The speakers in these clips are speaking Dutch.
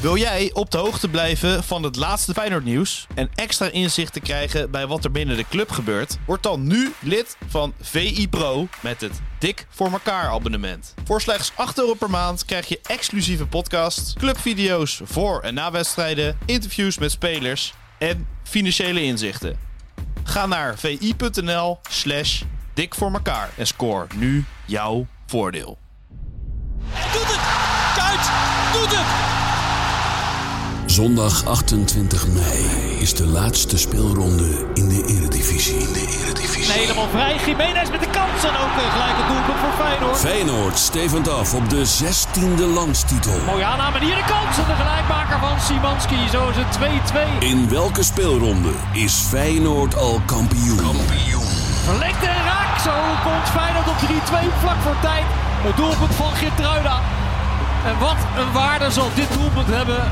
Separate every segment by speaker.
Speaker 1: Wil jij op de hoogte blijven van het laatste Feyenoord nieuws en extra inzicht te krijgen bij wat er binnen de club gebeurt? Word dan nu lid van VI Pro met het Dik voor elkaar abonnement. Voor slechts 8 euro per maand krijg je exclusieve podcasts, clubvideo's voor en na wedstrijden, interviews met spelers en financiële inzichten. Ga naar vi.nl slash dik voor elkaar en score nu jouw voordeel.
Speaker 2: Doet het! Kuit doet het!
Speaker 3: Zondag 28 mei is de laatste speelronde in de Eredivisie. In de Eredivisie.
Speaker 2: Helemaal vrij. Jiménez met de kans en ook eh, gelijk het doelpunt voor Feyenoord.
Speaker 3: Feyenoord stevend af op de 16e landstitel.
Speaker 2: Mooie aanname en hier de kans en de gelijkmaker van Simanski. Zo is het 2-2.
Speaker 3: In welke speelronde is Feyenoord al kampioen?
Speaker 2: Verlengd en raak. Zo komt Feyenoord op 3-2 vlak voor tijd. Het doelpunt van Geertruida. En wat een waarde zal dit doelpunt hebben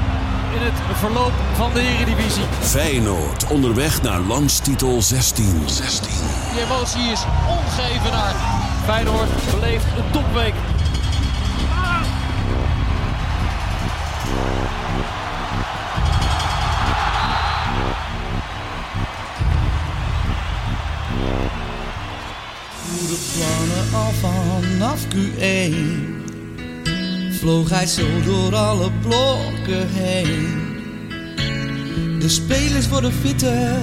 Speaker 2: in het verloop van de Eredivisie.
Speaker 3: Feyenoord onderweg naar landstitel 16. 16.
Speaker 2: Die emotie is ongevenaard. Feyenoord beleeft een topweek.
Speaker 4: goede plannen al vanaf Q1 Vloog hij zo door alle blokken heen De spelers worden fitter,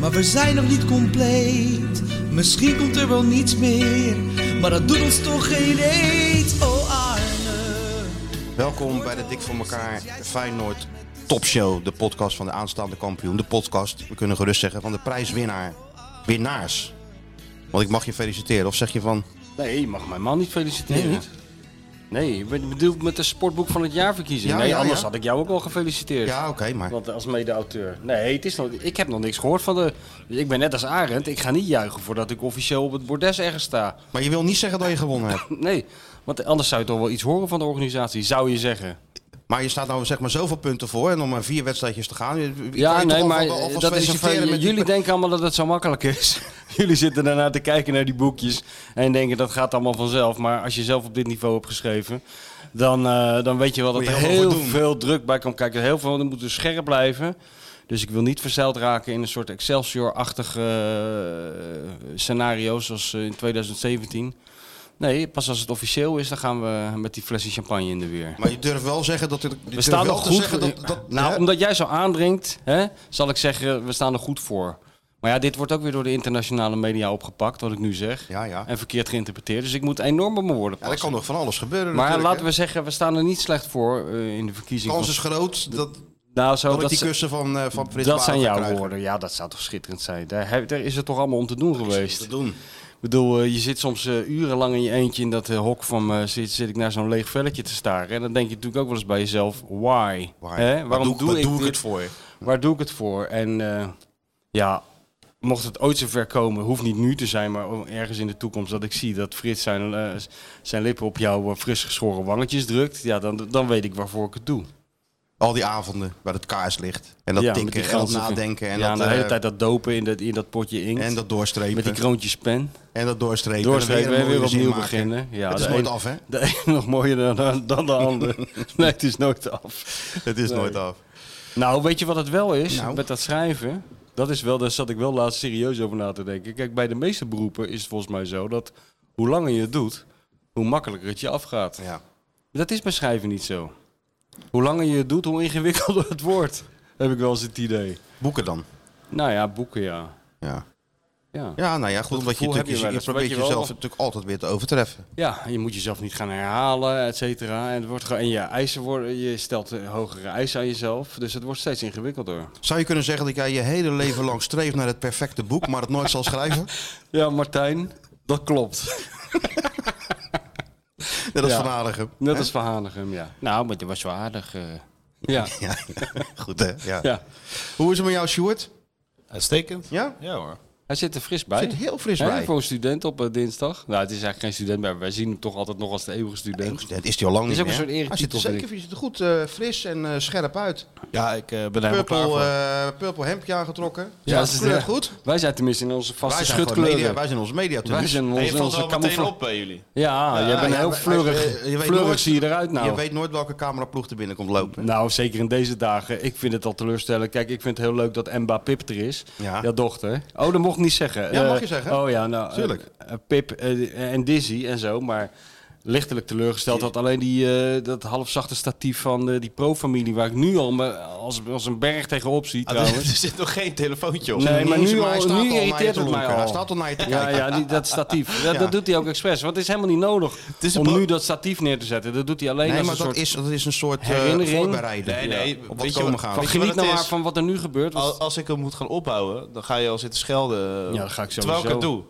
Speaker 4: maar we zijn nog niet compleet Misschien komt er wel niets meer, maar dat doet ons toch geen eet Oh Arne
Speaker 5: Welkom bij de Dik voor elkaar Feyenoord Topshow, de podcast van de aanstaande kampioen. De podcast, we kunnen gerust zeggen, van de prijswinnaar. Winnaars. Want ik mag je feliciteren. Of zeg je van,
Speaker 6: Nee, je mag mijn man niet feliciteren.
Speaker 5: Nee,
Speaker 6: Nee,
Speaker 5: niet?
Speaker 6: je bent bedoeld met de sportboek van het jaar verkiezen.
Speaker 5: Ja,
Speaker 6: nee,
Speaker 5: ja,
Speaker 6: anders
Speaker 5: ja.
Speaker 6: had ik jou ook al gefeliciteerd.
Speaker 5: ja oké, maar...
Speaker 6: Want als mede-auteur. Nee, het is nog, ik heb nog niks gehoord van de... Ik ben net als Arend, ik ga niet juichen voordat ik officieel op het bordes ergens sta.
Speaker 5: Maar je wil niet zeggen dat je gewonnen hebt.
Speaker 6: Nee, want anders zou je toch wel iets horen van de organisatie, zou je zeggen.
Speaker 5: Maar je staat nou zeg maar zoveel punten voor en om maar vier wedstrijdjes te gaan. Je- je kan
Speaker 6: Ja,
Speaker 5: je
Speaker 6: nee,
Speaker 5: toch
Speaker 6: maar eh,
Speaker 5: alvast- alvast
Speaker 6: dat is een
Speaker 5: feliciteren
Speaker 6: feit.
Speaker 5: met die
Speaker 6: Jullie denken allemaal dat het zo makkelijk is. Jullie zitten daarna te kijken naar die boekjes en denken dat gaat allemaal vanzelf. Maar als je zelf op dit niveau hebt geschreven, dan, eh, dan weet je wel dat
Speaker 5: je
Speaker 6: er
Speaker 5: heel veel
Speaker 6: heel
Speaker 5: voor doen.
Speaker 6: veel druk bij komt kijken. Heel veel, dan moeten scherp blijven. Dus ik wil niet verzeild raken in een soort Excelsior-achtig eh, scenario zoals eh, in 2017. Nee, pas als het officieel is, dan gaan we met die flesje champagne in de weer.
Speaker 5: Maar je durft wel zeggen dat... Je
Speaker 6: We staan nog goed voor.
Speaker 5: zeggen dat, dat,
Speaker 6: nou,
Speaker 5: hè?
Speaker 6: omdat jij zo aandringt, hè, zal ik zeggen, we staan er goed voor. Maar ja, dit wordt ook weer door de internationale media opgepakt, wat ik nu zeg.
Speaker 5: Ja, ja.
Speaker 6: En verkeerd geïnterpreteerd. Dus ik moet enorm op mijn woorden
Speaker 5: Ja, dat
Speaker 6: passen.
Speaker 5: kan nog van alles gebeuren
Speaker 6: maar
Speaker 5: natuurlijk,
Speaker 6: laten
Speaker 5: hè.
Speaker 6: we zeggen, we staan er niet slecht voor eh, in de verkiezing.
Speaker 5: De kans
Speaker 6: van-
Speaker 5: is groot dat,
Speaker 6: nou, zo,
Speaker 5: dat, ik
Speaker 6: dat,
Speaker 5: die
Speaker 6: ze-
Speaker 5: kussen van, eh van Frits
Speaker 6: dat
Speaker 5: Bauer
Speaker 6: zijn
Speaker 5: ga
Speaker 6: jouw
Speaker 5: krijgen.
Speaker 6: woorden. Ja, dat zou toch schitterend zijn. Daar, heb- daar is het toch allemaal om te doen geweest.
Speaker 5: Te doen.
Speaker 6: Ik bedoel, eh, je zit soms eh, urenlang in je eentje in dat eh, hok van eh, zit, zit ik naar zo'n leeg velletje te staren. En dan denk je natuurlijk ook wel eens bij jezelf, why?
Speaker 5: Waar-
Speaker 6: Hè?
Speaker 5: waar
Speaker 6: Waarom doe,
Speaker 5: waar
Speaker 6: ik, dit?
Speaker 5: het voor je?
Speaker 6: Waar doe ik het voor? En eh, ja, mocht het ooit zover komen, hoeft niet nu te zijn, maar ook ergens in de toekomst dat ik zie dat Frits zijn, eh, zijn lippen op jouw eh, fris geschoren wangetjes drukt, ja, dan, dan weet ik waarvoor ik het doe.
Speaker 5: Al die avonden bij het kaarslicht. En dat
Speaker 6: ja, met die
Speaker 5: tikken en dat
Speaker 6: ganzen-
Speaker 5: nadenken. En,
Speaker 6: ja,
Speaker 5: dat,
Speaker 6: de hele
Speaker 5: eh,
Speaker 6: tijd dat dopen in dat, in dat potje inkt.
Speaker 5: en dat eh, doorstrepen.
Speaker 6: met die kroontjes pen.
Speaker 5: en dat doorstrepen.
Speaker 6: Doorstrepen
Speaker 5: En
Speaker 6: en
Speaker 5: dan
Speaker 6: weer
Speaker 5: een mooie
Speaker 6: opnieuw
Speaker 5: zin maken.
Speaker 6: beginnen. Ja,
Speaker 5: het
Speaker 6: de
Speaker 5: is nooit
Speaker 6: een-
Speaker 5: af, hè?
Speaker 6: De ene nog mooier dan, dan de ander. nee, het is nooit af.
Speaker 5: Het is
Speaker 6: Nee.
Speaker 5: nooit af.
Speaker 6: Nou, weet je wat het wel is
Speaker 5: Nou.
Speaker 6: met dat schrijven? Dat is wel, daar zat ik wel laatst serieus over na te denken. Kijk, bij de meeste beroepen is het volgens mij zo dat hoe langer je het doet, hoe makkelijker het je afgaat.
Speaker 5: Ja.
Speaker 6: Dat is bij schrijven niet zo. Hoe langer je het doet, hoe ingewikkelder het wordt. Heb ik wel eens het idee.
Speaker 5: Boeken dan.
Speaker 6: Nou ja, boeken ja.
Speaker 5: Ja.
Speaker 6: Ja, ja.
Speaker 5: ja, nou ja, goed.
Speaker 6: Dat
Speaker 5: Omdat je,
Speaker 6: gevoel heb
Speaker 5: natuurlijk,
Speaker 6: je
Speaker 5: je,
Speaker 6: wel
Speaker 5: je
Speaker 6: eens,
Speaker 5: probeert
Speaker 6: weet je wel.
Speaker 5: jezelf natuurlijk altijd weer te overtreffen.
Speaker 6: je moet jezelf niet gaan herhalen, et cetera. En, het wordt gewoon, en je, eisen worden, je stelt eh, hogere eisen aan jezelf. Dus het wordt steeds ingewikkelder.
Speaker 5: Zou je kunnen zeggen dat jij je hele leven lang streeft naar het perfecte boek, maar het nooit zal schrijven?
Speaker 6: Ja, Martijn, dat klopt.
Speaker 5: Net als
Speaker 6: Ja.
Speaker 5: Van Aardigem.
Speaker 6: Net als Van Hanegem, ja. Nou, maar dat was wel aardig. eh. Ja.
Speaker 5: Ja, ja. goed hè. Ja.
Speaker 6: ja.
Speaker 5: Hoe is het met jou, Sjoerd?
Speaker 1: Uitstekend.
Speaker 5: Ja?
Speaker 1: Ja hoor.
Speaker 7: Hij zit er fris bij.
Speaker 5: Zit heel fris
Speaker 7: Hè,
Speaker 5: bij.
Speaker 7: Voor een student op eh, dinsdag. Nou, het is eigenlijk geen student, maar wij zien hem toch altijd nog als de eeuwige student.
Speaker 5: Dat is die al lang
Speaker 7: Het
Speaker 5: niet
Speaker 7: is ook een
Speaker 5: meer.
Speaker 7: soort eretitel,
Speaker 5: Hij zit er
Speaker 7: vind
Speaker 5: zeker
Speaker 7: ik.
Speaker 5: hij ziet er goed eh, fris en eh, scherp uit.
Speaker 1: Ja, ik eh, ben er helemaal klaar
Speaker 5: Purple,
Speaker 1: voor.
Speaker 5: eh purple hemdje aangetrokken.
Speaker 7: Ja,
Speaker 5: Ja,
Speaker 7: dat is
Speaker 5: kleur
Speaker 7: de-
Speaker 5: goed.
Speaker 7: Wij zijn tenminste in onze vaste
Speaker 5: Wij zijn, gewoon
Speaker 7: schutkleuren.
Speaker 5: media, wij zijn onze media.
Speaker 7: Wij zijn
Speaker 1: Nee,
Speaker 7: ons,
Speaker 1: je valt wel
Speaker 7: onze
Speaker 1: meteen
Speaker 7: camouflage.
Speaker 1: op bij jullie.
Speaker 7: Ja, jij bent
Speaker 5: ja,
Speaker 7: heel
Speaker 5: wij- wij-
Speaker 7: fleurig.
Speaker 5: eh, je weet
Speaker 7: fleurig
Speaker 5: nooit-
Speaker 7: zie je eruit nou.
Speaker 5: Je weet nooit welke cameraploeg er binnen komt lopen.
Speaker 7: Nou, zeker in deze dagen. Ik vind het al teleurstellend. Kijk, ik vind het heel leuk dat Emba Pip er is.
Speaker 5: Ja.
Speaker 7: Jouw dochter. Oh, dat mocht ik niet zeggen.
Speaker 5: Ja,
Speaker 7: Eh,
Speaker 5: mag je zeggen.
Speaker 7: Oh ja, nou. eh,
Speaker 5: Tuurlijk.
Speaker 7: eh, Pip eh, en Dizzy en zo, maar... Lichtelijk teleurgesteld dat alleen die, eh, dat halfzachte statief van eh, die pro-familie... waar ik nu al me- als, als een berg tegenop zie
Speaker 1: Ah, er
Speaker 7: trouwens.
Speaker 1: zit nog geen telefoontje op.
Speaker 7: Nee, maar
Speaker 5: Niet eens,
Speaker 7: nu,
Speaker 5: maar hij
Speaker 7: al,
Speaker 5: staat al
Speaker 7: nu
Speaker 5: naar je
Speaker 7: irriteert
Speaker 5: te
Speaker 7: het mij
Speaker 5: lonken.
Speaker 7: al.
Speaker 5: Hij staat al naar je te
Speaker 7: Ja,
Speaker 5: kijken.
Speaker 7: ja die, dat statief. Dat,
Speaker 5: Ja.
Speaker 7: dat doet hij ook expres. Want het is helemaal niet nodig
Speaker 1: is een
Speaker 7: om
Speaker 1: pro-
Speaker 7: nu dat statief neer te zetten. Dat doet hij alleen
Speaker 5: Nee,
Speaker 7: als
Speaker 5: maar
Speaker 7: een
Speaker 5: dat,
Speaker 7: soort...
Speaker 5: is, dat is een soort eh,
Speaker 7: Herinnering.
Speaker 5: voorbereiden.
Speaker 1: Nee, nee,
Speaker 5: Op
Speaker 1: weet
Speaker 5: wat
Speaker 1: je
Speaker 5: komen
Speaker 1: wat-
Speaker 5: gaan.
Speaker 1: van-
Speaker 7: Van
Speaker 1: Weet je wat
Speaker 7: geniet nou
Speaker 1: het
Speaker 7: maar
Speaker 1: is?
Speaker 7: van wat er nu gebeurt. want-
Speaker 1: Al- Als ik hem moet gaan ophouden, dan ga je al zitten schelden.
Speaker 7: Ja, dat ga ik
Speaker 1: Terwijl ik het
Speaker 7: sowieso.
Speaker 1: doe.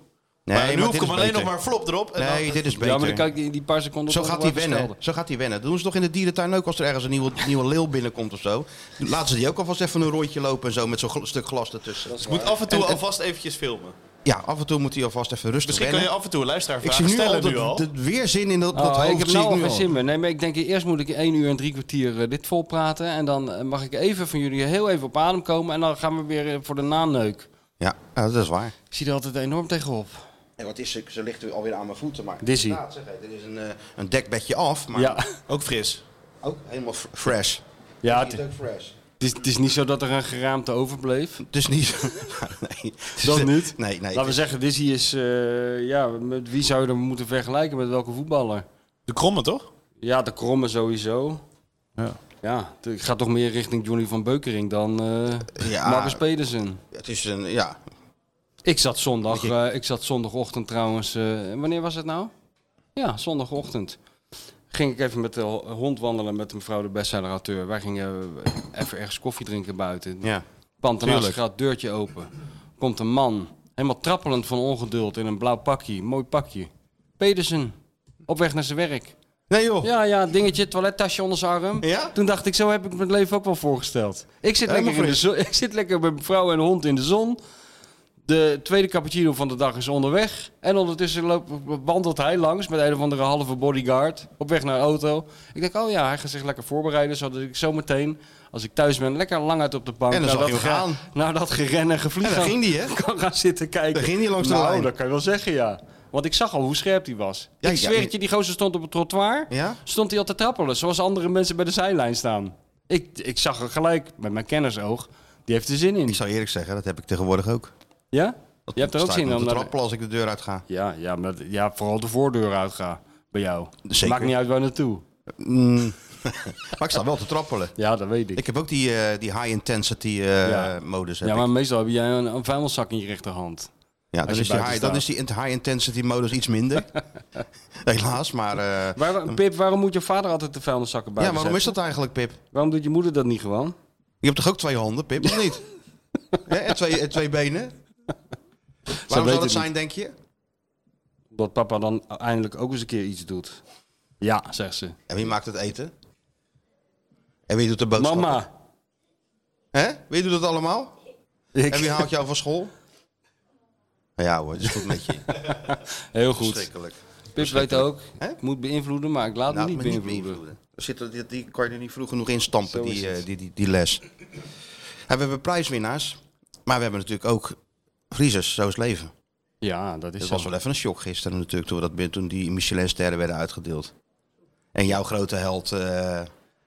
Speaker 5: Nee,
Speaker 1: maar nu
Speaker 5: maar
Speaker 1: hoef
Speaker 5: dit
Speaker 1: ik hem
Speaker 5: is
Speaker 1: alleen
Speaker 5: beter.
Speaker 1: nog maar flop erop. En
Speaker 5: Nee, dit is beter.
Speaker 7: Ja, maar dan kan ik in die paar seconden...
Speaker 5: Zo
Speaker 7: toch
Speaker 5: gaat
Speaker 7: wel
Speaker 5: hij
Speaker 7: even
Speaker 5: wennen.
Speaker 7: schelden.
Speaker 5: Zo gaat hij wennen. Dat doen ze toch in de dierentuin ook als er ergens een nieuwe, nieuwe leeuw binnenkomt of zo. Laten ze die ook alvast even een rondje lopen en zo met zo'n gl- stuk glas ertussen.
Speaker 1: dan moet af en toe alvast eventjes filmen.
Speaker 5: Ja, af en toe moet hij alvast even rustig
Speaker 1: Misschien kan
Speaker 5: wennen.
Speaker 1: je af en toe een luisteraar
Speaker 5: ik
Speaker 1: vragen
Speaker 5: zie nu al,
Speaker 1: stellen
Speaker 5: dat,
Speaker 1: nu al.
Speaker 5: dat weerzin in dat, dat
Speaker 7: Oh,
Speaker 5: hoofd
Speaker 7: ik heb
Speaker 5: zie
Speaker 7: nou al
Speaker 5: ik nu
Speaker 7: geen
Speaker 5: al.
Speaker 7: zin meer. Nee, maar ik denk eerst moet ik 1 uur en drie kwartier eh, dit vol praten. En dan eh, mag ik even van jullie heel even op adem komen. En dan gaan we weer eh, voor de naneuk.
Speaker 5: Ja, ja, dat is waar.
Speaker 7: Ik zie er altijd enorm tegenop.
Speaker 5: En wat is ze? Ze ligt weer alweer aan mijn voeten. Maar
Speaker 7: Dizzy.
Speaker 5: inderdaad, zeg, hé, er is een, eh, een dekbedje af, maar
Speaker 7: Ja,
Speaker 1: Ook fris.
Speaker 5: ook helemaal f- fresh.
Speaker 7: ja
Speaker 5: Die
Speaker 7: het,
Speaker 5: is ook fresh.
Speaker 7: het is, het is niet zo dat er een geraamte overbleef.
Speaker 5: Het is niet zo... nee. Het is-
Speaker 7: Dat niet?
Speaker 5: Nee, nee.
Speaker 7: Laten we zeggen, Dizzy is... eh, ja, met wie zou je hem moeten vergelijken? Met welke voetballer?
Speaker 1: De kromme, toch?
Speaker 7: Ja, de kromme sowieso.
Speaker 1: Ja.
Speaker 7: Ja, t- ik ga toch meer richting Johnny van Beukering dan eh
Speaker 5: Ja.
Speaker 7: Marcus Pedersen.
Speaker 5: Het is een, ja,
Speaker 7: Ik zat, zondag, eh, ik zat zondagochtend trouwens. eh, wanneer was het nou? Ja, zondagochtend. Ging ik even met de ho- hond wandelen met mevrouw de bestseller-auteur. Wij gingen eh, even ergens koffie drinken buiten.
Speaker 5: ja.
Speaker 7: Pantanage
Speaker 5: Tuurlijk.
Speaker 7: gaat deurtje open. Komt een man, helemaal trappelend van ongeduld, in een blauw pakje. Mooi pakje. Pedersen, op weg naar zijn werk.
Speaker 5: Nee joh.
Speaker 7: Ja, ja, dingetje, toilettasje onder zijn arm.
Speaker 5: Ja?
Speaker 7: Toen dacht ik, zo heb ik mijn leven ook wel voorgesteld. Ik zit,
Speaker 5: Helemaal
Speaker 7: lekker, in de
Speaker 5: fris.
Speaker 7: zon, ik zit lekker met mijn vrouw en hond in de zon. De tweede cappuccino van de dag is onderweg. En ondertussen loopt, wandelt hij langs met een of andere halve bodyguard op weg naar de auto. Ik denk, oh ja, hij gaat zich lekker voorbereiden, zodat ik zo meteen, als ik thuis ben, lekker lang uit op de bank
Speaker 5: En dan
Speaker 7: naar,
Speaker 5: zag
Speaker 7: dat
Speaker 5: je hem gaan.
Speaker 7: naar dat geren en gevlieg
Speaker 5: En daar
Speaker 7: gaan-
Speaker 5: ging die, hè?
Speaker 7: kan gaan zitten kijken.
Speaker 5: Daar ging die langs de
Speaker 7: nou,
Speaker 5: lijn.
Speaker 7: dat kan je wel zeggen, ja. Want ik zag al hoe scherp die was.
Speaker 5: Ja,
Speaker 7: ik
Speaker 5: ja,
Speaker 7: zweer
Speaker 5: ja.
Speaker 7: het je, die gozer stond op het trottoir
Speaker 5: Ja?
Speaker 7: stond hij al te trappelen, zoals andere mensen bij de zijlijn staan. Ik, ik zag er gelijk met mijn kennersoog, die heeft er zin in.
Speaker 5: Ik zou eerlijk zeggen, dat heb ik tegenwoordig ook.
Speaker 7: Ja?
Speaker 5: Dat
Speaker 7: Je hebt er ook
Speaker 5: sta ik
Speaker 7: zin
Speaker 5: om te
Speaker 7: in om naar-
Speaker 5: trappelen als ik de deur uit ga.
Speaker 7: Ja, ja, maar, dat- ja, vooral de voordeur uitgaan bij jou.
Speaker 5: Zeker.
Speaker 7: Maakt niet uit waar naartoe.
Speaker 5: Mm. maar ik sta wel te trappelen.
Speaker 7: Ja, dat weet ik.
Speaker 5: Ik heb ook die, eh, die high intensity
Speaker 7: Ja.
Speaker 5: eh modus. heb
Speaker 7: ja, maar
Speaker 5: ik.
Speaker 7: meestal heb jij een, een vuilniszak in je rechterhand.
Speaker 5: ja dan,
Speaker 7: je
Speaker 5: is die high,
Speaker 7: buiten
Speaker 5: dan
Speaker 7: staat.
Speaker 5: is die int- high intensity modus iets minder. Helaas, maar... eh,
Speaker 7: Waar, Pip, waarom moet je vader altijd de vuilniszakken
Speaker 5: ja,
Speaker 7: buiten
Speaker 5: waarom is
Speaker 7: zetten?
Speaker 5: dat eigenlijk, Pip?
Speaker 7: Waarom doet je moeder dat niet gewoon?
Speaker 5: Je hebt toch ook twee handen, Pip, of niet? Hè, en, twee, en twee benen? Waarom
Speaker 7: weet
Speaker 5: zou
Speaker 7: het
Speaker 5: dat zijn, denk je?
Speaker 7: Dat papa dan eindelijk ook eens een keer iets doet. Ja, zegt ze.
Speaker 5: En wie maakt het eten? En wie doet de boodschappen?
Speaker 7: Mama.
Speaker 5: Hè? Wie doet dat allemaal?
Speaker 7: Ik-
Speaker 5: En wie haalt jou van school? Ja hoor, het is goed met je.
Speaker 7: Heel goed.
Speaker 5: Verschrikkelijk.
Speaker 7: Pip weet ook,
Speaker 5: Hè?
Speaker 7: ik moet beïnvloeden, maar ik laat
Speaker 5: Laat
Speaker 7: me
Speaker 5: me
Speaker 7: niet
Speaker 5: niet
Speaker 7: beïnvloeden.
Speaker 5: beïnvloeden. Er zitten- Die, die kan je er niet vroeg genoeg in stampen,
Speaker 7: Zo is
Speaker 5: die,
Speaker 7: het.
Speaker 5: eh, die, die, die les. En we hebben prijswinnaars, maar we hebben natuurlijk ook vriezers, zo is het leven.
Speaker 7: Ja, dat is
Speaker 5: Het
Speaker 7: zo.
Speaker 5: was wel even een shock gisteren natuurlijk, toen, we dat, bin- toen die Michelin-sterren werden uitgedeeld. En jouw grote held... eh,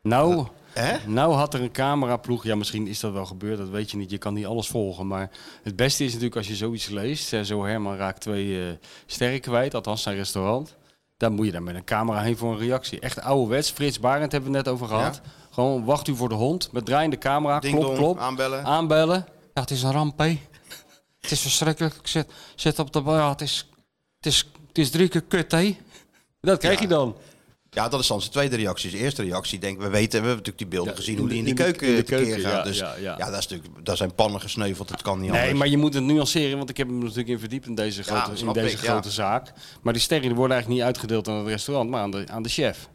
Speaker 7: Nou,
Speaker 5: hè?
Speaker 7: nou had er een cameraploeg, ja misschien is dat wel gebeurd, dat weet je niet, je kan niet alles volgen. Maar het beste is natuurlijk als je zoiets leest, eh, zo Herman raakt twee eh sterren kwijt, althans zijn restaurant. Dan moet je daar met een camera heen voor een reactie. Echt ouderwets, Frits Barend hebben we het net over gehad. Gewoon wacht u voor de hond, met draaiende camera,
Speaker 5: Ding
Speaker 7: klop,
Speaker 5: dong,
Speaker 7: klop.
Speaker 5: aanbellen.
Speaker 7: Aanbellen. Ja, het is een ramp, hè. Het is verschrikkelijk. Ik zit, zit op de... Ja, het, is, het, is, het is drie keer kut, hè. Dat krijg je dan.
Speaker 5: Ja, dat is dan zijn tweede reactie. Zijn eerste reactie, denk we weten, we hebben natuurlijk die beelden gezien hoe die in die keuken
Speaker 7: in de
Speaker 5: tekeer
Speaker 7: keuken,
Speaker 5: gaat.
Speaker 7: ja,
Speaker 5: dus
Speaker 7: ja,
Speaker 5: ja,
Speaker 7: ja.
Speaker 5: dat is natuurlijk, daar zijn pannen gesneuveld, dat kan niet
Speaker 7: Nee,
Speaker 5: anders.
Speaker 7: maar je moet het nuanceren, want ik heb hem er natuurlijk in verdiept in deze grote, in
Speaker 5: snap
Speaker 7: deze
Speaker 5: ik, ja.
Speaker 7: grote zaak. Maar die sterren die worden eigenlijk niet uitgedeeld aan het restaurant, maar aan de, aan de chef.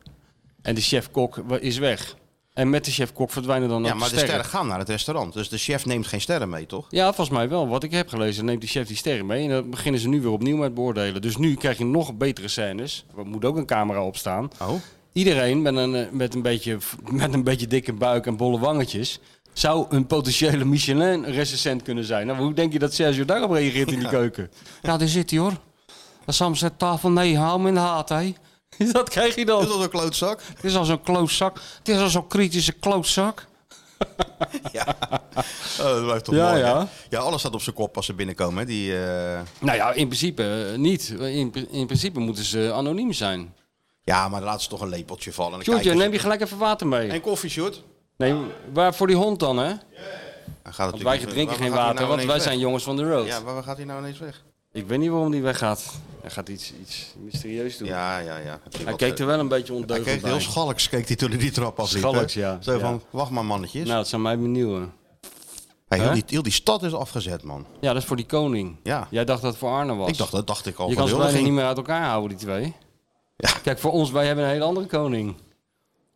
Speaker 7: En de chef-kok wa- is weg. En met de chef-kok verdwijnen dan ook
Speaker 5: Ja, maar de sterren gaan naar het restaurant. Dus de chef neemt geen sterren mee, toch?
Speaker 7: Ja, volgens mij wel. Wat ik heb gelezen, neemt die chef die sterren mee. En dan beginnen ze nu weer opnieuw met beoordelen. Dus nu krijg je nog betere scènes. Er moet ook een camera op staan.
Speaker 5: Oh.
Speaker 7: Iedereen met een, eh, met, een beetje, met een beetje dikke buik en bolle wangetjes... zou een potentiële Michelin-recensent kunnen zijn. Nou, hoe denk je dat Sergio daarop reageert in die keuken? Nou, daar zit hij hoor. Sam zet tafel, nee, hou hem in de haat, hè. Dat krijg je dan.
Speaker 5: Is dat een klootzak?
Speaker 7: Het is al zo'n klootzak. Het is al zo'n kritische klootzak.
Speaker 5: Ja. Oh, dat blijft toch
Speaker 7: Ja,
Speaker 5: mooi, hè?
Speaker 7: ja.
Speaker 5: Ja, alles staat op zijn kop als ze binnenkomen, hè? Die, eh,
Speaker 7: Nou ja, in principe eh, niet. In, in principe moeten ze anoniem zijn.
Speaker 5: Ja, maar dan laten ze toch een lepeltje vallen. En dan
Speaker 7: Sjoerdje,
Speaker 5: kijken ze-
Speaker 7: neem je gelijk even water mee.
Speaker 5: En koffie, Sjoerd?
Speaker 7: Nee, waar voor die hond dan, hè?
Speaker 5: Hij gaat
Speaker 7: Want
Speaker 5: natuurlijk
Speaker 7: wij
Speaker 5: niet-
Speaker 7: drinken geen
Speaker 5: waarom gaat hij
Speaker 7: water,
Speaker 5: nou
Speaker 7: want wij
Speaker 5: ineens
Speaker 7: zijn
Speaker 5: weg?
Speaker 7: jongens van de road.
Speaker 5: Ja, maar waar gaat hij nou ineens weg?
Speaker 7: Ik weet niet waarom die weggaat. Hij gaat iets, iets mysterieus doen.
Speaker 5: Ja, ja, ja. Heb je
Speaker 7: Hij
Speaker 5: wat,
Speaker 7: keek er
Speaker 5: eh,
Speaker 7: wel een beetje
Speaker 5: hij
Speaker 7: ondeugend
Speaker 5: keek heel
Speaker 7: bij.
Speaker 5: schalks keek hij toen hij die trap afliep. hè?
Speaker 7: Schalks, ja.
Speaker 5: Zo van,
Speaker 7: Ja.
Speaker 5: wacht maar mannetjes.
Speaker 7: Nou, het zijn mij benieuwen.
Speaker 5: hey, heel,
Speaker 7: hè?
Speaker 5: die, heel die stad is afgezet, man.
Speaker 7: Ja, dat is voor die koning.
Speaker 5: Ja.
Speaker 7: Jij dacht dat het voor Arne was.
Speaker 5: Ik dacht, dat dacht ik al.
Speaker 7: Je kan ze
Speaker 5: van de
Speaker 7: bijna niet
Speaker 5: huldiging.
Speaker 7: meer uit elkaar houden, die twee.
Speaker 5: Ja.
Speaker 7: Kijk, voor ons, wij hebben een hele andere koning.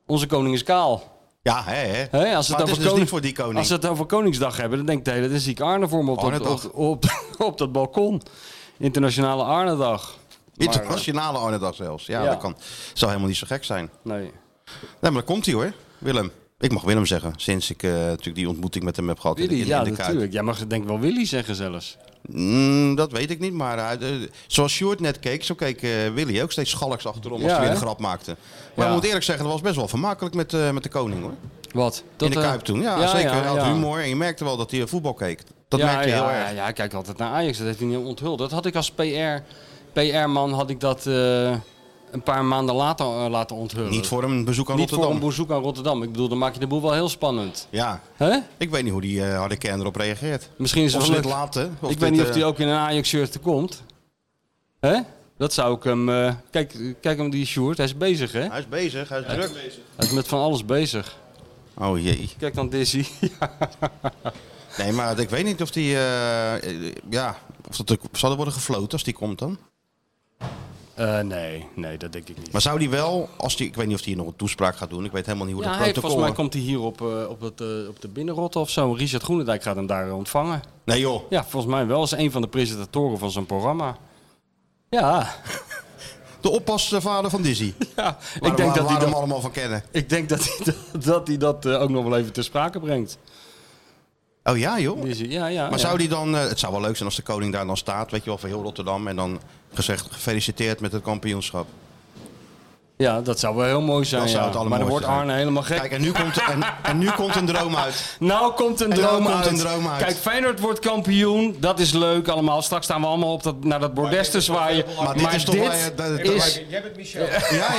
Speaker 7: Onze koning is kaal.
Speaker 5: Ja, hè, hè.
Speaker 7: Hè, als ze
Speaker 5: maar het
Speaker 7: het
Speaker 5: is
Speaker 7: over
Speaker 5: dus
Speaker 7: koning-
Speaker 5: niet voor die koning.
Speaker 7: Als ze het over Koningsdag hebben, dan denkt de hele dan zie ik Arne voor me op, dat,
Speaker 5: Arnedag.
Speaker 7: op, op, op dat balkon. Internationale Arnedag.
Speaker 5: Internationale Arnedag zelfs. Ja,
Speaker 7: Ja.
Speaker 5: dat kan. Zou helemaal niet zo gek zijn.
Speaker 7: eh, Nee.
Speaker 5: Nee, maar dan komt hij hoor, Willem. Ik mag Willem zeggen, sinds ik eh, natuurlijk die ontmoeting met hem heb gehad in de-
Speaker 7: Willy,
Speaker 5: in,
Speaker 7: ja,
Speaker 5: in de kuip.
Speaker 7: natuurlijk. Jij mag denk ik wel Willy zeggen zelfs.
Speaker 5: Mm, dat weet ik niet, maar hij- eh, zoals Sjoerd net keek, zo keek eh, Willy ook steeds schalks achterom als
Speaker 7: Ja,
Speaker 5: hij weer een
Speaker 7: hè?
Speaker 5: grap maakte. Maar
Speaker 7: Ja.
Speaker 5: ik moet eerlijk zeggen, dat was best wel vermakelijk met, eh, met de koning hoor.
Speaker 7: Wat?
Speaker 5: in de
Speaker 7: eh,
Speaker 5: Kuip toen, ja, zeker. hij had
Speaker 7: ja.
Speaker 5: humor en je merkte wel dat hij eh, voetbal keek. Dat
Speaker 7: ja,
Speaker 5: merkte je
Speaker 7: ja,
Speaker 5: heel erg.
Speaker 7: Ja, ja, hij kijkt altijd naar Ajax. Dat heeft hij niet onthuld. Dat had ik als PR, PR-man had ik dat eh, een paar maanden later eh, laten onthullen.
Speaker 5: Niet voor een bezoek aan
Speaker 7: Niet voor
Speaker 5: Rotterdam.
Speaker 7: een bezoek aan Rotterdam. Ik bedoel, dan maak je de boel wel heel spannend.
Speaker 5: ja,
Speaker 7: Hè?
Speaker 5: ik weet niet hoe die eh harde kern erop reageert.
Speaker 7: Misschien is
Speaker 5: Of
Speaker 7: het
Speaker 5: ze
Speaker 7: wel
Speaker 5: dit
Speaker 7: leuk.
Speaker 5: laten. Of
Speaker 7: ik weet
Speaker 5: dit,
Speaker 7: niet
Speaker 5: eh,
Speaker 7: of hij ook in een Ajax-shirt komt. Hè? Dat zou ik hem... eh, kijk, kijk hem die Sjoerd, hij is bezig hè?
Speaker 5: Hij is bezig, hij is druk. bezig.
Speaker 7: Hij is met van alles bezig.
Speaker 5: Oh jee.
Speaker 7: Kijk dan Dizzy.
Speaker 5: Nee, maar ik weet niet of die. eh, eh, ja, of dat er, zal er worden gefloten als die komt dan?
Speaker 7: Eh, nee, nee, dat denk ik niet.
Speaker 5: Maar zou die wel, als die, ik weet niet of die hier nog een toespraak gaat doen, ik weet helemaal niet hoe
Speaker 7: ja,
Speaker 5: dat
Speaker 7: hij,
Speaker 5: protocol.
Speaker 7: volgens mij komt hij hier op, eh, op, het, eh, op de binnenrotte of zo. Richard Groenendijk gaat hem daar ontvangen.
Speaker 5: Nee joh,
Speaker 7: Ja, volgens mij wel als een van de presentatoren van zo'n programma. Ja,
Speaker 5: de oppasvader van Dizzy.
Speaker 7: ja.
Speaker 5: Waar-
Speaker 7: ik, denk
Speaker 5: waar,
Speaker 7: dat
Speaker 5: waar
Speaker 7: hij
Speaker 5: hem
Speaker 7: dat,
Speaker 5: allemaal van kennen.
Speaker 7: ik denk dat hij dat, dat, hij dat eh, ook nog wel even ter sprake brengt.
Speaker 5: Oh ja joh.
Speaker 7: Dizzy, ja, ja.
Speaker 5: Maar
Speaker 7: ja.
Speaker 5: zou die dan, eh, het zou wel leuk zijn als de koning daar dan staat, weet je wel, van heel Rotterdam. En dan gezegd, gefeliciteerd met het kampioenschap.
Speaker 7: Ja, dat zou wel heel mooi zijn.
Speaker 5: Dat zou
Speaker 7: ja.
Speaker 5: het
Speaker 7: maar dan
Speaker 5: allermooiste
Speaker 7: wordt
Speaker 5: zijn.
Speaker 7: Arne helemaal gek.
Speaker 5: Kijk, en nu komt, en, en nu komt een droom uit.
Speaker 7: nou komt een
Speaker 5: En nou
Speaker 7: droom,
Speaker 5: komt
Speaker 7: uit.
Speaker 5: een droom uit.
Speaker 7: Kijk, Feyenoord wordt kampioen. Dat is leuk allemaal. Straks staan we allemaal op dat, naar dat bordes te zwaaien.
Speaker 5: Maar dit is toch wel, eh, dat- dat-
Speaker 7: is-
Speaker 6: Jij bent Michel.
Speaker 5: Ja,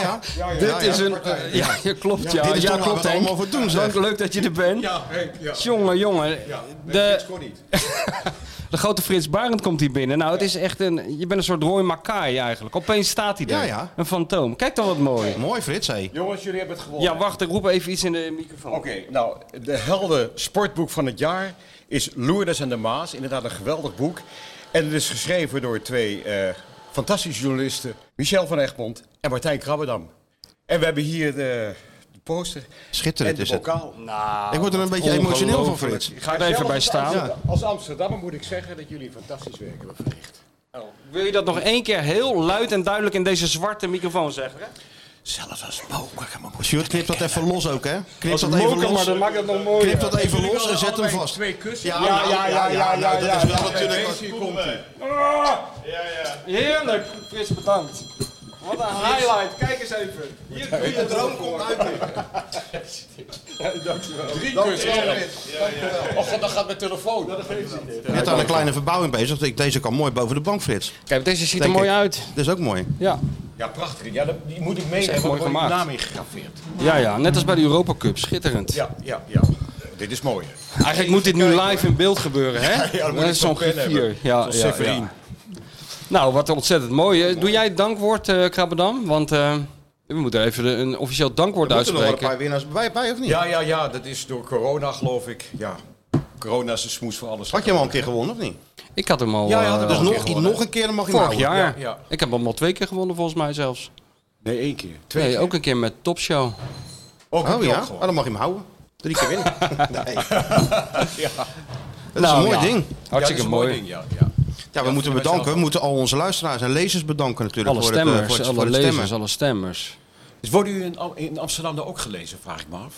Speaker 5: ja.
Speaker 7: Dit
Speaker 5: Ja, ja.
Speaker 7: is een. eh, ja, ja, klopt. Ja,
Speaker 5: dit is
Speaker 7: ja,
Speaker 5: toch waar we
Speaker 7: klopt.
Speaker 5: het
Speaker 7: Henk.
Speaker 5: allemaal voor doen, zeg.
Speaker 7: Dank, Leuk dat je er bent.
Speaker 6: Ja, Henk, ja.
Speaker 7: Jongen, jongen.
Speaker 6: Dat
Speaker 7: De,
Speaker 6: kon niet.
Speaker 7: de grote Frits Barend komt hier binnen. Nou, het is echt een. Je bent een soort Roy Makai eigenlijk. Opeens staat hij er.
Speaker 5: Ja, ja.
Speaker 7: Een fantoom. Kijk dan wat mooi.
Speaker 5: Mooi Frits, hé.
Speaker 6: Jongens, jullie hebben het gewonnen.
Speaker 7: Ja, wacht, ik roep even iets in de microfoon.
Speaker 6: Oké, nou, de helden sportboek van het jaar is Lourdes en de Maas. Inderdaad een geweldig boek. En het is geschreven door twee eh, fantastische journalisten, Michel van Egmond en Martijn Krabbedam. En we hebben hier de, de poster
Speaker 5: Schitterend
Speaker 6: en de
Speaker 5: is het.
Speaker 6: bokaal. Ah,
Speaker 7: Nou,
Speaker 5: Ik word er een
Speaker 7: wat
Speaker 5: beetje emotioneel van
Speaker 7: ongelooflijk.
Speaker 5: Frits.
Speaker 7: Ik ga er even
Speaker 6: Zelfs
Speaker 7: bij
Speaker 6: als
Speaker 7: staan.
Speaker 6: Amsterdam- Als Amsterdammer moet ik zeggen dat jullie fantastisch werk hebben verricht.
Speaker 7: Oh, Wil je dat nog één keer heel luid en duidelijk in deze zwarte microfoon zeggen? Hè?
Speaker 6: Zelfs als moker kan me
Speaker 5: Sjoerd, knip dat even los ook, hè. Knip dat
Speaker 7: Moker,
Speaker 5: even
Speaker 7: maar
Speaker 5: los.
Speaker 7: dat maakt het nog mooier.
Speaker 5: Knip dat even los en zet hem vast.
Speaker 6: Twee kussen.
Speaker 5: Ja, ja, ja, ja, ja, nou, dat is wel natuurlijk wat-
Speaker 7: Heerlijk, Frits, bedankt. Wat een highlight, kijk eens even.
Speaker 5: De droom komt uit.
Speaker 6: Drie kussen. Och, dan gaat mijn telefoon.
Speaker 5: Je hebt aan een kleine verbouwing bezig. Ik- Deze kan mooi boven de bank, Frits.
Speaker 7: Kijk, deze ziet
Speaker 5: Denk
Speaker 7: er mooi
Speaker 5: ik.
Speaker 7: uit.
Speaker 5: Dat is ook mooi.
Speaker 7: Ja.
Speaker 6: Ja, prachtig. Ja, dat, die moet ik meenemen.
Speaker 7: echt mooi
Speaker 6: Daar wordt je
Speaker 7: gemaakt.
Speaker 6: naam ingegraveerd.
Speaker 7: ja, ja, net als bij de Europa Cup, schitterend.
Speaker 6: Ja, ja, ja. Dit is mooi.
Speaker 7: Eigenlijk moet dit nu live in beeld gebeuren, hè?
Speaker 6: ja, dan moet
Speaker 7: Dat
Speaker 6: ik
Speaker 7: is
Speaker 6: zo'n
Speaker 7: zo'n
Speaker 6: pen
Speaker 7: griffier.
Speaker 6: hebben.
Speaker 7: Ja,
Speaker 6: Zo'n
Speaker 7: ja,
Speaker 6: Severin.
Speaker 7: ja. Nou, wat ontzettend mooi. hè. Doe jij het dankwoord, eh Krabbedam? Want eh, we moeten even de- een officieel dankwoord
Speaker 5: Moeten er nog een
Speaker 7: uitspreken.
Speaker 5: paar winnaars bij, bij of niet?
Speaker 6: Ja, ja, ja. Dat is door corona, geloof ik. Ja. Corona is de smoes voor alles.
Speaker 5: Had je hem al een keer gewonnen, of niet?
Speaker 7: Ik had hem al
Speaker 6: Ja, ja, dat
Speaker 7: eh,
Speaker 6: is
Speaker 5: Dus
Speaker 6: een keer
Speaker 5: nog,
Speaker 6: gewonnen.
Speaker 5: nog een keer dan mag je hem
Speaker 7: vorig
Speaker 5: houden.
Speaker 7: jaar.
Speaker 6: Ja, ja.
Speaker 7: Ik heb hem al twee keer gewonnen, volgens mij zelfs.
Speaker 6: Nee, één keer. Twee
Speaker 7: Nee,
Speaker 6: keer.
Speaker 7: ook een keer met Topshow.
Speaker 3: Ook
Speaker 5: Oh
Speaker 3: heb je
Speaker 5: ja,
Speaker 3: ook
Speaker 5: Ah,
Speaker 3: gewonnen.
Speaker 5: dan mag je hem houden. Drie keer winnen. Nee. Dat is
Speaker 7: Nou,
Speaker 5: een mooi
Speaker 7: ja.
Speaker 5: ding.
Speaker 3: Ja, dat
Speaker 7: Hartstikke
Speaker 3: is een
Speaker 7: mooi.
Speaker 3: mooi ding, ja. ja.
Speaker 5: Ja, we moeten
Speaker 3: vind ik
Speaker 5: bedanken.
Speaker 3: zelf
Speaker 5: We moeten al onze luisteraars en lezers bedanken natuurlijk.
Speaker 7: Alle
Speaker 5: voor het, eh,
Speaker 7: stemmers,
Speaker 5: voor het, voor
Speaker 7: alle
Speaker 5: het
Speaker 7: lezers,
Speaker 5: stemmen.
Speaker 7: alle stemmers.
Speaker 3: Dus worden u in, Am- in Amsterdam daar ook gelezen, vraag ik me af?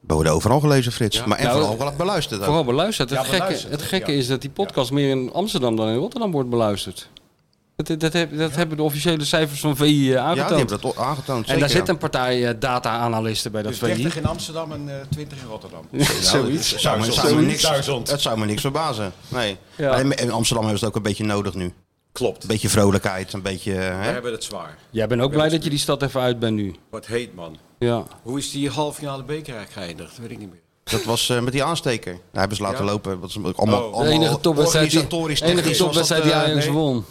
Speaker 5: We worden overal gelezen, Frits. Maar en
Speaker 7: Nou,
Speaker 5: vooral wel beluisterd. ook.
Speaker 7: Vooral beluisterd. Het
Speaker 3: Ja,
Speaker 7: gekke,
Speaker 3: beluisterd,
Speaker 7: het
Speaker 3: hè?
Speaker 7: gekke
Speaker 3: Ja.
Speaker 7: is dat die podcast meer in Amsterdam dan in Rotterdam wordt beluisterd. Dat, dat, heb- dat hebben de officiële cijfers van VI eh,
Speaker 5: Ja,
Speaker 7: aangetoond.
Speaker 5: die hebben dat o- aangetoond.
Speaker 7: en
Speaker 5: zeker,
Speaker 7: daar
Speaker 5: ja.
Speaker 7: zitten een partij eh, data-analisten bij dat
Speaker 3: Dus
Speaker 7: VI.
Speaker 3: 30 in Amsterdam en eh, 20 in Rotterdam.
Speaker 7: Zoiets.
Speaker 5: Nou, Het zou me-
Speaker 3: Duizend.
Speaker 5: zou me
Speaker 3: Zoiets.
Speaker 5: niks-
Speaker 3: Duizend.
Speaker 5: Het zou me niks verbazen. Nee.
Speaker 7: Ja.
Speaker 5: Maar in- in Amsterdam hebben ze het ook een beetje nodig nu. Een
Speaker 3: Klopt. We
Speaker 5: beetje vrolijkheid, een beetje... Hè?
Speaker 3: hebben het zwaar.
Speaker 7: Jij bent ook blij dat je die stad even uit bent nu.
Speaker 3: Wat heet man.
Speaker 7: Ja.
Speaker 3: Hoe is die halffinale beker geëindigd? Dat weet ik niet meer.
Speaker 5: Dat was eh, met die aansteker. Daar hebben ze laten
Speaker 3: Ja.
Speaker 5: lopen. Dat is allemaal,
Speaker 3: Oh. De
Speaker 7: De
Speaker 5: allemaal
Speaker 7: enige topwedstrijd die,
Speaker 5: organisatorisch
Speaker 7: enige
Speaker 5: technisch was
Speaker 7: topwedstrijd
Speaker 5: dat,
Speaker 7: die
Speaker 5: eh,
Speaker 7: Ajax
Speaker 5: nee. Nou,
Speaker 7: won.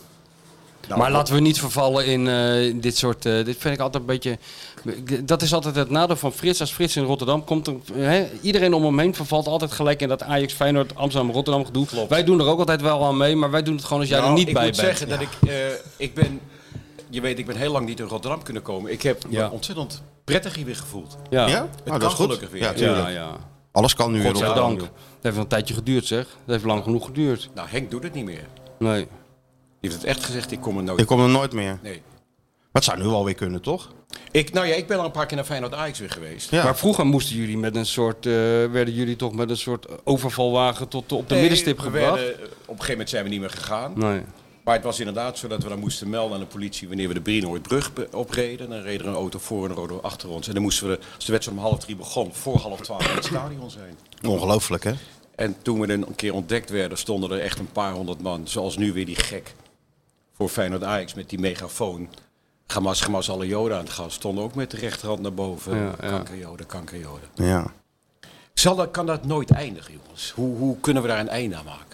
Speaker 7: maar laten we niet vervallen in eh, dit soort. eh, dit vind ik altijd een beetje. Dat is altijd het nadeel van Frits. Als Frits in Rotterdam komt, dan, hè, iedereen om hem heen vervalt altijd gelijk in dat Ajax, Feyenoord, Amsterdam, Rotterdam gedoe. Wij doen er ook altijd wel aan mee, maar wij doen het gewoon als jij er
Speaker 3: Nou,
Speaker 7: niet
Speaker 3: ik
Speaker 7: bij
Speaker 3: moet
Speaker 7: bent.
Speaker 3: zeggen dat ik, eh, ik ben, je weet, ik ben heel lang niet in Rotterdam kunnen komen. Ik heb
Speaker 7: Ja.
Speaker 3: me ontzettend prettig hier weer gevoeld.
Speaker 7: ja.
Speaker 5: Ja? Oh,
Speaker 3: kan
Speaker 5: dat is goed.
Speaker 3: gelukkig weer.
Speaker 5: Ja, tuurlijk.
Speaker 7: ja, ja.
Speaker 5: Alles kan nu weer op.
Speaker 7: Godzijdank. Dat heeft wel een tijdje geduurd, zeg. Dat heeft lang genoeg geduurd.
Speaker 3: Nou, Henk doet het niet meer.
Speaker 7: Nee.
Speaker 3: Die heeft het echt gezegd, ik kom er nooit.
Speaker 5: Ik kom er nooit meer.
Speaker 3: Nee.
Speaker 5: Maar het zou nu alweer kunnen, toch?
Speaker 3: Ik, nou ja, ik ben al een paar keer naar Feyenoord Ajax weer geweest.
Speaker 5: Ja.
Speaker 7: Maar vroeger moesten jullie met een soort, eh, werden jullie toch met een soort overvalwagen tot op de
Speaker 3: Nee,
Speaker 7: middenstip
Speaker 3: we
Speaker 7: gebracht?
Speaker 3: werden- eh, op een gegeven moment zijn we niet meer gegaan.
Speaker 7: Nee.
Speaker 3: Maar het was inderdaad zo dat we dan moesten melden aan de politie wanneer we de Brienooitbrug be- opreden. Dan reed er een auto voor en een auto achter ons. En dan moesten we, als de wedstrijd om half drie begon, voor half twaalf in het stadion zijn.
Speaker 5: Ongelooflijk, hè?
Speaker 3: En toen we een keer ontdekt werden, stonden er echt een paar honderd man. Zoals nu weer die gek voor Feyenoord Ajax met die megafoon. Gamas, Gamas, alle joden aan het gas. Stonden ook met de rechterhand naar boven.
Speaker 7: Ja, ja.
Speaker 3: Kankerjoden, kankerjoden.
Speaker 5: Ja.
Speaker 3: Zal dat, kan dat nooit eindigen, jongens? Hoe, hoe kunnen we daar een einde aan maken?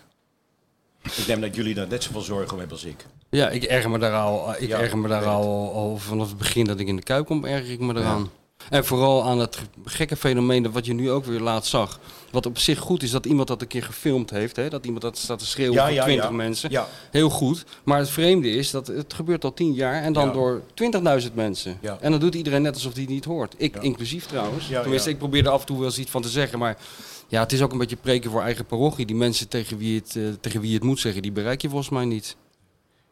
Speaker 3: Ik neem dat jullie daar net zoveel zorgen om hebben als ik.
Speaker 7: Ja, ik erger me daar al, eh, ik
Speaker 3: Ja,
Speaker 7: erger me daar
Speaker 3: ik weet
Speaker 7: al, al vanaf het begin dat ik in de kuip kom, erger ik me eraan. En vooral aan het gekke fenomeen dat wat je nu ook weer laatst zag. Wat op zich goed is dat iemand dat een keer gefilmd heeft. Hè? Dat iemand dat staat te schreeuwen
Speaker 3: Ja,
Speaker 7: voor
Speaker 3: ja,
Speaker 7: 20
Speaker 3: ja.
Speaker 7: mensen.
Speaker 3: Ja.
Speaker 7: Heel goed. Maar het vreemde is dat het gebeurt al 10 jaar en dan
Speaker 3: Ja.
Speaker 7: door 20.000 mensen.
Speaker 3: Ja.
Speaker 7: En dan doet iedereen net alsof die het niet hoort. Ik inclusief trouwens.
Speaker 3: Ja,
Speaker 7: Tenminste,
Speaker 3: ja.
Speaker 7: ik probeer er af en toe wel eens iets van te zeggen. Maar ja, het is ook een beetje preken voor eigen parochie. Die mensen tegen wie het, eh, tegen wie het moet zeggen, die bereik je volgens mij niet.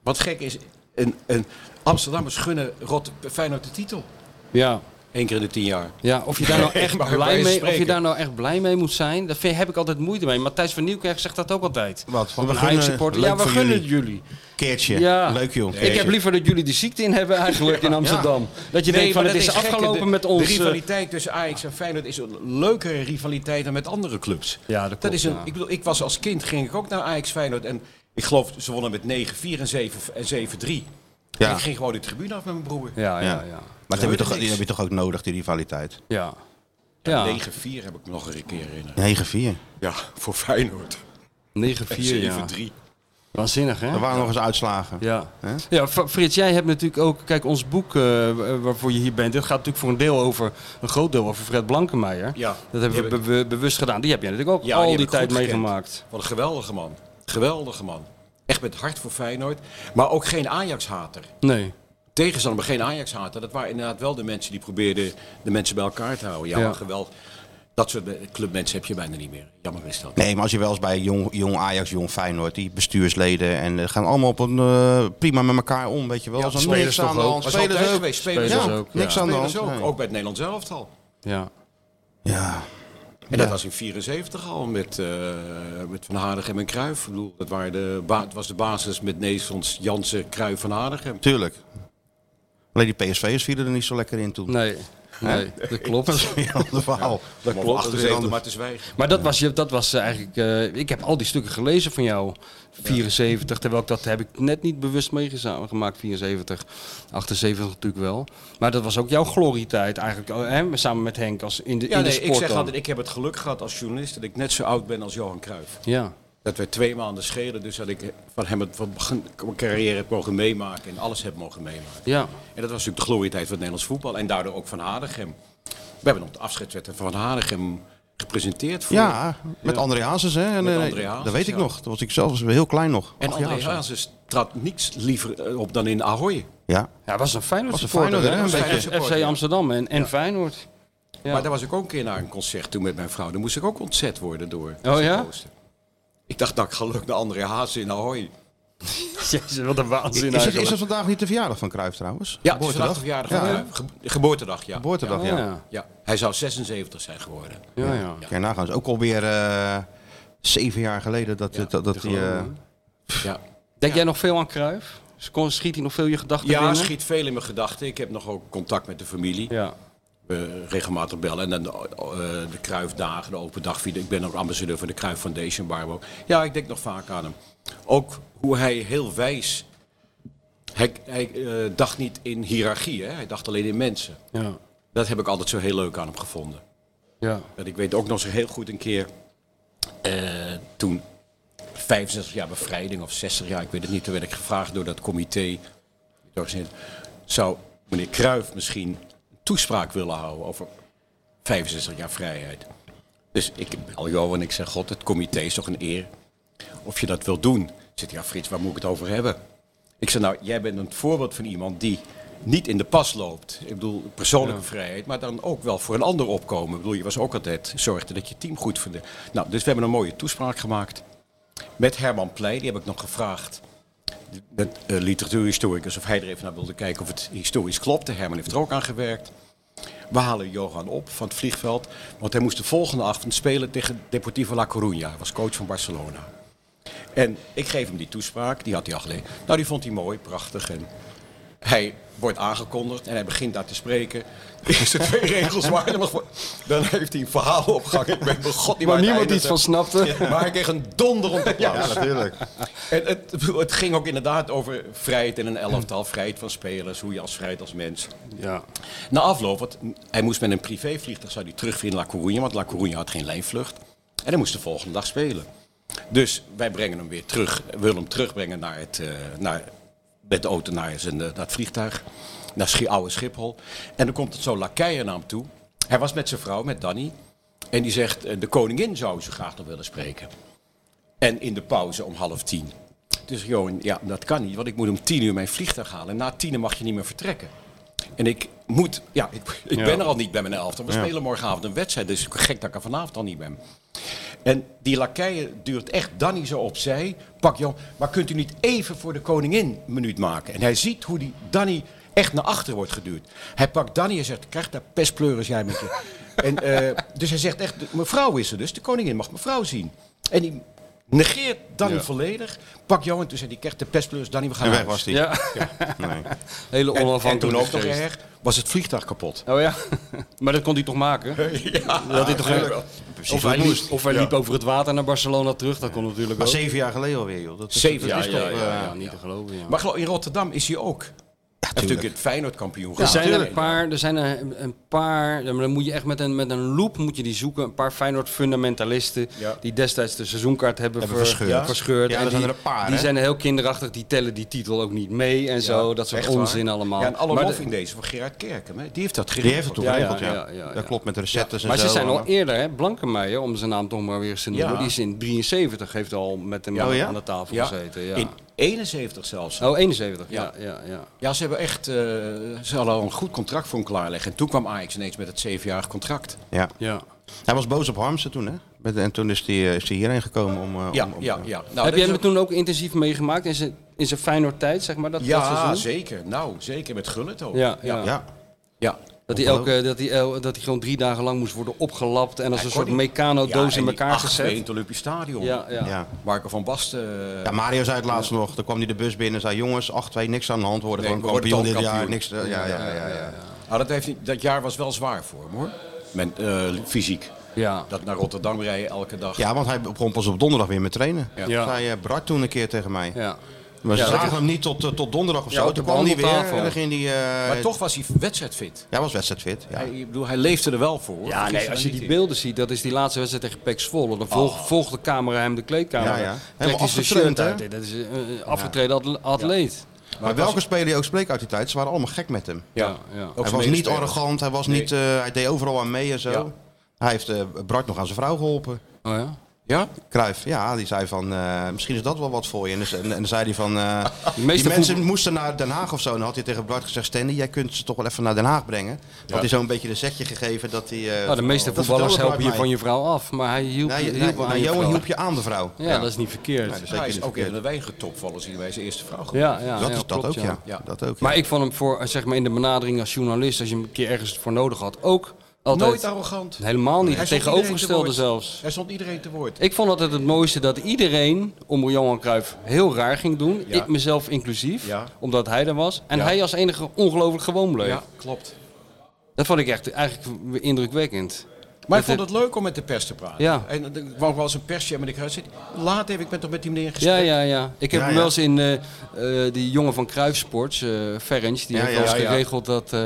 Speaker 3: Wat gek is, een, een Amsterdammers gunnen Rot Feyenoord de titel.
Speaker 7: Ja,
Speaker 3: Eén keer in de tien jaar.
Speaker 7: Ja, of je daar nou echt
Speaker 3: Maar bij
Speaker 7: blij mee, of je
Speaker 3: spreken.
Speaker 7: daar nou echt blij mee moet zijn, daar vind- heb ik altijd moeite mee. Matthijs van Nieuwkerk zegt dat ook altijd.
Speaker 5: Wat?
Speaker 7: Van een Ajax supporter. Ja, we gunnen het jullie.
Speaker 5: Keertje.
Speaker 7: Ja.
Speaker 5: Leuk, joh.
Speaker 7: Ik heb liever dat jullie de ziekte in hebben eigenlijk in Amsterdam. Dat je denkt van
Speaker 3: maar
Speaker 7: het is
Speaker 3: dat gek.
Speaker 7: afgelopen
Speaker 3: De-
Speaker 7: met ons.
Speaker 3: De
Speaker 7: eh,
Speaker 3: rivaliteit tussen Ajax en Feyenoord is een leukere rivaliteit dan met andere clubs.
Speaker 7: Ja, dat klopt,
Speaker 3: is een,
Speaker 7: ja.
Speaker 3: Ik bedoel, ik was als kind ging ik ook naar Ajax Feyenoord en ik geloof ze wonnen met 9-4 en 7 en 7-3.
Speaker 5: Ja.
Speaker 3: Ik ging gewoon de tribune af met mijn broer.
Speaker 7: Ja, ja,
Speaker 5: Ja.
Speaker 7: ja.
Speaker 5: Maar dat heb, je toch,
Speaker 3: niks.
Speaker 5: die heb je toch ook nodig, die rivaliteit?
Speaker 7: Ja. Ja,
Speaker 3: 9-4 heb ik me nog een keer herinnerd.
Speaker 5: 9-4.
Speaker 3: Ja, voor Feyenoord.
Speaker 7: 9-4, ja.
Speaker 3: 7-3.
Speaker 7: Waanzinnig, hè?
Speaker 5: Er waren nog eens uitslagen.
Speaker 7: Ja.
Speaker 5: Hè?
Speaker 7: ja, F- Frits, jij hebt natuurlijk ook, kijk, ons boek eh, wa- waarvoor je hier bent, dit gaat natuurlijk voor een deel over, een groot deel over Fred Blankemeijer.
Speaker 3: Ja,
Speaker 7: dat hebben we
Speaker 3: die heb
Speaker 7: be- bewust gedaan. Die heb jij natuurlijk ook
Speaker 3: Ja,
Speaker 7: al
Speaker 3: die
Speaker 7: die,
Speaker 3: heb ik
Speaker 7: tijd
Speaker 3: goed gekend.
Speaker 7: meegemaakt.
Speaker 3: Wat een geweldige man. Geweldige man. Echt met hart voor Feyenoord. Maar ook geen Ajax-hater.
Speaker 7: Nee.
Speaker 3: tegenstander, maar geen Ajax haten. Dat waren inderdaad wel de mensen die probeerden de mensen bij elkaar te houden. Ja,
Speaker 7: Ja.
Speaker 3: maar geweld. Dat soort eh, clubmensen heb je bijna niet meer. Jammer is dat.
Speaker 5: Nee, maar als je wel eens bij jong, jong Ajax, jong Feyenoord, die bestuursleden en eh, gaan allemaal op een, eh, prima met elkaar om, weet je wel.
Speaker 3: Ja,
Speaker 5: Als er
Speaker 3: spelers
Speaker 5: niks
Speaker 3: toch
Speaker 5: aan de
Speaker 3: ook.
Speaker 5: hand.
Speaker 3: Was altijd geweest, spelers
Speaker 5: ja,
Speaker 7: ook,
Speaker 5: niks
Speaker 7: ja.
Speaker 5: aan de hand.
Speaker 3: Spelers ook,
Speaker 5: nee.
Speaker 3: ook bij het Nederlands elftal.
Speaker 7: Ja.
Speaker 5: Ja.
Speaker 3: En dat was in 74 al met, eh, met Van Hanegem en Cruijff. Ik bedoel, dat waren de ba- het was de basis met Neesons, Jansen, Cruijff, Van Hanegem.
Speaker 5: Tuurlijk. Alleen die PSV'ers vielen er niet zo lekker in toen.
Speaker 7: Nee. Nee, dat
Speaker 5: Dat
Speaker 7: klopt.
Speaker 5: is weer een ander verhaal.
Speaker 3: Dat
Speaker 5: klopt, dat is weer
Speaker 3: 78
Speaker 5: anders.
Speaker 3: maar te zwijgen.
Speaker 7: Maar dat was, je- dat was eh, eigenlijk. eh, ik heb al die stukken gelezen van jou. 74, terwijl ik dat heb ik net niet bewust meegemaakt. 74, 78 natuurlijk wel. Maar dat was ook jouw glorietijd eigenlijk. eh, Hè, samen met Henk als in de,
Speaker 3: Ja,
Speaker 7: in de
Speaker 3: nee,
Speaker 7: sport.
Speaker 3: ik zeg
Speaker 7: dan.
Speaker 3: altijd, ik heb het geluk gehad als journalist dat ik net zo oud ben als Johan Cruijff.
Speaker 7: Ja.
Speaker 3: Dat we twee maanden schelen, dus dat ik van hem het van begin mijn carrière heb mogen meemaken en alles heb mogen meemaken.
Speaker 7: Ja.
Speaker 3: En dat was natuurlijk de glorietijd van het Nederlands voetbal en daardoor ook van Hadegem. We hebben op de afscheidswedstrijd van Hadegem gepresenteerd voor.
Speaker 5: Ja, met André Hazes. Hè? En,
Speaker 3: Met
Speaker 5: eh,
Speaker 3: André Hazes,
Speaker 5: dat weet ik
Speaker 3: ja.
Speaker 5: nog. Dat was ik zelf was heel klein nog.
Speaker 3: En
Speaker 5: Acht jaar
Speaker 3: André
Speaker 5: of zo.
Speaker 3: Hazes trad niets liever eh, op dan in Ahoy.
Speaker 5: Ja.
Speaker 7: Ja, was een Feyenoord
Speaker 5: Was een
Speaker 7: supporter.
Speaker 5: Feyenoord,
Speaker 7: hè?
Speaker 5: hè? Een
Speaker 7: Was
Speaker 5: beetje.
Speaker 7: Feyenoord supporter, FC Amsterdam en, en Feyenoord. Maar daar was ik ook een keer naar een concert toen met mijn vrouw. Daar moest ik ook ontzet worden door.
Speaker 6: Oh ja?
Speaker 7: Oosten. Ik dacht, nou, ik ga leuk naar André Haas in Ahoy.
Speaker 6: Jezus, wat een waanzin
Speaker 5: Is, het,
Speaker 6: eigenlijk.
Speaker 5: is dat vandaag niet de verjaardag van Cruijff trouwens?
Speaker 7: Ja, het is vandaag
Speaker 5: geboortedag.
Speaker 7: de verjaardag.
Speaker 5: Ja,
Speaker 7: van,
Speaker 5: hè?
Speaker 7: eh, ge- geboortedag, ja.
Speaker 5: Geboortedag, ja.
Speaker 6: Oh ja.
Speaker 7: ja. Hij zou 76 zijn geworden.
Speaker 6: Ja, ja.
Speaker 5: Kijk, nagaan. Het is nou ook alweer eh zeven jaar geleden dat, dat, dat hij... eh,
Speaker 7: Ja,
Speaker 6: Denk jij nog veel aan Cruijff? Sco- Schiet hij nog veel je gedachten
Speaker 7: ja
Speaker 6: binnen?
Speaker 7: schiet veel in mijn gedachten. Ik heb nog ook contact met de familie.
Speaker 3: Nou,
Speaker 6: Ja.
Speaker 7: We eh, regelmatig bellen. En dan de, eh, de Kruifdagen, de open dag. vieren. Ik ben ook ambassadeur van de Kruif Foundation, Barbo. Ja, ik denk nog vaak aan hem. Ook hoe hij heel wijs... Hij, hij eh, dacht niet in hiërarchie, hè? hij dacht alleen in mensen.
Speaker 6: Ja.
Speaker 7: Dat heb ik altijd zo heel leuk aan hem gevonden.
Speaker 6: Ja.
Speaker 7: En ik weet ook nog zo heel goed een keer eh, toen 65 jaar bevrijding of 60 jaar, ik weet het niet, toen werd ik gevraagd door dat comité. Zou meneer Kruijf misschien een toespraak willen houden over 65 jaar vrijheid? Dus ik bel jou en ik zeg, god, het comité is toch een eer of je dat wil doen. Zegt hij, ja Frits, waar moet ik het over hebben? Ik zeg, nou, jij bent een voorbeeld van iemand die niet in de pas loopt. Ik bedoel, persoonlijke vrijheid, maar dan ook wel voor een ander opkomen. Ik bedoel, je was ook altijd, zorgde dat je team goed vond. Nou, dus we hebben een mooie toespraak gemaakt met Herman Pleij. Die heb ik nog gevraagd, de eh, literatuurhistoricus, of hij er even naar wilde kijken of het historisch klopte. Herman heeft er ook aan gewerkt. We halen Johan op van het vliegveld, want hij moest de volgende avond spelen tegen Deportivo La Coruña. Hij was coach van Barcelona. En ik geef hem die toespraak, die had hij al gelezen. Nou, die vond hij mooi, prachtig. En hij wordt aangekondigd en hij begint daar te spreken. De eerste twee regels waren er nog voor. Dan heeft hij een verhaal opgehangen. Ik ben bij god niet
Speaker 6: Waar
Speaker 7: aan het
Speaker 6: niemand
Speaker 7: einde
Speaker 6: iets
Speaker 7: te-
Speaker 6: van snapte.
Speaker 7: Maar hij kreeg een donder om de
Speaker 5: ja,
Speaker 7: plaats.
Speaker 5: natuurlijk.
Speaker 7: En het, het ging ook inderdaad over vrijheid in een elftal. Vrijheid van spelers, hoe je als vrijheid als mens.
Speaker 6: Ja.
Speaker 7: Na afloop, want hij moest met een privévliegtuig zou hij terugvliegen naar La Coruña, want La Coruña had geen lijnvlucht. En hij moest de volgende dag spelen. Dus wij brengen hem weer terug, we willen hem terugbrengen naar het, eh, naar, met de auto naar, zijn, eh, naar het vliegtuig, naar Schi Oude Schiphol. En dan komt het zo lakeien naar hem toe. Hij was met zijn vrouw, met Danny. En die zegt, eh, de koningin zou ze graag nog willen spreken. En in de pauze om half tien. Dus Johan, ja, dat kan niet, want ik moet om tien uur mijn vliegtuig halen. En na tien uur mag je niet meer vertrekken. En ik moet, ja, ik, ik ben er al niet bij mijn elftal. We spelen morgenavond een wedstrijd, dus gek dat ik er vanavond al niet ben. En die lakeien duurt echt Danny zo opzij. Pak Johan, maar kunt u niet even voor de koningin een minuut maken? En hij ziet hoe die Danny echt naar achter wordt geduwd. Hij pakt Danny en zegt, krijg daar pestpleuris jij met je. en, eh, dus hij zegt echt, mevrouw is er dus, de koningin mag mevrouw zien. En die negeert Danny volledig. Pak Johan, toen zei hij, krijg de pestpleuris, Danny, we gaan
Speaker 5: En weg
Speaker 7: naar huis.
Speaker 5: was hij.
Speaker 6: Ja.
Speaker 5: Nee.
Speaker 6: Hele
Speaker 7: En- En toen
Speaker 6: onafhankelijke
Speaker 7: ook nog
Speaker 6: geest.
Speaker 7: erg, was het vliegtuig kapot.
Speaker 6: Oh ja. maar dat kon hij toch maken?
Speaker 7: dat
Speaker 6: dit toch
Speaker 7: natuurlijk
Speaker 6: ook-
Speaker 7: wel.
Speaker 6: Of hij, liep, of hij liep over het water naar Barcelona terug. Dat kon natuurlijk
Speaker 5: Maar
Speaker 6: ook.
Speaker 5: zeven jaar geleden alweer, joh. Dat is-
Speaker 7: Zeven
Speaker 5: dat
Speaker 7: jaar
Speaker 5: is toch,
Speaker 7: geleden,
Speaker 5: eh,
Speaker 6: Ja, niet te geloven. Ja.
Speaker 7: Maar geloof, in Rotterdam is hij ook. Hij heeft natuurlijk het Feyenoord kampioen
Speaker 6: Er
Speaker 7: geworden.
Speaker 6: zijn er een paar, er zijn er een paar, ja, maar dan moet je echt met een, met een loop moet je die zoeken. Een paar Feyenoord fundamentalisten
Speaker 7: Ja.
Speaker 6: die destijds de seizoenkaart hebben,
Speaker 5: Hebben
Speaker 6: ver-
Speaker 5: verscheurd.
Speaker 6: ja. verscheurd.
Speaker 5: Ja,
Speaker 6: En
Speaker 5: er zijn
Speaker 6: die,
Speaker 5: er een paar,
Speaker 6: Die
Speaker 5: hè?
Speaker 6: zijn heel kinderachtig, die tellen die titel ook niet mee en zo. Dat soort
Speaker 7: echt waar.
Speaker 6: onzin allemaal.
Speaker 7: Ja, en alle
Speaker 6: maar
Speaker 7: lof
Speaker 6: de-
Speaker 7: in deze van Gerard Kerken. Hè? Die heeft dat
Speaker 5: Die
Speaker 7: geregeld.
Speaker 5: heeft het toen
Speaker 6: Ja, ja,
Speaker 5: geregeld, ja.
Speaker 6: ja, ja, ja.
Speaker 5: Dat klopt, met de recettes en
Speaker 6: maar
Speaker 7: Dus
Speaker 5: zo.
Speaker 6: ze zijn al
Speaker 5: allemaal.
Speaker 6: eerder, hè? Blankenmeijer, om zijn naam toch maar weer eens te noemen.
Speaker 7: eh, Ja.
Speaker 6: Die is in 73, heeft al met hem
Speaker 5: Oh, ja?
Speaker 6: aan de tafel
Speaker 7: Ja.
Speaker 6: gezeten. Ja.
Speaker 7: In 71 zelfs.
Speaker 6: Oh, 71, ja. ja, ja,
Speaker 7: Ja, ze hebben echt eh, ze hadden al een goed contract voor hem klaarleggen. En toen kwam Ajax ineens met het zevenjarig contract.
Speaker 5: Ja.
Speaker 6: Ja.
Speaker 5: Hij was boos op Harmsen toen, hè? Met- En toen is hij is die hierheen gekomen om... eh,
Speaker 7: Ja,
Speaker 5: om, om-
Speaker 7: ja, ja. Nou,
Speaker 6: Heb
Speaker 7: dat
Speaker 6: jij
Speaker 7: is
Speaker 6: hem
Speaker 7: ook-
Speaker 6: toen ook intensief meegemaakt in zijn, in zijn Feyenoord tijd, zeg maar, dat, dat
Speaker 7: Ja,
Speaker 6: seizoen?
Speaker 7: zeker. Nou, zeker met Gullit ook.
Speaker 6: Ja, ja.
Speaker 5: Ja.
Speaker 7: ja.
Speaker 6: Dat hij, elke, dat, hij, el- dat hij gewoon drie dagen lang moest worden opgelapt en als een soort mecano-doos in elkaar
Speaker 7: in
Speaker 6: gezet.
Speaker 7: het Olympisch Stadion.
Speaker 6: Ja, ja.
Speaker 5: ja.
Speaker 7: Marco van Basten. eh,
Speaker 5: Ja, Mario zei het laatst nog. Dan kwam hij de bus binnen en zei: Jongens, 8-2, niks aan de hand worden.
Speaker 7: Nee,
Speaker 5: gewoon
Speaker 7: we worden
Speaker 5: kampioen dit
Speaker 7: toch
Speaker 5: jaar.
Speaker 7: kampioen.
Speaker 5: Niks, eh, ja, ja, ja, ja,
Speaker 7: Ah, dat, heeft, niet- dat jaar was wel zwaar voor hem hoor. Men, eh, fysiek.
Speaker 6: Ja.
Speaker 7: Dat naar Rotterdam rijden elke dag.
Speaker 5: Ja, want hij begon pas op donderdag weer met trainen.
Speaker 7: Ja.
Speaker 5: Dat zei eh, Bart toen een keer tegen mij.
Speaker 6: Ja.
Speaker 5: Maar ze
Speaker 6: Ja, dat
Speaker 5: zagen hem niet tot, eh, tot donderdag of
Speaker 6: Ja,
Speaker 5: zo.
Speaker 6: op de
Speaker 5: Toen kwam hij weer
Speaker 6: behandeltafel.
Speaker 5: en dan ging hij... eh,
Speaker 7: maar toch was hij wedstrijdfit.
Speaker 5: Ja, was wedstrijdfit. Ja.
Speaker 7: Hij, ik bedoel, hij leefde er wel voor.
Speaker 6: Ja, nee, als je die beelden ziet, dat is die laatste wedstrijd tegen Pek Zwolle. Dan volg- volgt de camera hem de kleedkamer.
Speaker 5: Ja, ja.
Speaker 6: Trekt
Speaker 5: Helemaal
Speaker 6: hij zijn shirt
Speaker 5: afgetraind, hè?
Speaker 6: uit. Dat is een een afgetreden atle- atleet.
Speaker 5: Maar, welke speler die ook spreekt uit die tijd, ze waren allemaal gek met hem.
Speaker 6: Ja, ja.
Speaker 5: hij was niet arrogant, hij, was niet, eh, hij deed overal aan mee en zo.
Speaker 7: Ja.
Speaker 5: Hij heeft eh, Bart nog aan zijn vrouw geholpen.
Speaker 6: Oh, ja? Ja?
Speaker 5: Cruijff, ja, die zei van, eh, misschien is dat wel wat voor je. En, dus- en, en dan zei hij van, eh, die
Speaker 6: meeste
Speaker 5: mensen
Speaker 6: voetbal-
Speaker 5: moesten naar Den Haag of zo. En dan had hij tegen Bart gezegd, Stanley, jij kunt ze toch wel even naar Den Haag brengen. Had hij zo'n beetje een setje gegeven dat hij... eh,
Speaker 6: Nou, de meeste
Speaker 5: dat vertelde
Speaker 6: voetballers
Speaker 5: Bart
Speaker 6: helpen je
Speaker 5: mij.
Speaker 6: van je vrouw af, maar hij hielp,
Speaker 5: Nee,
Speaker 6: je-
Speaker 5: nee,
Speaker 6: hielp
Speaker 5: nee,
Speaker 6: aan je
Speaker 5: Johan
Speaker 6: vrouw.
Speaker 5: hielp je aan de vrouw.
Speaker 6: Ja, dat is niet verkeerd.
Speaker 5: Nee, dat is
Speaker 7: Hij
Speaker 5: zeker
Speaker 7: is
Speaker 5: niet
Speaker 7: ook een van
Speaker 5: verkeerd.
Speaker 7: de weinige topvallers die bij zijn eerste vrouw gaat.
Speaker 6: ja, ja,
Speaker 5: Dat
Speaker 6: ja,
Speaker 5: is dat
Speaker 6: klopt,
Speaker 5: ook, ja.
Speaker 7: Ja.
Speaker 5: Dat ook,
Speaker 6: Maar
Speaker 5: ja.
Speaker 6: ik vond hem voor, eh, zeg maar, in de benadering als journalist, als je hem een keer ergens voor nodig had, ook altijd...
Speaker 7: Nooit arrogant.
Speaker 6: Helemaal niet.
Speaker 7: Hij stond
Speaker 6: Tegenovergestelde
Speaker 7: iedereen te woord.
Speaker 6: zelfs.
Speaker 7: Hij stond iedereen te woord.
Speaker 6: Ik vond altijd het mooiste dat iedereen om Johan Cruijff heel raar ging doen.
Speaker 7: Ja.
Speaker 6: Ik mezelf inclusief,
Speaker 7: Ja.
Speaker 6: omdat hij er was. En
Speaker 7: Ja.
Speaker 6: hij als enige ongelooflijk gewoon bleef.
Speaker 7: Ja, klopt.
Speaker 6: Dat vond ik echt eigenlijk indrukwekkend.
Speaker 7: Maar ik
Speaker 6: Dat
Speaker 7: vond
Speaker 6: het-
Speaker 7: het leuk om met de pers te praten.
Speaker 6: Ja.
Speaker 7: En eh, er wou ik wel eens een persje en met ik zitten. Laat even, ik ben toch met die meneer in gesprek.
Speaker 6: Ja, ja, ja. Ik heb
Speaker 5: Ja,
Speaker 6: hem wel
Speaker 5: ja.
Speaker 6: eens in eh, eh, die jongen van Cruijff Sports, eh Ferenc, die
Speaker 5: Ja,
Speaker 6: heeft
Speaker 5: ja,
Speaker 6: wel eens
Speaker 7: ja.
Speaker 6: geregeld dat, eh,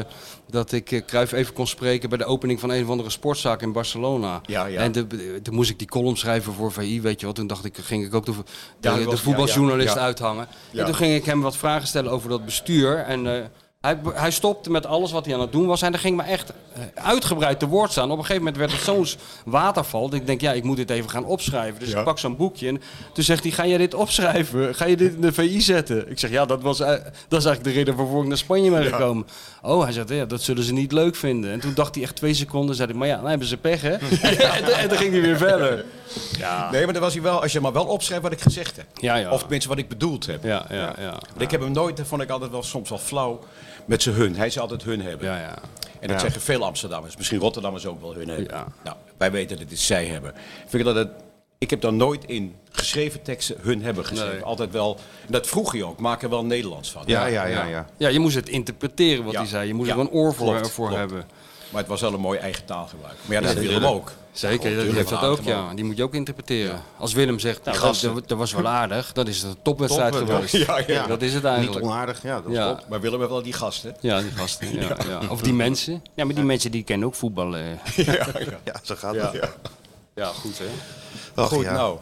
Speaker 6: dat ik eh, Cruijff even kon spreken bij de opening van een of andere sportzaak in Barcelona.
Speaker 7: Ja, ja.
Speaker 6: En de- de- toen moest ik die column schrijven voor VI, weet je wat. Toen dacht ik, ging ik ook de, de,
Speaker 7: Ja, dat
Speaker 6: de
Speaker 7: was-
Speaker 6: voetbaljournalist
Speaker 7: ja, ja.
Speaker 6: uithangen.
Speaker 7: Ja.
Speaker 6: En toen ging ik hem wat vragen stellen over dat bestuur en... eh, hij, be- hij stopte met alles wat hij aan het doen was. En er ging me echt eh, uitgebreid te woord staan. Op een gegeven moment werd het zo'n s- waterval. Dat ik denk, ja, ik moet dit even gaan opschrijven. Dus
Speaker 7: Ja.
Speaker 6: ik pak zo'n boekje. En toen zegt hij, ga jij dit opschrijven? Ga je dit in de VI zetten? Ik zeg, ja, dat, was, eh, dat is eigenlijk de reden waarvoor ik naar Spanje ben gekomen. Oh, hij zegt, ja, dat zullen ze niet leuk vinden. En toen dacht hij echt twee seconden. zei hij, maar ja, dan hebben ze pech, hè? en, dan- en dan ging hij weer verder.
Speaker 7: Nee, maar dan was hij wel, als je maar wel opschrijft wat ik gezegd heb.
Speaker 6: Ja, ja.
Speaker 7: Of tenminste wat ik bedoeld heb.
Speaker 6: Ja, ja, ja.
Speaker 7: Want ik heb hem nooit, dat vond ik altijd wel soms wel flauw, met zijn hun. Hij zou altijd hun hebben.
Speaker 6: Ja, ja.
Speaker 7: En dat zeggen veel Amsterdammers. Misschien Rotterdammers ook wel hun hebben.
Speaker 6: Ja.
Speaker 7: Nou, wij weten dat het zij hebben. Vind ik, dat het, ik heb daar nooit in geschreven teksten hun hebben geschreven.
Speaker 6: Nee.
Speaker 7: Altijd wel, en dat vroeg je ook, maak er wel Nederlands van.
Speaker 5: Ja, ja, ja, ja.
Speaker 6: Ja, je moest het interpreteren wat
Speaker 7: Ja.
Speaker 6: hij zei. Je moest
Speaker 7: Ja,
Speaker 6: er een oor voor,
Speaker 7: klopt,
Speaker 6: voor
Speaker 7: klopt.
Speaker 6: hebben.
Speaker 7: Maar het was wel een mooi eigen taalgebruik. Maar ja, dat had Willem ook.
Speaker 6: Zeker,
Speaker 7: Ja,
Speaker 6: dat
Speaker 7: goed,
Speaker 6: heeft dat
Speaker 7: tuurlijk.
Speaker 6: ook, ja. Die moet je ook interpreteren. Als Willem zegt, nou,
Speaker 7: Die
Speaker 6: dat,
Speaker 7: gasten.
Speaker 6: dat was wel aardig, dan is het een topwedstrijd
Speaker 5: Top,
Speaker 6: geweest.
Speaker 7: ja, ja.
Speaker 5: Ja.
Speaker 6: Dat is het
Speaker 5: Niet
Speaker 6: eigenlijk.
Speaker 5: onaardig, ja, dat
Speaker 6: Ja.
Speaker 5: klopt.
Speaker 7: Maar Willem heeft wel die gasten.
Speaker 6: Ja, die gasten. Ja, ja. Of die mensen. Ja, maar die mensen die kennen ook voetbal. eh.
Speaker 5: Ja, zo gaat het. Ja.
Speaker 6: Ja, goed hè.
Speaker 5: Ach,
Speaker 7: Goed,
Speaker 5: ja.
Speaker 7: nou.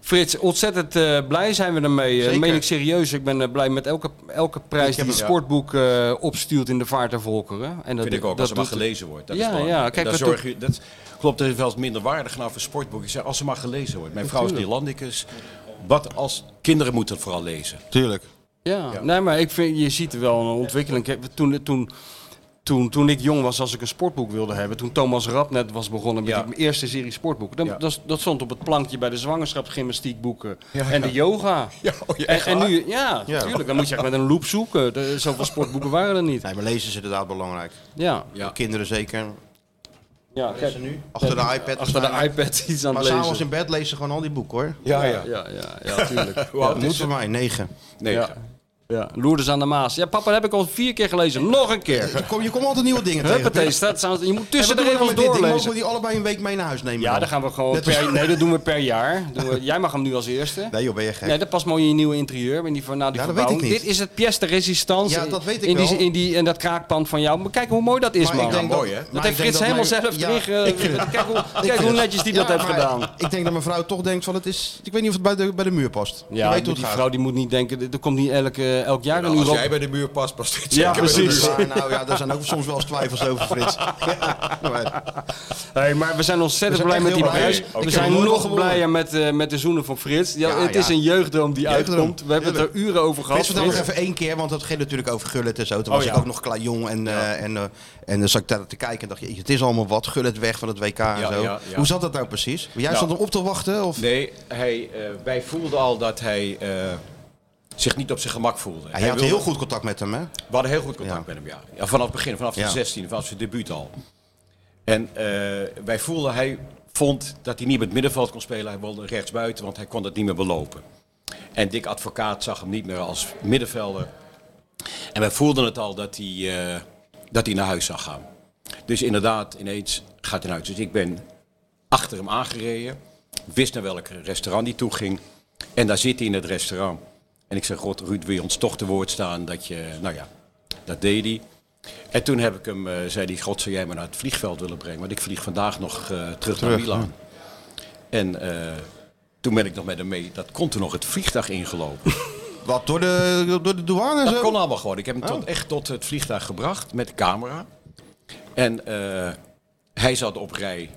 Speaker 6: Frits, ontzettend eh, blij zijn we ermee. Dat
Speaker 5: Zeker.
Speaker 6: meen ik serieus. Ik ben eh, blij met elke, elke prijs die het
Speaker 7: hem-
Speaker 6: sportboek eh, opstuurt in de vaart der volkeren. En dat,
Speaker 7: Vind ik ook, als ze maar
Speaker 6: doet het.
Speaker 7: gelezen wordt. Dat
Speaker 6: Ja,
Speaker 7: is belangrijk.
Speaker 6: ja,
Speaker 7: En
Speaker 6: kijk,
Speaker 7: daar
Speaker 6: dat
Speaker 7: zorg je, dat klopt, dat is wel eens minder waardig nou voor sportboeken. Ik zeg, als ze maar gelezen wordt. Mijn vrouw is Nederlandicus. Wat als kinderen moeten het vooral lezen?
Speaker 5: Tuurlijk.
Speaker 6: Ja, nee, maar ik vind, je ziet er wel een ontwikkeling. Kijk, Toen, toen, toen, toen ik jong was, als ik een sportboek wilde hebben, toen Thomas Rap net was begonnen met
Speaker 7: Ja.
Speaker 6: die eerste serie sportboeken, dan,
Speaker 7: Ja.
Speaker 6: dat, dat stond op het plankje bij de zwangerschapsgymnastiekboeken
Speaker 7: Ja,
Speaker 6: en
Speaker 7: ja.
Speaker 6: de yoga.
Speaker 7: Ja, oh, ja,
Speaker 6: en,
Speaker 7: echt
Speaker 6: en
Speaker 7: waar?
Speaker 6: nu, ja, natuurlijk, dan moet je echt met een loop zoeken. De, zoveel sportboeken waren er niet.
Speaker 5: Nee, maar lezen is inderdaad belangrijk.
Speaker 6: Ja,
Speaker 7: Ja.
Speaker 5: Kinderen zeker.
Speaker 6: ja kijk,
Speaker 5: Achter de iPad.
Speaker 6: achter de
Speaker 5: waarschijnlijk.
Speaker 6: iPad iets aan
Speaker 5: Maar
Speaker 6: het
Speaker 5: s'avonds
Speaker 6: lezen.
Speaker 5: in bed lezen ze gewoon al die boeken hoor.
Speaker 7: Ja, ja.
Speaker 6: Ja, ja, ja, tuurlijk.
Speaker 7: Hoe oud
Speaker 5: Dat moet
Speaker 7: is het?
Speaker 5: voor mij, negen.
Speaker 7: Nee,
Speaker 6: Ja. Ja, Loerders aan de Maas. Ja, papa, dat heb ik al vier keer gelezen. Nog een keer.
Speaker 5: Kom, je komt altijd nieuwe dingen tegen.
Speaker 6: Huppatee, staat, staat- je moet tussen de
Speaker 5: En wat
Speaker 6: regels
Speaker 5: doen we nou met dit? Die Mogen
Speaker 6: doorlezen.
Speaker 5: we die allebei een week mee naar huis nemen?
Speaker 6: Ja, dan gaan we gewoon
Speaker 5: Net
Speaker 6: per,
Speaker 5: als-
Speaker 6: Nee, dat doen we per jaar. Doen we, jij mag hem nu als eerste.
Speaker 5: Nee joh, ben je gek.
Speaker 6: Nee, dat past mooi in je nieuwe interieur. In die, van- na die
Speaker 5: Ja, dat
Speaker 6: verbouwing.
Speaker 5: weet ik niet.
Speaker 6: Dit is het pièce de résistance.
Speaker 5: Ja, dat weet ik
Speaker 6: in die,
Speaker 5: wel.
Speaker 6: In, die, in dat kraakpand van jou. Maar kijk hoe mooi dat is, man.
Speaker 5: ik denk
Speaker 7: mooi, hè?
Speaker 5: maar
Speaker 6: dat heeft
Speaker 5: ik denk
Speaker 6: Frits helemaal
Speaker 5: mijn-
Speaker 6: zelf
Speaker 5: ja,
Speaker 6: terug. eh, kijk hoe, kijk hoe netjes die dat
Speaker 5: Ja,
Speaker 6: heeft
Speaker 5: maar
Speaker 6: gedaan.
Speaker 5: Ik denk dat mijn vrouw toch denkt van het is... Ik weet niet of het bij de, bij de muur past.
Speaker 6: Ja,
Speaker 5: je
Speaker 6: maar
Speaker 5: weet
Speaker 6: die
Speaker 5: hoe het gaat.
Speaker 6: vrouw die moet niet denken. Er komt niet elk, eh, elk jaar een
Speaker 7: Nou, als
Speaker 6: uur op.
Speaker 7: jij bij de muur past, past dit
Speaker 6: Ja,
Speaker 7: zeker bij de
Speaker 6: precies.
Speaker 7: muur.
Speaker 5: Maar nou ja, daar zijn ook soms wel eens twijfels over Frits. Ja, maar-
Speaker 6: Hey, maar we zijn ontzettend
Speaker 5: We zijn
Speaker 6: blij met
Speaker 5: echt
Speaker 6: die
Speaker 5: heel
Speaker 6: prijs.
Speaker 5: blij. Ik
Speaker 6: We
Speaker 5: heb
Speaker 6: zijn
Speaker 5: nooit
Speaker 6: nog
Speaker 5: gewonnen.
Speaker 6: blijer met, eh, met de zoenen van Frits. Ja,
Speaker 5: Ja,
Speaker 6: het
Speaker 5: ja.
Speaker 6: is een jeugddroom die
Speaker 5: Jeugddroom.
Speaker 6: uitkomt. We hebben het er uren over gehad.
Speaker 5: Frits, vertel nog
Speaker 6: Frits.
Speaker 5: even één keer, want dat ging natuurlijk over Gullet en zo. Toen
Speaker 6: Oh,
Speaker 5: was
Speaker 6: ja.
Speaker 5: ik ook nog klein jong en, eh, en, eh, en dan zat ik daar te kijken en dacht je, het is allemaal wat. Gullet weg van het WK
Speaker 7: Ja,
Speaker 5: en zo.
Speaker 7: ja, ja.
Speaker 5: Hoe zat dat nou precies? Jij
Speaker 7: Nou.
Speaker 5: stond hem op te wachten? Of?
Speaker 7: Nee, hij, eh, wij voelden al dat hij eh, zich niet op zijn gemak voelde.
Speaker 5: Ja,
Speaker 7: Hij
Speaker 5: je had
Speaker 7: wilde-
Speaker 5: heel goed contact met hem, hè?
Speaker 7: We hadden heel goed contact
Speaker 5: Ja.
Speaker 7: met hem, ja. ja. Vanaf het begin, vanaf
Speaker 5: Ja.
Speaker 7: de 16, vanaf zijn debuut al. En eh, wij voelden, hij vond dat hij niet met het middenveld kon spelen. Hij wilde rechtsbuiten, want hij kon dat niet meer belopen. En Dick Advocaat zag hem niet meer als middenvelder. En wij voelden het al dat hij, eh, dat hij naar huis zou gaan. Dus inderdaad, ineens gaat hij naar huis. Dus ik ben achter hem aangereden. Wist naar welk restaurant hij toe ging. En daar zit hij in het restaurant. En ik zeg, God, Ruud, wil je ons toch te woord staan dat je... Nou ja, dat deed hij. En toen heb ik hem, eh, zei hij, God, zou jij me naar het vliegveld willen brengen? Want ik vlieg vandaag nog eh, terug, naar Milaan. En eh, toen ben ik nog met hem mee. Dat kon toen nog het vliegtuig ingelopen.
Speaker 5: Wat, door de, door de douane en
Speaker 7: Dat
Speaker 5: zo?
Speaker 7: kon allemaal gewoon. Ik heb hem tot, echt tot het vliegtuig gebracht met de camera. En eh, hij zat op rij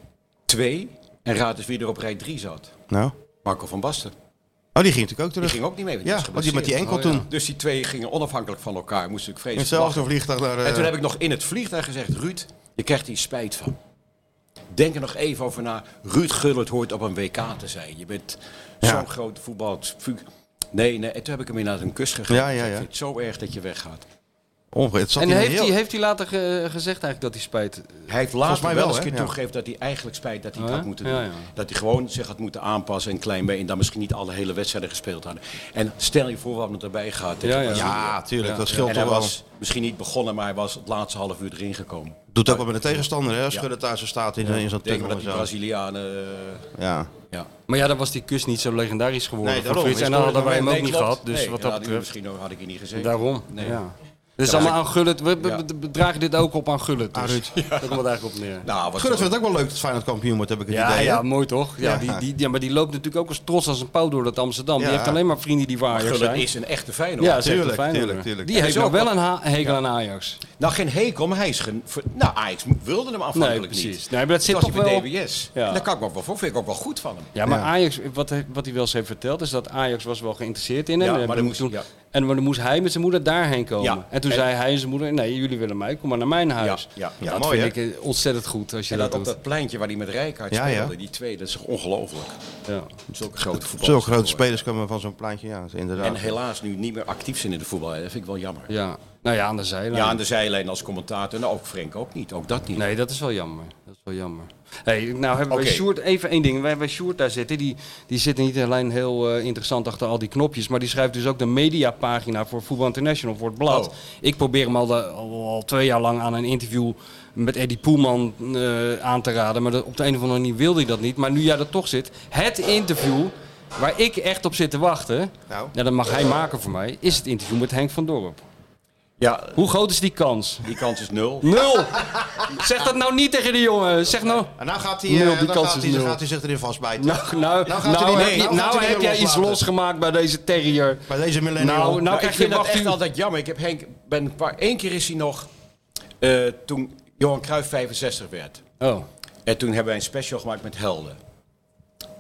Speaker 7: 2. En raad eens wie er op rij 3 zat.
Speaker 5: Nou.
Speaker 7: Marco van Basten.
Speaker 5: Oh, die ging natuurlijk ook
Speaker 7: Die
Speaker 5: terug.
Speaker 7: ging ook niet mee. want
Speaker 5: Ja,
Speaker 7: was
Speaker 5: want die met die
Speaker 7: geblesseerd.
Speaker 5: enkel toen.
Speaker 7: Dus die twee gingen onafhankelijk van elkaar. Moesten ik
Speaker 5: In
Speaker 7: vreselijk
Speaker 5: hetzelfde
Speaker 7: lachen.
Speaker 5: vliegtuig naar... eh,
Speaker 7: En toen heb ik nog in het vliegtuig gezegd... Ruud, je krijgt hier spijt van. Denk er nog even over na. Ruud Gullit hoort op een WK te zijn. Je bent
Speaker 5: Ja.
Speaker 7: zo'n groot voetbal. Nee, nee. En toen heb ik hem inderdaad een kus gegeven.
Speaker 5: Ja, ja,
Speaker 7: Ik
Speaker 5: ja.
Speaker 7: vind het zo erg dat je weggaat.
Speaker 5: onge- het zat
Speaker 6: En
Speaker 5: in een
Speaker 6: heeft
Speaker 5: heel-
Speaker 6: hij, heeft hij later ge- gezegd eigenlijk dat hij spijt?
Speaker 7: Hij heeft later
Speaker 5: mij
Speaker 7: wel,
Speaker 5: wel,
Speaker 7: eens een
Speaker 5: hè?
Speaker 7: keer
Speaker 5: Ja. Oh,
Speaker 7: toegegeven dat hij eigenlijk spijt dat hij het
Speaker 6: Ja?
Speaker 7: had moeten doen.
Speaker 6: Ja, ja.
Speaker 7: Dat hij gewoon zich had moeten aanpassen en klein mee. En dan misschien niet alle hele wedstrijden gespeeld hadden. En stel je voor wat het erbij gaat. tegen
Speaker 6: Ja, ja.
Speaker 7: Brazilië.
Speaker 5: Ja, tuurlijk. Dat scheelt
Speaker 7: En hij
Speaker 5: toch wel.
Speaker 7: was misschien niet begonnen, maar hij was het laatste half uur erin gekomen.
Speaker 5: Doet ook wel met de tegenstander, hè? Als Gullit daar zo staat in, in zo'n
Speaker 7: Ik denk maar
Speaker 5: tunnel
Speaker 7: dat
Speaker 5: en
Speaker 7: die
Speaker 5: zo.
Speaker 7: Brazilianen... eh,
Speaker 5: Ja.
Speaker 7: ja.
Speaker 6: Maar ja, dan was die kus niet zo legendarisch geworden.
Speaker 5: Nee,
Speaker 6: voor
Speaker 5: daarom.
Speaker 6: Frits. En dan
Speaker 5: Historisch
Speaker 6: hadden wij hem ook
Speaker 7: Nee,
Speaker 6: niet
Speaker 7: klopt.
Speaker 6: gehad. Dus
Speaker 7: Nee,
Speaker 6: wat dat
Speaker 7: dan had ik
Speaker 6: betreft.
Speaker 7: Misschien had ik hier niet gezeten.
Speaker 6: Daarom.
Speaker 7: Nee.
Speaker 6: Ja. Dus allemaal aan Gullit. We, we-
Speaker 7: Ja.
Speaker 6: we- we dragen dit ook op aan Gullit. Dus. Daar komt het eigenlijk op neer.
Speaker 7: Nou, wat
Speaker 5: Gullit vindt het ook Ah, wel leuk dat Feyenoord kampioen wordt, heb ik het
Speaker 6: Ja,
Speaker 5: idee. hè?
Speaker 6: ja, mooi toch? Ja,
Speaker 5: Ja.
Speaker 6: Die, die, ja, maar die loopt natuurlijk ook als trots als een pauw door dat Amsterdam.
Speaker 5: Ja.
Speaker 6: Die heeft alleen maar vrienden die voor Ajax
Speaker 7: Gullit
Speaker 6: zijn.
Speaker 7: is een echte Feyenoord.
Speaker 6: ja, zeker
Speaker 5: tuurlijk,
Speaker 6: Feyenoorder.
Speaker 5: tuurlijk, tuurlijk.
Speaker 6: Die
Speaker 7: Hij
Speaker 6: heeft
Speaker 7: is
Speaker 6: ook
Speaker 7: ook
Speaker 6: wel
Speaker 7: wat-
Speaker 6: een ha- hekel aan Ajax.
Speaker 7: Nou, geen hekel, maar hij is... Gen... ver- Nou, Ajax wilde hem afhankelijk
Speaker 6: Nee, precies.
Speaker 7: niet.
Speaker 6: Nee, maar dat zit
Speaker 7: Toen was
Speaker 6: toch wel-
Speaker 7: hij bij DBS.
Speaker 6: Ja.
Speaker 7: En daar kan ik me ook wel voor. Vind ik ook wel goed van hem.
Speaker 6: Ja, maar Ajax, wat, hij- wat hij wel eens heeft verteld, is dat Ajax was wel geïnteresseerd in hem.
Speaker 7: Ja,
Speaker 6: En
Speaker 7: maar dan moest-
Speaker 6: toen,
Speaker 7: ja.
Speaker 6: En maar dan moest hij met zijn moeder daarheen komen.
Speaker 7: Ja.
Speaker 6: En toen
Speaker 7: En-
Speaker 6: zei hij en zijn moeder, nee, jullie willen mij, kom maar naar mijn huis.
Speaker 7: ja, ja.
Speaker 6: dat
Speaker 5: Mooi,
Speaker 6: vind ik eh, ontzettend goed als je
Speaker 7: En
Speaker 6: dat,
Speaker 7: dat op
Speaker 6: doet.
Speaker 7: dat pleintje waar hij met Rijkaard
Speaker 5: Ja,
Speaker 7: speelde,
Speaker 5: ja.
Speaker 7: die twee, dat is toch ongelooflijk.
Speaker 6: Ja.
Speaker 7: Zulke grote voetballers.
Speaker 5: Zulke grote
Speaker 7: geworden.
Speaker 5: spelers komen van zo'n plaatje, ja, inderdaad.
Speaker 7: En helaas nu niet meer actief zijn in de voetbal. hè. Dat vind ik wel jammer. Ja,
Speaker 6: ja, nou ja, aan de zijlijn.
Speaker 7: aan de zijlijn als commentator. Nou, ook Frenk ook niet. Ook dat niet.
Speaker 6: Nee, dat is wel jammer. Dat is wel jammer. Hey, nou hebben wij
Speaker 7: Oké.
Speaker 6: Sjoerd, even één ding. Wij hebben Sjoerd daar zitten. Die, die zit niet alleen heel eh, interessant achter al die knopjes, maar die schrijft dus ook de mediapagina voor Voetbal International, voor het blad.
Speaker 7: Oh.
Speaker 6: Ik probeer hem al, de- al, al twee jaar lang aan een interview met Eddie Poelman eh, aan te raden, maar dat, op de een of andere manier wilde hij dat niet. Maar nu jij er toch zit, het interview waar ik echt op zit te wachten,
Speaker 5: Nou.
Speaker 6: ja, dat mag hij maken voor mij, is het interview met Henk van Dorp.
Speaker 7: Ja,
Speaker 6: Hoe groot is die kans?
Speaker 7: die kans is nul.
Speaker 6: Nul! zeg dat nou niet tegen de jongen. Zeg nou...
Speaker 5: En nou gaat hij,
Speaker 6: Nul,
Speaker 5: eh,
Speaker 6: die
Speaker 5: dan
Speaker 6: kans
Speaker 5: gaat
Speaker 6: is
Speaker 5: hij, dan
Speaker 6: nul.
Speaker 5: gaat hij zich erin vastbijten.
Speaker 6: Nou, nou,
Speaker 5: Nou
Speaker 6: nou,
Speaker 5: gaat hij niet-
Speaker 6: heb, je,
Speaker 5: nee, nou
Speaker 6: nou,
Speaker 5: gaat hij
Speaker 6: heb
Speaker 5: niet
Speaker 6: jij iets
Speaker 5: loslaten.
Speaker 6: losgemaakt bij deze terrier.
Speaker 5: Bij deze millennial.
Speaker 6: Nou, nou
Speaker 7: Maar ik
Speaker 6: krijg je
Speaker 7: vind dat
Speaker 6: wacht
Speaker 7: echt
Speaker 6: u.
Speaker 7: altijd jammer. Ik heb Henk, ben een paar, één keer is hij nog, eh, toen Johan Cruijff 65 werd.
Speaker 6: Oh,
Speaker 7: En toen hebben wij een special gemaakt met helden.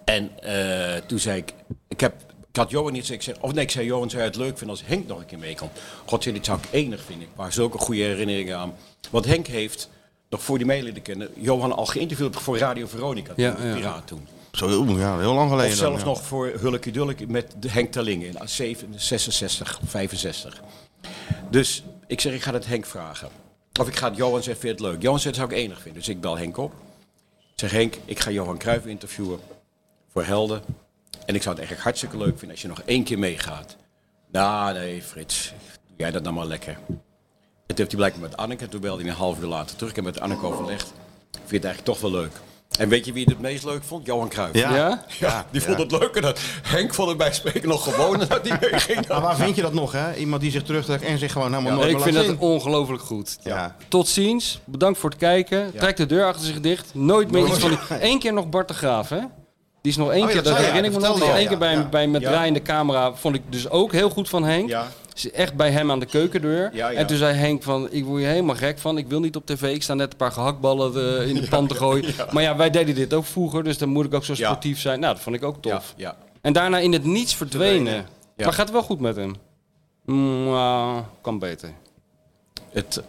Speaker 7: En eh, toen zei ik, ik, heb, ik had Johan niet gezegd, ik zeg- of nee, ik zei Johan, zou je het leuk vinden als Henk nog een keer mee kan? God dit zou ik enig vinden, maar zulke goede herinneringen aan. Want Henk heeft, nog voor die meeleden kennen, Johan al geïnterviewd voor Radio Veronica,
Speaker 6: Ja,
Speaker 7: toen,
Speaker 6: ja.
Speaker 7: Piraat toen.
Speaker 5: Zo, heel- ja, heel lang geleden.
Speaker 7: Of zelfs
Speaker 5: dan, ja.
Speaker 7: nog voor Hulkie Dulkie met de Henk Terling in eh, 7, 66, 65. Dus ik zeg, ik ga het Henk vragen. Of ik ga het Johan zeggen, vind je het leuk? Johan zegt, dat zou ik enig vinden. Dus ik bel Henk op. Ik zeg, Henk, ik ga Johan Cruijff interviewen voor Helden. En ik zou het eigenlijk hartstikke leuk vinden als je nog één keer meegaat. Nou, nee, Frits. Doe jij dat nou maar lekker. En toen heeft hij blijkbaar met Anneke, toen belde hij een half uur later terug. Ik heb met Anneke overlegd. Ik vind het eigenlijk toch wel leuk. En weet je wie het het meest leuk vond? Johan Cruijff.
Speaker 5: Ja.
Speaker 6: ja?
Speaker 7: Ja, die vond het leuker. Dat Henk vond het bij spreken nog gewoner dat hij meeging.
Speaker 5: Maar waar vind je dat nog, hè? Iemand die zich terugtrekt en zich gewoon helemaal nooit
Speaker 6: ik
Speaker 5: meer
Speaker 6: vind
Speaker 5: laat
Speaker 6: dat ongelooflijk goed.
Speaker 5: zien. Ja.
Speaker 6: Tot ziens. Bedankt voor het kijken. Trek de deur achter zich dicht. Nooit meer iets van... die- Eén keer nog Bart de Graaf, hè? Die is nog één
Speaker 5: ja,
Speaker 6: keer,
Speaker 5: dat
Speaker 6: dat,
Speaker 5: zei je,
Speaker 6: herinner ik me
Speaker 5: dat
Speaker 6: nog, nog
Speaker 5: vertelde
Speaker 6: één
Speaker 5: je,
Speaker 6: keer bij, bij
Speaker 5: ja.
Speaker 6: met
Speaker 7: Ja.
Speaker 6: draaiende camera, vond ik dus ook heel goed van Henk.
Speaker 7: Ja.
Speaker 6: Dus echt bij hem aan de keukendeur.
Speaker 7: Ja, ja.
Speaker 6: En toen zei Henk van, ik word je helemaal gek van, ik wil niet op tv, ik sta net een paar gehaktballen eh, in de pan te gooien. Maar ja, wij deden dit ook vroeger, dus dan moet ik ook zo
Speaker 7: Ja.
Speaker 6: sportief zijn. Nou, dat vond ik ook tof.
Speaker 7: Ja.
Speaker 6: En daarna in het niets verdwenen.
Speaker 7: Ja.
Speaker 6: Maar gaat het wel goed met hem? Mm, nou, kan beter.
Speaker 7: Het,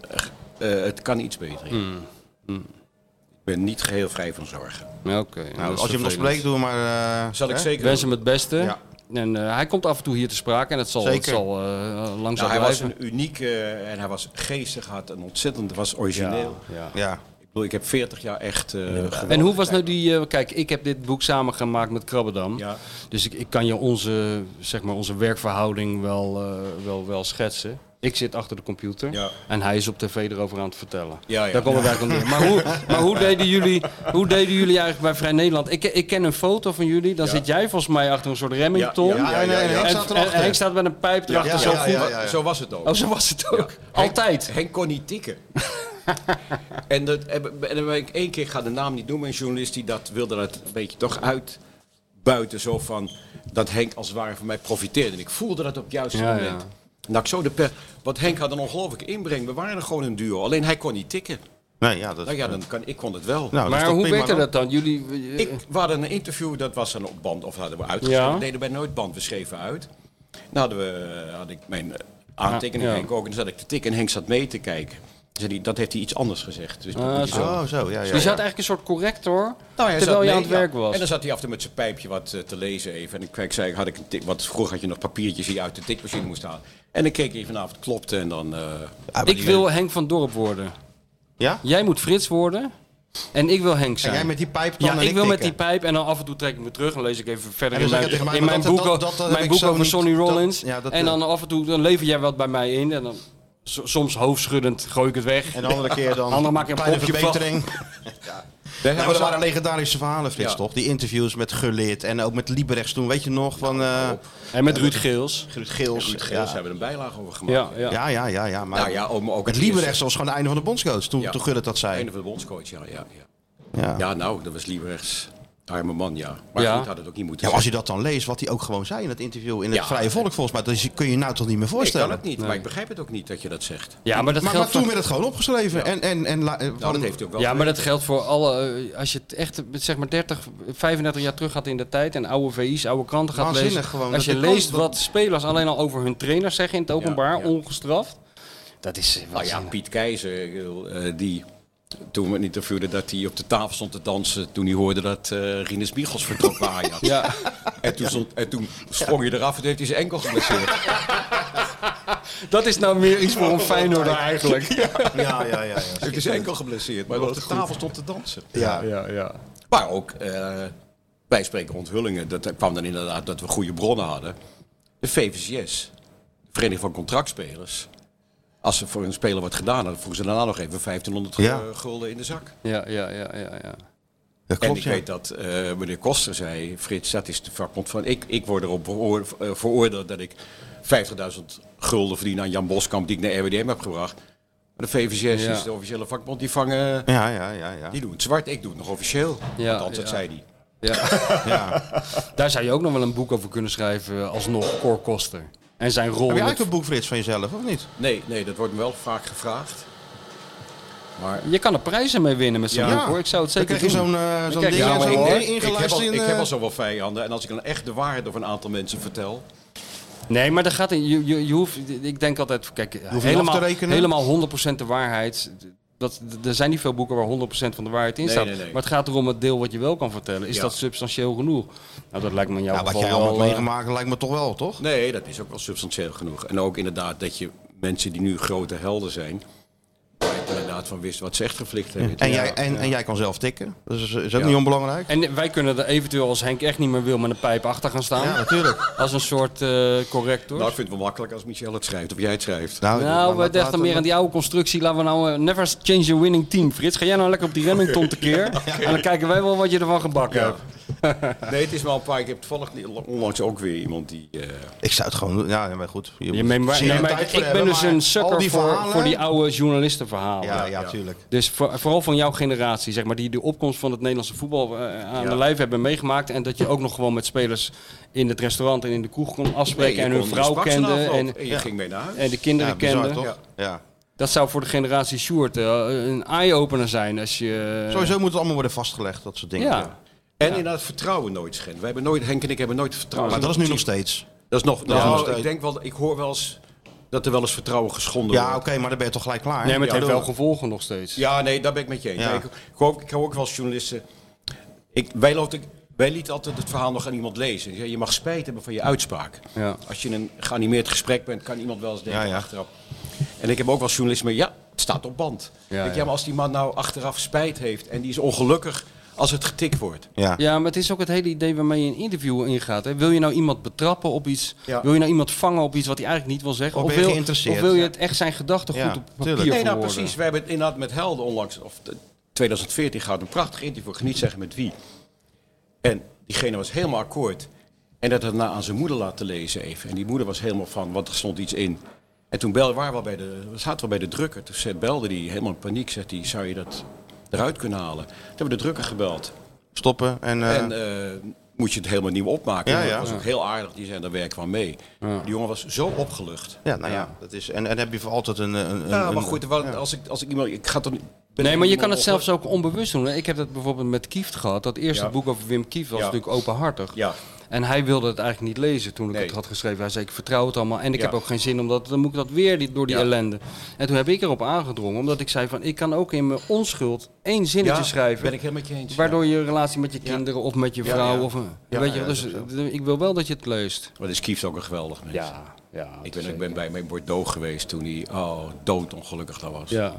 Speaker 7: eh, eh, het kan iets beter. ja.
Speaker 5: Hmm.
Speaker 7: Ik ben niet geheel vrij van zorgen.
Speaker 6: Ja, Oké. dat is
Speaker 5: Nou, als je hem
Speaker 6: vervelend.
Speaker 5: nog spreekt, doe maar... eh,
Speaker 7: Zal ik
Speaker 5: hè?
Speaker 7: zeker.
Speaker 6: Wens
Speaker 7: doen.
Speaker 6: hem het beste.
Speaker 5: Ja.
Speaker 6: En eh, hij komt af en toe hier te sprake en het zal, het
Speaker 5: Zeker.
Speaker 6: zal eh, langzaam
Speaker 7: Nou, hij was
Speaker 6: blijven.
Speaker 7: een unieke eh, en hij was geestig, had een ontzettend, was origineel.
Speaker 5: Ja.
Speaker 7: Ik bedoel, ik heb 40 jaar echt. eh, geweldig
Speaker 6: En hoe was nou
Speaker 7: tijd.
Speaker 6: die... eh, kijk, ik heb dit boek samengemaakt met Krabbedam.
Speaker 7: Ja.
Speaker 6: Dus ik, ik kan je onze, zeg maar, onze werkverhouding wel, eh, wel, wel schetsen. Ik zit achter de computer
Speaker 7: Ja.
Speaker 6: en hij is op tv erover aan het vertellen.
Speaker 7: Ja, ja.
Speaker 6: Daar komen we eigenlijk op neer. Maar, hoe, maar hoe, deden jullie, hoe deden jullie eigenlijk bij Vrij Nederland? Ik, ik ken een foto van jullie. Dan zit jij volgens mij achter een soort Remington.
Speaker 7: Ja,
Speaker 5: Ja, en, eh,
Speaker 7: Ja, ja, ja.
Speaker 5: Henk
Speaker 6: En,
Speaker 5: staat
Speaker 6: en-
Speaker 5: erachter.
Speaker 6: en Henk staat met een pijp erachter.
Speaker 5: Ja,
Speaker 6: zo goed.
Speaker 5: ja, ja, ja.
Speaker 7: Zo was het ook.
Speaker 6: Oh, zo was het ook.
Speaker 7: Henk-
Speaker 6: Altijd.
Speaker 7: Henk kon niet tikken. en dat, en dan ben ik één keer, ik ga de naam niet noemen, een journalist die dat wilde dat een beetje toch uitbuiten. Zo van, dat Henk als het ware van mij profiteerde. En ik voelde dat op het juiste
Speaker 6: Ja,
Speaker 7: moment.
Speaker 6: ja.
Speaker 7: Nou, ik zo de pers. Want Henk had een ongelooflijke inbreng. We waren gewoon een duo. Alleen hij kon niet tikken.
Speaker 5: Nee, ja, dat,
Speaker 7: Nou ja, dan kan, ik kon het wel.
Speaker 5: nou, dat is
Speaker 6: maar
Speaker 5: toch
Speaker 6: hoe
Speaker 5: prima
Speaker 6: weet je
Speaker 5: dan?
Speaker 6: dat dan? Jullie, eh,
Speaker 7: Ik, we hadden een interview, dat was dan op band, of hadden we uitgeschreven.
Speaker 6: Ja.
Speaker 7: We deden bij nooit band, we schreven uit. Nou hadden we, eh, had ik mijn eh, aantekening,
Speaker 6: Ja.
Speaker 7: Henk ook, en dan zat ik te tikken en Henk zat mee te kijken. Zei die, dat heeft hij iets anders gezegd. Dus dat
Speaker 6: Ah,
Speaker 7: moet je zo.
Speaker 5: Oh, zo, ja, ja.
Speaker 6: je zat
Speaker 5: ja.
Speaker 6: eigenlijk een soort corrector
Speaker 7: Nou, hij zat
Speaker 6: terwijl je
Speaker 7: mee,
Speaker 6: aan het
Speaker 7: ja.
Speaker 6: werk was.
Speaker 7: En dan zat hij af en toe met zijn pijpje wat eh, te lezen even. En ik, ik zei, had ik een tik, want vroeger had je nog papiertjes die je uit de tikmachine moest halen. En dan keek hij vanavond, klopte en dan... eh,
Speaker 5: Ah, maar
Speaker 6: ik
Speaker 5: die-
Speaker 6: wil Henk van Dorp worden.
Speaker 5: Ja?
Speaker 6: Jij moet Frits worden en ik wil Henk
Speaker 5: En
Speaker 6: zijn.
Speaker 5: jij met die pijp dan
Speaker 6: ja,
Speaker 5: en
Speaker 6: ik wil met die
Speaker 5: tikken.
Speaker 6: pijp en dan af en toe trek ik me terug en lees ik even verder
Speaker 5: En dan
Speaker 6: in
Speaker 5: zeg
Speaker 6: mijn,
Speaker 5: je tegen mij,
Speaker 6: in
Speaker 5: maar
Speaker 6: mijn
Speaker 5: dat-
Speaker 6: boek,
Speaker 5: dat- dat- dat heb
Speaker 6: mijn
Speaker 5: ik
Speaker 6: boek
Speaker 5: zo
Speaker 6: over
Speaker 5: niet.
Speaker 6: Sonny
Speaker 5: Dat-
Speaker 6: Rollins.
Speaker 5: ja, dat, eh,
Speaker 6: en dan af en toe dan lever jij wat bij mij in en dan so- soms hoofdschuddend gooi ik het weg.
Speaker 5: En de andere keer dan.
Speaker 6: Ander maak je een
Speaker 5: kleine
Speaker 6: popje
Speaker 5: verbetering.
Speaker 7: daar
Speaker 5: Ja,
Speaker 7: hebben
Speaker 5: maar
Speaker 7: we
Speaker 5: dat
Speaker 7: dan-
Speaker 5: waren legendarische verhalen, Frits,
Speaker 7: Ja.
Speaker 5: toch? Die interviews met Gullit en ook met Liebrechts toen. Weet je nog van eh
Speaker 6: En met Ruud Geels.
Speaker 5: Ruud Geels?
Speaker 7: Ruud Geels
Speaker 5: ja.
Speaker 7: hebben er een bijlage over gemaakt.
Speaker 6: Ja, ja.
Speaker 5: ja, ja, ja, ja. Maar
Speaker 7: Nou ja, om ook
Speaker 5: het
Speaker 7: eerste-
Speaker 5: Liebrechts was gewoon het einde van de bondscoach toen,
Speaker 7: Ja.
Speaker 5: toen Gullit dat zei.
Speaker 7: Einde van de bondscoach, ja. ja, ja.
Speaker 5: Ja.
Speaker 7: Ja, nou, dat was Lieberrechts. Arme man, ja. Maar
Speaker 6: Ja.
Speaker 7: goed, had het ook niet
Speaker 5: Ja,
Speaker 7: moeten
Speaker 5: maar als
Speaker 7: zijn.
Speaker 5: je dat dan leest, wat hij ook gewoon zei in het interview in het
Speaker 7: Ja.
Speaker 5: Vrije Volk volgens mij, dat is- kun je je nou toch niet meer
Speaker 7: Nee, ik
Speaker 5: voorstellen.
Speaker 7: kan het niet, maar ik begrijp het ook niet dat je dat zegt.
Speaker 6: Ja, maar dat
Speaker 5: Maar, maar
Speaker 6: geldt
Speaker 5: toen
Speaker 6: voor...
Speaker 5: werd het gewoon opgeschreven. En, en, en, la- eh,
Speaker 7: Nou,
Speaker 5: van-
Speaker 7: dat heeft hij ook wel.
Speaker 6: Ja, maar dat geldt voor alle. eh, Als je het echt eh, zeg maar 30, 35 jaar terug gaat in de tijd en oude VI's, oude kranten gaat
Speaker 5: Waanzinnig
Speaker 6: lezen.
Speaker 5: gewoon,
Speaker 6: als
Speaker 5: dat
Speaker 6: je
Speaker 5: die kans-
Speaker 6: leest
Speaker 5: dat-
Speaker 6: wat spelers alleen al over hun trainers zeggen in het openbaar,
Speaker 7: ja.
Speaker 6: ongestraft. Dat is. eh,
Speaker 7: Nou ja,
Speaker 6: waanzinnig.
Speaker 7: Piet Keizer, ik bedoel, eh, die toen we het interviewden, dat hij op de tafel stond te dansen toen hij hoorde dat eh Rinus Michels vertrok bij Ajax.
Speaker 6: Ja.
Speaker 7: En, toen stond, en toen sprong hij eraf en toen heeft hij zijn enkel geblesseerd.
Speaker 6: dat is nou meer iets voor een Feyenoorder eigenlijk.
Speaker 5: Ja, ja, ja. ja.
Speaker 7: Het is enkel geblesseerd, maar op de tafel stond te dansen.
Speaker 5: ja.
Speaker 7: Maar ook, eh, wij spreken onthullingen. Dat kwam dan inderdaad dat we goede bronnen hadden. De VVCS, de Vereniging van Contractspelers. Als ze voor een speler wat gedaan hadden, vroegen ze daarna nog even 1500 gu-
Speaker 5: Ja.
Speaker 7: gulden in de zak.
Speaker 6: Ja, ja, ja, ja, ja.
Speaker 5: Dat
Speaker 7: en
Speaker 5: klopt,
Speaker 7: ik
Speaker 5: ja.
Speaker 7: weet dat eh, meneer Koster zei, Frits, dat is de vakbond van... Ik, ik word erop beoor- eh, veroordeeld dat ik 50.000 gulden verdien aan Jan Boskamp, die ik naar RWDM heb gebracht. Maar de VVCS
Speaker 6: Ja.
Speaker 7: is de officiële vakbond, die vangen...
Speaker 5: Ja, ja, ja, ja.
Speaker 7: Die doen het zwart, ik doe het nog officieel.
Speaker 6: Ja,
Speaker 7: Althans, dat
Speaker 6: ja.
Speaker 7: zei hij.
Speaker 6: Ja.
Speaker 5: ja.
Speaker 6: Daar zou je ook nog wel een boek over kunnen schrijven, eh, alsnog Cor Koster. En zijn rol.
Speaker 5: Heb je
Speaker 6: in
Speaker 5: eigenlijk
Speaker 6: het-
Speaker 5: een boek, Frits, van jezelf, of niet?
Speaker 7: Nee, nee, dat wordt me wel vaak gevraagd. Maar
Speaker 6: Je kan er prijzen mee winnen met zo'n
Speaker 5: Ja.
Speaker 6: boek hoor. Ik zou het
Speaker 5: Dan
Speaker 6: zeker
Speaker 5: krijg je
Speaker 6: doen.
Speaker 5: zo'n eh, zo'n
Speaker 6: krijg
Speaker 5: ding
Speaker 6: je
Speaker 5: en
Speaker 6: zo'n
Speaker 5: zo'n
Speaker 6: hoor.
Speaker 5: ding
Speaker 7: ik, heb
Speaker 5: ingelijst
Speaker 7: al,
Speaker 5: in...
Speaker 7: ik
Speaker 5: eh,
Speaker 7: heb al zoveel vijanden. En als ik dan echt de waarheid over een aantal mensen vertel...
Speaker 6: Nee, maar dat gaat in. Je, je, je hoeft, ik denk altijd, kijk,
Speaker 5: hoeft niet
Speaker 6: helemaal,
Speaker 5: af te rekenen.
Speaker 6: helemaal 100% de waarheid. Dat, d- er zijn niet veel boeken waar 100% van de waarheid in
Speaker 7: Nee,
Speaker 6: staat.
Speaker 7: nee, nee.
Speaker 6: Maar het gaat erom het deel wat je wel kan vertellen. Is
Speaker 7: Ja.
Speaker 6: dat substantieel genoeg? Nou, dat lijkt me in jouw
Speaker 5: Ja, wat
Speaker 6: geval
Speaker 5: jij allemaal
Speaker 6: wel, eh,
Speaker 5: hebt meegemaakt lijkt me toch wel, toch?
Speaker 7: Nee, dat is ook wel substantieel genoeg. En ook inderdaad dat je mensen die nu grote helden zijn... waar je inderdaad van wist wat ze echt geflikt hebben.
Speaker 5: En, jij, en, en jij kan zelf tikken. Dat is, is ook
Speaker 7: Ja.
Speaker 5: niet onbelangrijk.
Speaker 6: eh, En wij kunnen er eventueel als Henk echt niet meer wil met een pijp achter gaan staan.
Speaker 5: Ja, natuurlijk.
Speaker 6: Als een soort eh, corrector.
Speaker 7: Nou, ik vind het wel makkelijk als Michel het schrijft of jij het schrijft.
Speaker 6: Nou, we
Speaker 5: laat-
Speaker 6: dachten
Speaker 5: laten
Speaker 6: meer aan die oude constructie. Laten we nou eh, never change the winning team, Frits. Ga jij nou lekker op die Remington tekeer. En dan kijken wij wel wat je ervan gebakken hebt.
Speaker 7: Nee, het is wel een paar... Ik heb toevallig niet- onlangs ook weer iemand die... eh,
Speaker 5: Ik zou het gewoon doen. Ja, maar goed. Je
Speaker 6: Je
Speaker 5: moet
Speaker 6: meen-
Speaker 5: zeer
Speaker 6: nee,
Speaker 5: de
Speaker 6: maar
Speaker 5: tijd
Speaker 6: ik
Speaker 5: voor
Speaker 6: ik ben
Speaker 5: hebben,
Speaker 6: dus
Speaker 5: maar
Speaker 6: een
Speaker 5: al
Speaker 6: sukker
Speaker 5: die
Speaker 6: voor,
Speaker 5: verhalen-
Speaker 6: voor die oude journalistenverhalen.
Speaker 5: Ja, ja, tuurlijk.
Speaker 6: Dus voor- vooral van jouw generatie, zeg maar, die de opkomst van het Nederlandse voetbal eh, aan de lijf hebben meegemaakt. En dat je ook nog gewoon met spelers in het restaurant en in de kroeg kon afspreken.
Speaker 7: je
Speaker 6: en hun
Speaker 7: kon- je
Speaker 6: vrouw
Speaker 7: sprak ze na
Speaker 6: kende
Speaker 7: afloop
Speaker 6: en,
Speaker 7: en je ging mee naar huis.
Speaker 6: en de kinderen
Speaker 5: Ja, bizar,
Speaker 6: kende.
Speaker 5: toch?
Speaker 7: Ja.
Speaker 5: Ja.
Speaker 6: Dat zou voor de generatie Sjoerd eh, een eye-opener zijn als je...
Speaker 5: Sowieso moet het allemaal worden vastgelegd, dat soort dingen.
Speaker 6: Ja.
Speaker 7: En inderdaad vertrouwen nooit schenden. Wij hebben nooit, Henk en ik hebben nooit vertrouwen.
Speaker 5: Maar dat is nu nog steeds.
Speaker 7: Dat is nog.
Speaker 5: is nog
Speaker 7: nou,
Speaker 5: steeds.
Speaker 7: ik denk wel. Ik hoor wel eens dat er wel eens vertrouwen geschonden
Speaker 5: Ja, oké,
Speaker 7: wordt.
Speaker 5: maar dan ben je toch gelijk klaar.
Speaker 6: Nee, maar het
Speaker 5: Ja,
Speaker 6: heeft wel
Speaker 5: bedoel-
Speaker 6: gevolgen nog steeds.
Speaker 7: Ja, nee, daar ben ik met je eens.
Speaker 5: Ja.
Speaker 7: Nee, ik, ik, hoor, ik hoor ook wel eens journalisten. Ik, wij, loten, wij lieten altijd het verhaal nog aan iemand lezen. Je- Je mag spijt hebben van je uitspraak.
Speaker 6: Ja.
Speaker 7: Als je in een geanimeerd gesprek bent, kan iemand wel eens denken
Speaker 5: Ja, ja.
Speaker 7: achteraf. En ik heb ook wel eens journalisten, maar ja, het staat op band. Ik denk,
Speaker 6: ja.
Speaker 7: ja, maar als die man nou achteraf spijt heeft en die is ongelukkig als het getikt wordt.
Speaker 5: Ja.
Speaker 6: Ja, maar het is ook het hele idee waarmee je een interview ingaat. Hè. Wil je nou iemand betrappen op iets?
Speaker 7: Ja.
Speaker 6: Wil je nou iemand vangen op iets wat hij eigenlijk niet wil zeggen?
Speaker 5: Of ben je
Speaker 6: wil,
Speaker 5: geïnteresseerd?
Speaker 6: of wil je het echt zijn gedachten
Speaker 5: Ja,
Speaker 6: goed op papier
Speaker 5: tuurlijk.
Speaker 7: Nee, nou
Speaker 6: verwoorden?
Speaker 7: precies. We hebben het inderdaad met Helden onlangs, of de- 2014 gehad, een prachtig interview. Ik ga niet zeggen met wie. En diegene was helemaal akkoord. En dat had daarna aan zijn moeder laten lezen even. En die moeder was helemaal van, want er stond iets in. En toen belde, waren we, al bij de, we zaten wel bij de drukker. Toen zei- belde die helemaal in paniek, zegt hij, zou je dat eruit kunnen halen? Toen hebben we de drukker gebeld.
Speaker 5: Stoppen en... eh,
Speaker 7: En eh, moet je het helemaal nieuw opmaken.
Speaker 5: Ja,
Speaker 7: Maar
Speaker 5: ja.
Speaker 7: Dat was ook heel aardig, die zei, daar werk van mee. Die jongen was zo opgelucht.
Speaker 6: nou
Speaker 5: ja, nou ja. Dat is, en, en heb je voor altijd een... een, een
Speaker 7: Ja,
Speaker 5: een-
Speaker 7: maar goed, want als, ik, als ik iemand. Ik ga toch niet-
Speaker 6: Nee, maar je kan het zelfs ook onbewust doen. Ik heb dat bijvoorbeeld met Kieft gehad. Dat eerste
Speaker 7: Ja.
Speaker 6: boek over Wim Kieft was
Speaker 7: Ja.
Speaker 6: natuurlijk openhartig.
Speaker 7: Ja.
Speaker 6: En hij wilde het eigenlijk niet lezen toen ik
Speaker 7: Nee.
Speaker 6: het had geschreven. Hij zei, ik vertrouw het allemaal en ik
Speaker 7: Ja.
Speaker 6: heb ook geen zin om dat, dan moet ik dat weer die- door die
Speaker 7: Ja.
Speaker 6: ellende. En toen heb ik erop aangedrongen, omdat ik zei van, ik kan ook in mijn onschuld één zinnetje schrijven.
Speaker 7: Ben ik helemaal met je eens.
Speaker 6: Waardoor je relatie met je kinderen of met je
Speaker 7: Ja,
Speaker 6: vrouw
Speaker 7: ja.
Speaker 6: of een-
Speaker 7: Ja,
Speaker 6: weet je,
Speaker 7: ja,
Speaker 6: dus
Speaker 7: dat is
Speaker 6: ik wil wel dat je het leest.
Speaker 7: Maar dat is Kieft ook een geweldig mens.
Speaker 6: Ja, ja.
Speaker 7: Ik ben, ik ben bij mijn Bordeaux geweest toen hij oh, doodongelukkig daar was.
Speaker 6: Ja.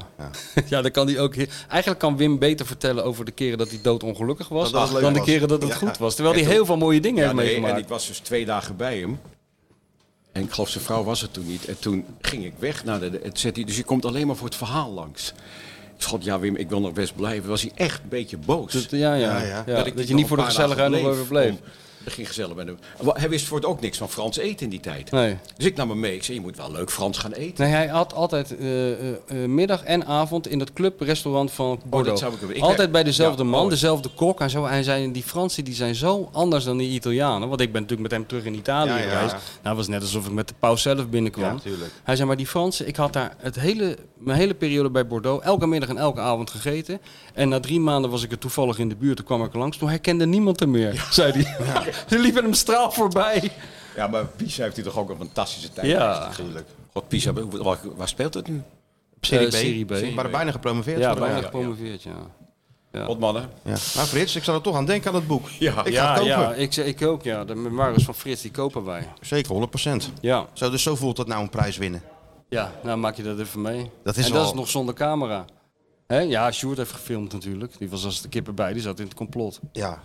Speaker 6: ja, dan kan hij ook. he- Eigenlijk kan Wim beter vertellen over de keren dat hij doodongelukkig was.
Speaker 5: Dat het leuk
Speaker 6: dan de
Speaker 5: was.
Speaker 6: keren dat het
Speaker 5: Ja.
Speaker 6: goed was. Terwijl
Speaker 7: En
Speaker 6: hij
Speaker 7: toen-
Speaker 6: heel veel mooie dingen
Speaker 7: Ja,
Speaker 6: heeft
Speaker 7: nee, en
Speaker 6: meegemaakt.
Speaker 7: ik was dus twee dagen bij hem. En ik geloof zijn vrouw was er toen niet. En toen ging ik weg naar de... de- Het zet hij, dus je komt alleen maar voor het verhaal langs. Ik schot, ja Wim, ik wil nog best blijven. Was hij echt een beetje boos.
Speaker 6: Dat, ja, ja.
Speaker 5: Ja,
Speaker 6: ja,
Speaker 5: ja. Dat
Speaker 6: Dat,
Speaker 7: ik
Speaker 6: je
Speaker 7: nog
Speaker 6: niet voor de
Speaker 7: een paar dagen
Speaker 6: gezelligheid nog
Speaker 7: bleef,
Speaker 6: overbleef.
Speaker 7: om- Dat ging gezellig met hem. Wa- Hij wist voor het ook niks van Frans eten in die tijd.
Speaker 6: Nee.
Speaker 7: Dus ik nam hem mee. Ik zei, je moet wel leuk Frans gaan eten.
Speaker 6: Nee, hij had altijd eh, eh, eh, middag en avond in dat clubrestaurant van Bordeaux.
Speaker 7: zou ik hebben. Ik-
Speaker 6: altijd bij dezelfde
Speaker 7: Ja,
Speaker 6: man,
Speaker 7: oh.
Speaker 6: dezelfde kok en zo. Hij zei, die Fransen die zijn zo anders dan die Italianen. Want ik ben natuurlijk met hem terug in Italië
Speaker 5: Ja, ja.
Speaker 6: geweest. Nou, het was net alsof ik met de paus zelf binnenkwam. hij zei, maar die Fransen, ik had daar het hele, mijn hele periode bij Bordeaux elke middag en elke avond gegeten. En na drie maanden was ik er toevallig in de buurt, toen kwam ik er langs. Toen herkende niemand er meer, zei hij. Ze liepen hem straal voorbij.
Speaker 7: Ja, maar Pisa heeft hij toch ook een fantastische tijd.
Speaker 6: Ja.
Speaker 7: gehad, natuurlijk. God, Pisa, hoe- waar, waar speelt het nu?
Speaker 6: Eh, Serie B.
Speaker 5: We waren bijna gepromoveerd.
Speaker 6: Ja,
Speaker 5: worden.
Speaker 6: bijna
Speaker 7: ja.
Speaker 6: gepromoveerd, ja.
Speaker 7: Wat mannen?
Speaker 5: Ja. Maar Frits, ik zal er toch aan denken aan dat boek.
Speaker 7: Ja.
Speaker 5: ik ga het kopen.
Speaker 6: ja, ik, ik ook, ja. De memoires van Frits, die kopen wij.
Speaker 5: Zeker, 100%.
Speaker 6: Ja,
Speaker 5: Zo, dus zo voelt dat nou een prijs winnen.
Speaker 6: ja nou maak je dat even mee.
Speaker 5: Dat is
Speaker 6: en
Speaker 5: wel-
Speaker 6: dat is nog zonder camera. Hè? Ja, Sjoerd heeft gefilmd natuurlijk. Die was als de kippen bij, die zat in het complot.
Speaker 5: Ja.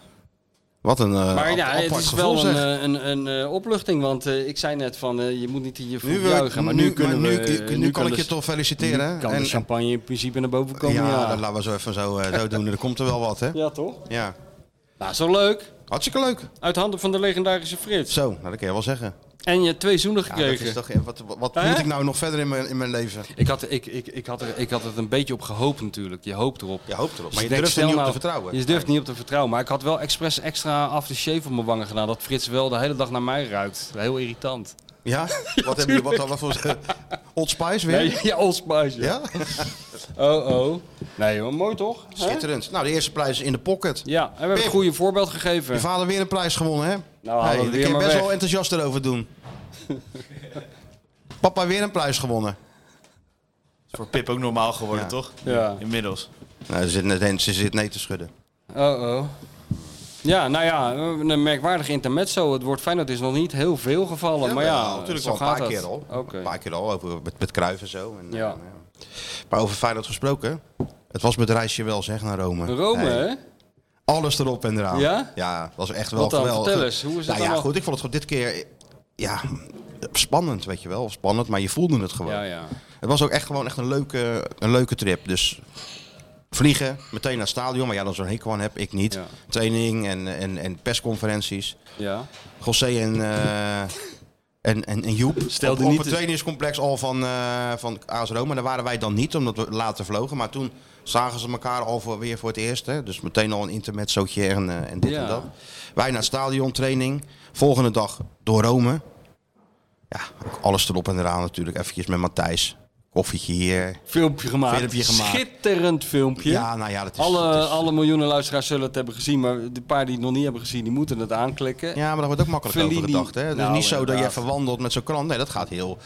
Speaker 5: Wat een eh
Speaker 6: Maar
Speaker 5: ap-
Speaker 6: ja,
Speaker 5: apart
Speaker 6: het is
Speaker 5: gevoel,
Speaker 6: wel
Speaker 5: zeg.
Speaker 6: een, eh, een, een, eh, opluchting, want eh, ik zei net van eh, je moet niet hier voor
Speaker 5: Nu, wil ik-
Speaker 6: juichen, maar nu,
Speaker 5: nu-
Speaker 6: kunnen
Speaker 5: maar
Speaker 6: we...
Speaker 5: nu-
Speaker 6: eh,
Speaker 5: nu kan
Speaker 6: kunnen
Speaker 5: ik je
Speaker 6: de-
Speaker 5: toch
Speaker 6: nu
Speaker 5: feliciteren.
Speaker 6: kan
Speaker 5: En-
Speaker 6: de champagne in principe naar boven komen,
Speaker 5: ja,
Speaker 6: ja.
Speaker 5: dat laten we zo even zo, eh, zo doen. Er komt er wel wat, hè?
Speaker 6: Ja, toch?
Speaker 5: Ja.
Speaker 6: Nou, zo leuk.
Speaker 5: Hartstikke leuk.
Speaker 6: Uit handen van de legendarische Frits.
Speaker 5: Zo, nou, dat kan je wel zeggen.
Speaker 6: En je hebt twee zoenen
Speaker 5: Ja, dat
Speaker 6: gekregen.
Speaker 5: is toch, wat wat, wat
Speaker 6: Hè?
Speaker 5: moet ik nou nog verder in mijn, in mijn leven?
Speaker 6: Ik had, ik, ik, ik, had er, ik had het een beetje op gehoopt natuurlijk. Je hoopt erop.
Speaker 5: Je hoopt erop,
Speaker 6: Dus
Speaker 5: maar
Speaker 6: ik
Speaker 5: je
Speaker 6: denk,
Speaker 5: durft er
Speaker 6: stel
Speaker 5: niet op
Speaker 6: nou-
Speaker 5: te vertrouwen.
Speaker 6: Je durft niet op te vertrouwen. Maar ik had wel expres extra aftershave op mijn wangen gedaan. Dat Frits wel de hele dag naar mij ruikt. Heel irritant.
Speaker 5: Ja? wat hebben jullie, wat, wat voor Old Spice weer?
Speaker 6: Nee, ja, Old Spice. Ja.
Speaker 5: Ja?
Speaker 6: Oh, oh. Nee hoor, mooi toch? Hè?
Speaker 5: Schitterend. Nou, de eerste prijs is in de pocket.
Speaker 6: Ja, en we hebben
Speaker 5: Pim.
Speaker 6: het goede voorbeeld
Speaker 5: Je
Speaker 6: gegeven.
Speaker 5: vader weer een prijs gewonnen, hè?
Speaker 6: halen we
Speaker 5: daar
Speaker 6: Nou, het
Speaker 5: kun
Speaker 6: weer
Speaker 5: je
Speaker 6: maar
Speaker 5: best
Speaker 6: weg.
Speaker 5: wel enthousiast erover doen. Papa weer een prijs gewonnen.
Speaker 1: Is voor Pip ook normaal geworden,
Speaker 5: Ja.
Speaker 1: toch?
Speaker 6: Ja.
Speaker 1: Inmiddels.
Speaker 5: Nou, ze, zit net, ze zit nee te schudden.
Speaker 6: Oh, oh. Ja, nou ja, een merkwaardig intermezzo. Het woord Feyenoord is nog niet heel veel gevallen. maar ja,
Speaker 5: natuurlijk
Speaker 6: zo
Speaker 5: wel een paar
Speaker 6: gaat
Speaker 5: keer
Speaker 6: dat.
Speaker 5: al.
Speaker 6: Oké.
Speaker 5: Een paar keer al, over, met, met Cruijff en zo. En, eh,
Speaker 6: Ja.
Speaker 5: Maar over Feyenoord gesproken, het was met reisje wel zeg naar Rome.
Speaker 6: Rome,
Speaker 5: Hey,
Speaker 6: hè?
Speaker 5: Alles erop en eraan.
Speaker 6: Ja?
Speaker 5: Ja, dat was echt wel
Speaker 6: Wat dan?
Speaker 5: geweldig.
Speaker 6: Vertel eens, hoe is het
Speaker 5: nou, ja,
Speaker 6: allemaal?
Speaker 5: goed, ik vond het gewoon dit keer, ja, spannend weet je wel. Spannend, maar je voelde het gewoon.
Speaker 6: Ja, ja.
Speaker 5: Het was ook echt gewoon echt een leuke, een leuke trip. Dus vliegen, meteen naar het stadion. Maar ja, dan zo'n hekel aan heb ik niet.
Speaker 6: Ja.
Speaker 5: Training en, en, en persconferenties.
Speaker 6: ja.
Speaker 5: José en, eh, en, en, en Joep.
Speaker 6: Stelde
Speaker 5: op, op
Speaker 6: niet
Speaker 5: het
Speaker 6: de-
Speaker 5: trainingscomplex al van, eh van AS Roma. Daar waren wij dan niet, omdat we later vlogen. Maar toen zagen ze elkaar al voor, weer voor het eerst. Hè? Dus meteen al een intermezzootje en, eh, en dit
Speaker 6: Ja.
Speaker 5: en dat. Wij naar het stadion, training. Volgende dag door Rome. Ja, ook alles erop en eraan natuurlijk. Eventjes met Matthijs. Koffietje hier.
Speaker 6: Filmpje gemaakt.
Speaker 5: Filmpje gemaakt.
Speaker 6: Schitterend filmpje.
Speaker 5: Ja, nou ja, dat is...
Speaker 6: alle,
Speaker 5: dat is-
Speaker 6: alle miljoenen luisteraars zullen het hebben gezien, maar de paar die het nog niet hebben gezien, die moeten het aanklikken.
Speaker 5: Ja, maar dat wordt ook makkelijk
Speaker 6: Fellini.
Speaker 5: overgedacht. Hè? Het
Speaker 6: Nou,
Speaker 5: is niet zo dat je
Speaker 6: inderdaad.
Speaker 5: even wandelt met zo'n krant. Nee, dat gaat heel...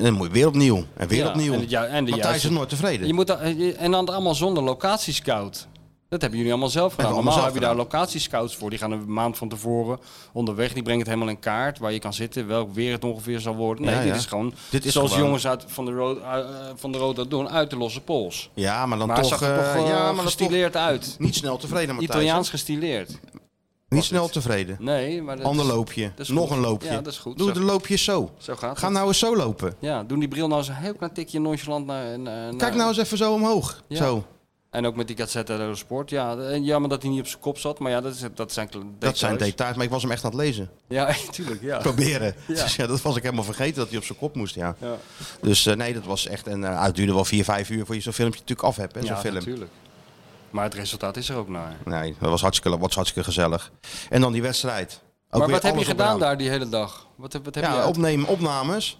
Speaker 5: Dan moet je weer opnieuw. En weer
Speaker 6: Ja,
Speaker 5: opnieuw.
Speaker 6: en het ju- en de
Speaker 5: Matthijs
Speaker 6: juiste-
Speaker 5: is nooit tevreden.
Speaker 6: Je moet da- en dan allemaal zonder locatiescout. Dat hebben jullie allemaal zelf gedaan.
Speaker 5: we
Speaker 6: Normaal
Speaker 5: allemaal
Speaker 6: heb je
Speaker 5: zelf
Speaker 6: daar locatiescouts voor. Die gaan een maand van tevoren onderweg. Die brengen het helemaal in kaart. Waar je kan zitten, welk weer het ongeveer zal worden. Nee,
Speaker 5: Ja, ja.
Speaker 6: dit is gewoon
Speaker 5: Dit is
Speaker 6: zoals
Speaker 5: gewoon-
Speaker 6: jongens uit van de rood, eh, van de rood dat doen uit de losse pols.
Speaker 5: Ja, maar dan
Speaker 6: Maar het
Speaker 5: toch,
Speaker 6: zag er
Speaker 5: eh,
Speaker 6: toch eh,
Speaker 5: ja, maar dat toch
Speaker 6: gestileerd uit.
Speaker 5: niet snel tevreden, Matthijs.
Speaker 6: Italiaans gestileerd.
Speaker 5: Niet snel tevreden.
Speaker 6: Nee, maar dat
Speaker 5: Ander
Speaker 6: is-
Speaker 5: loopje.
Speaker 6: dat is
Speaker 5: Nog
Speaker 6: goed.
Speaker 5: een loopje.
Speaker 6: Ja, dat is goed.
Speaker 5: Doe
Speaker 6: Zo-
Speaker 5: de loopjes zo.
Speaker 6: Zo gaat
Speaker 5: Ga
Speaker 6: het.
Speaker 5: nou eens zo lopen.
Speaker 6: Ja, doen die bril nou eens een heel klein tikje nonchalant naar... naar naar-
Speaker 5: Kijk nou eens even zo omhoog.
Speaker 6: Ja.
Speaker 5: Zo.
Speaker 6: En ook met die Gazzetta dello Sport. Ja, en jammer dat hij niet op zijn kop zat. Maar ja, dat, is, dat zijn kle-
Speaker 5: Dat zijn
Speaker 6: details.
Speaker 5: details, maar ik was hem echt aan het lezen.
Speaker 6: Ja, tuurlijk. Ja.
Speaker 5: Proberen.
Speaker 6: Ja.
Speaker 5: Dus ja, dat was ik helemaal vergeten dat hij op zijn kop moest. Ja.
Speaker 6: Ja.
Speaker 5: Dus eh, nee, dat was echt. En eh, het duurde wel 4, 5 uur voor je zo'n filmpje natuurlijk af hebt. Hè, zo'n
Speaker 6: Ja,
Speaker 5: film.
Speaker 6: natuurlijk. Maar het resultaat is er ook naar.
Speaker 5: Nee, dat was hartstikke, was hartstikke gezellig. En dan die wedstrijd. Ook
Speaker 6: maar
Speaker 5: weer
Speaker 6: wat heb je
Speaker 5: alles op
Speaker 6: gedaan
Speaker 5: eraan.
Speaker 6: daar die hele dag? Wat, heb- wat heb je
Speaker 5: Ja, opnemen, opnames.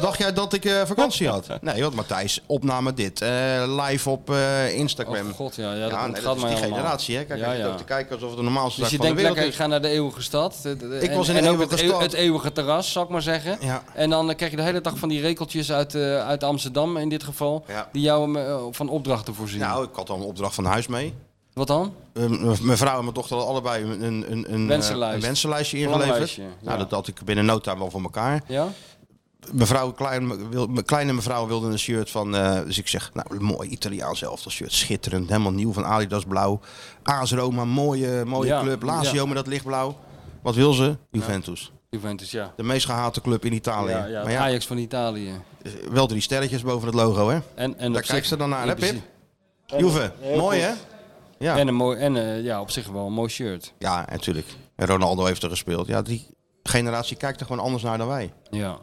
Speaker 5: Dacht jij dat ik eh, vakantie had? Nee, want Matthijs, opname dit. eh, live op eh, Instagram.
Speaker 6: Oh god, ja, ja, dat
Speaker 5: ja, nee,
Speaker 6: gaat
Speaker 5: dat is
Speaker 6: mij
Speaker 5: die
Speaker 6: allemaal.
Speaker 5: generatie, hè? Kijk,
Speaker 6: Ja,
Speaker 5: als je
Speaker 6: ja.
Speaker 5: loopt te kijken alsof het de normaalste
Speaker 6: Dus
Speaker 5: dag
Speaker 6: je
Speaker 5: van de
Speaker 6: denkt
Speaker 5: wereld
Speaker 6: lekker, ik
Speaker 5: is.
Speaker 6: ga naar de eeuwige stad. De- de-
Speaker 5: Ik
Speaker 6: en-
Speaker 5: was in de
Speaker 6: en ook
Speaker 5: eeuwige
Speaker 6: het, eeuw-
Speaker 5: stad.
Speaker 6: het eeuwige terras, zal ik maar zeggen.
Speaker 5: Ja.
Speaker 6: En dan eh, krijg je de hele dag van die rekeltjes uit, eh, uit Amsterdam in dit geval.
Speaker 5: Ja.
Speaker 6: Die jou eh, van opdrachten voorzien.
Speaker 5: Nou, ik had al een opdracht van huis mee.
Speaker 6: Wat dan?
Speaker 5: Eh, m- mijn vrouw en mijn dochter hadden allebei een, een, een, een, eh,
Speaker 6: Wensenlijst.
Speaker 5: een wensenlijstje ingeleverd.
Speaker 6: Planlijstje, ja.
Speaker 5: Nou, dat had ik binnen no time wel voor elkaar.
Speaker 6: Ja?
Speaker 5: Mevrouw Klein, wil, mijn kleine mevrouw wilde een shirt van. eh, dus ik zeg, nou, een mooi Italiaans elftal shirt. Schitterend, helemaal nieuw van Adidas Blauw. AS Roma, mooie, mooie
Speaker 6: Ja,
Speaker 5: club. Lazio
Speaker 6: ja.
Speaker 5: met dat lichtblauw. Wat wil ze? Juventus.
Speaker 6: Juventus, ja.
Speaker 5: De meest gehate club in Italië.
Speaker 6: Ja, ja,
Speaker 5: maar
Speaker 6: het
Speaker 5: ja,
Speaker 6: Ajax van Italië.
Speaker 5: wel drie sterretjes boven het logo, hè?
Speaker 6: En, en
Speaker 5: Daar
Speaker 6: op
Speaker 5: kijkt
Speaker 6: zich-
Speaker 5: ze dan naar,
Speaker 6: in
Speaker 5: hè, Pip?
Speaker 6: principe-
Speaker 5: Juve, mooi, hè? Ja.
Speaker 6: En, een mooi, en eh, ja, op zich wel een mooi shirt.
Speaker 5: Ja, natuurlijk. En Ronaldo heeft er gespeeld. Ja, die generatie kijkt er gewoon anders naar dan wij.
Speaker 6: Ja.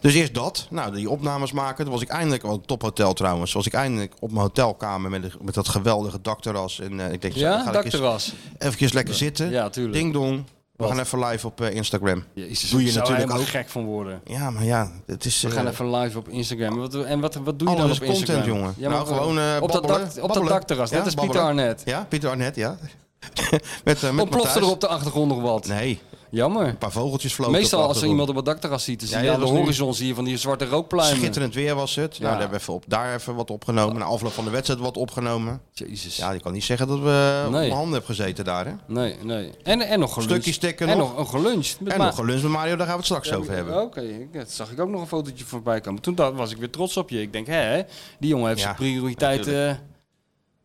Speaker 5: Dus eerst dat. Nou, die opnames maken. Toen was ik eindelijk, wel een tophotel trouwens. Was ik eindelijk op mijn hotelkamer met, de- met dat geweldige dakterras. En eh, ik denk, zo, dan
Speaker 6: Ja,
Speaker 5: ga ik eens-
Speaker 6: dakterras.
Speaker 5: Even lekker zitten.
Speaker 6: Ja, tuurlijk.
Speaker 5: Ding dong. We
Speaker 6: Wat?
Speaker 5: gaan even live op eh, Instagram.
Speaker 6: Jezus,
Speaker 5: Doe je
Speaker 6: ik zou er
Speaker 5: natuurlijk
Speaker 6: helemaal
Speaker 5: ook.
Speaker 6: gek van worden.
Speaker 5: Ja, maar ja, het is.
Speaker 6: We
Speaker 5: eh,
Speaker 6: gaan even live op Instagram. Wat, en wat, wat doe je
Speaker 5: Alles
Speaker 6: dan op
Speaker 5: is content,
Speaker 6: Instagram?
Speaker 5: jongen.
Speaker 6: Ja,
Speaker 5: nou,
Speaker 6: maar
Speaker 5: gewoon eh,
Speaker 6: op, dat
Speaker 5: babbelen.
Speaker 6: dak, op dat
Speaker 5: Babbelen.
Speaker 6: dakterras.
Speaker 5: Ja,
Speaker 6: dat is Pieter
Speaker 5: babbelen.
Speaker 6: Arnett.
Speaker 5: Ja, Pieter Arnett, ja. met eh met
Speaker 6: Ontplofte er
Speaker 5: Matthijs.
Speaker 6: op de achtergrond nog wat.
Speaker 5: Nee, een
Speaker 6: Jammer.
Speaker 5: paar vogeltjes vlogen. op de
Speaker 6: Meestal als er
Speaker 5: achtergrond.
Speaker 6: iemand op het dakterras ziet, dan zie
Speaker 5: Ja,
Speaker 6: je
Speaker 5: ja,
Speaker 6: aan de
Speaker 5: dat is nu-
Speaker 6: horizon zie je van die zwarte rookpluimen.
Speaker 5: Schitterend weer was het.
Speaker 6: Ja.
Speaker 5: Nou, daar hebben we even op, daar even wat opgenomen. Na afloop van de wedstrijd wat opgenomen.
Speaker 6: Jezus.
Speaker 5: Ja, je kan niet zeggen dat we op
Speaker 6: Nee.
Speaker 5: mijn handen hebben gezeten daar, hè?
Speaker 6: Nee, nee. En, en nog geluncht.
Speaker 5: Stukjes stikken
Speaker 6: en
Speaker 5: nog.
Speaker 6: nog. een geluncht. Met
Speaker 5: En
Speaker 6: ma-
Speaker 5: nog een lunch met Mario, daar gaan we het straks over hebben.
Speaker 6: Oké, ik- dat zag ik ook nog een fotootje voorbij komen. Toen dacht- was ik weer trots op je. Ik denk, hè, die jongen heeft
Speaker 5: Ja,
Speaker 6: zijn prioriteiten eh,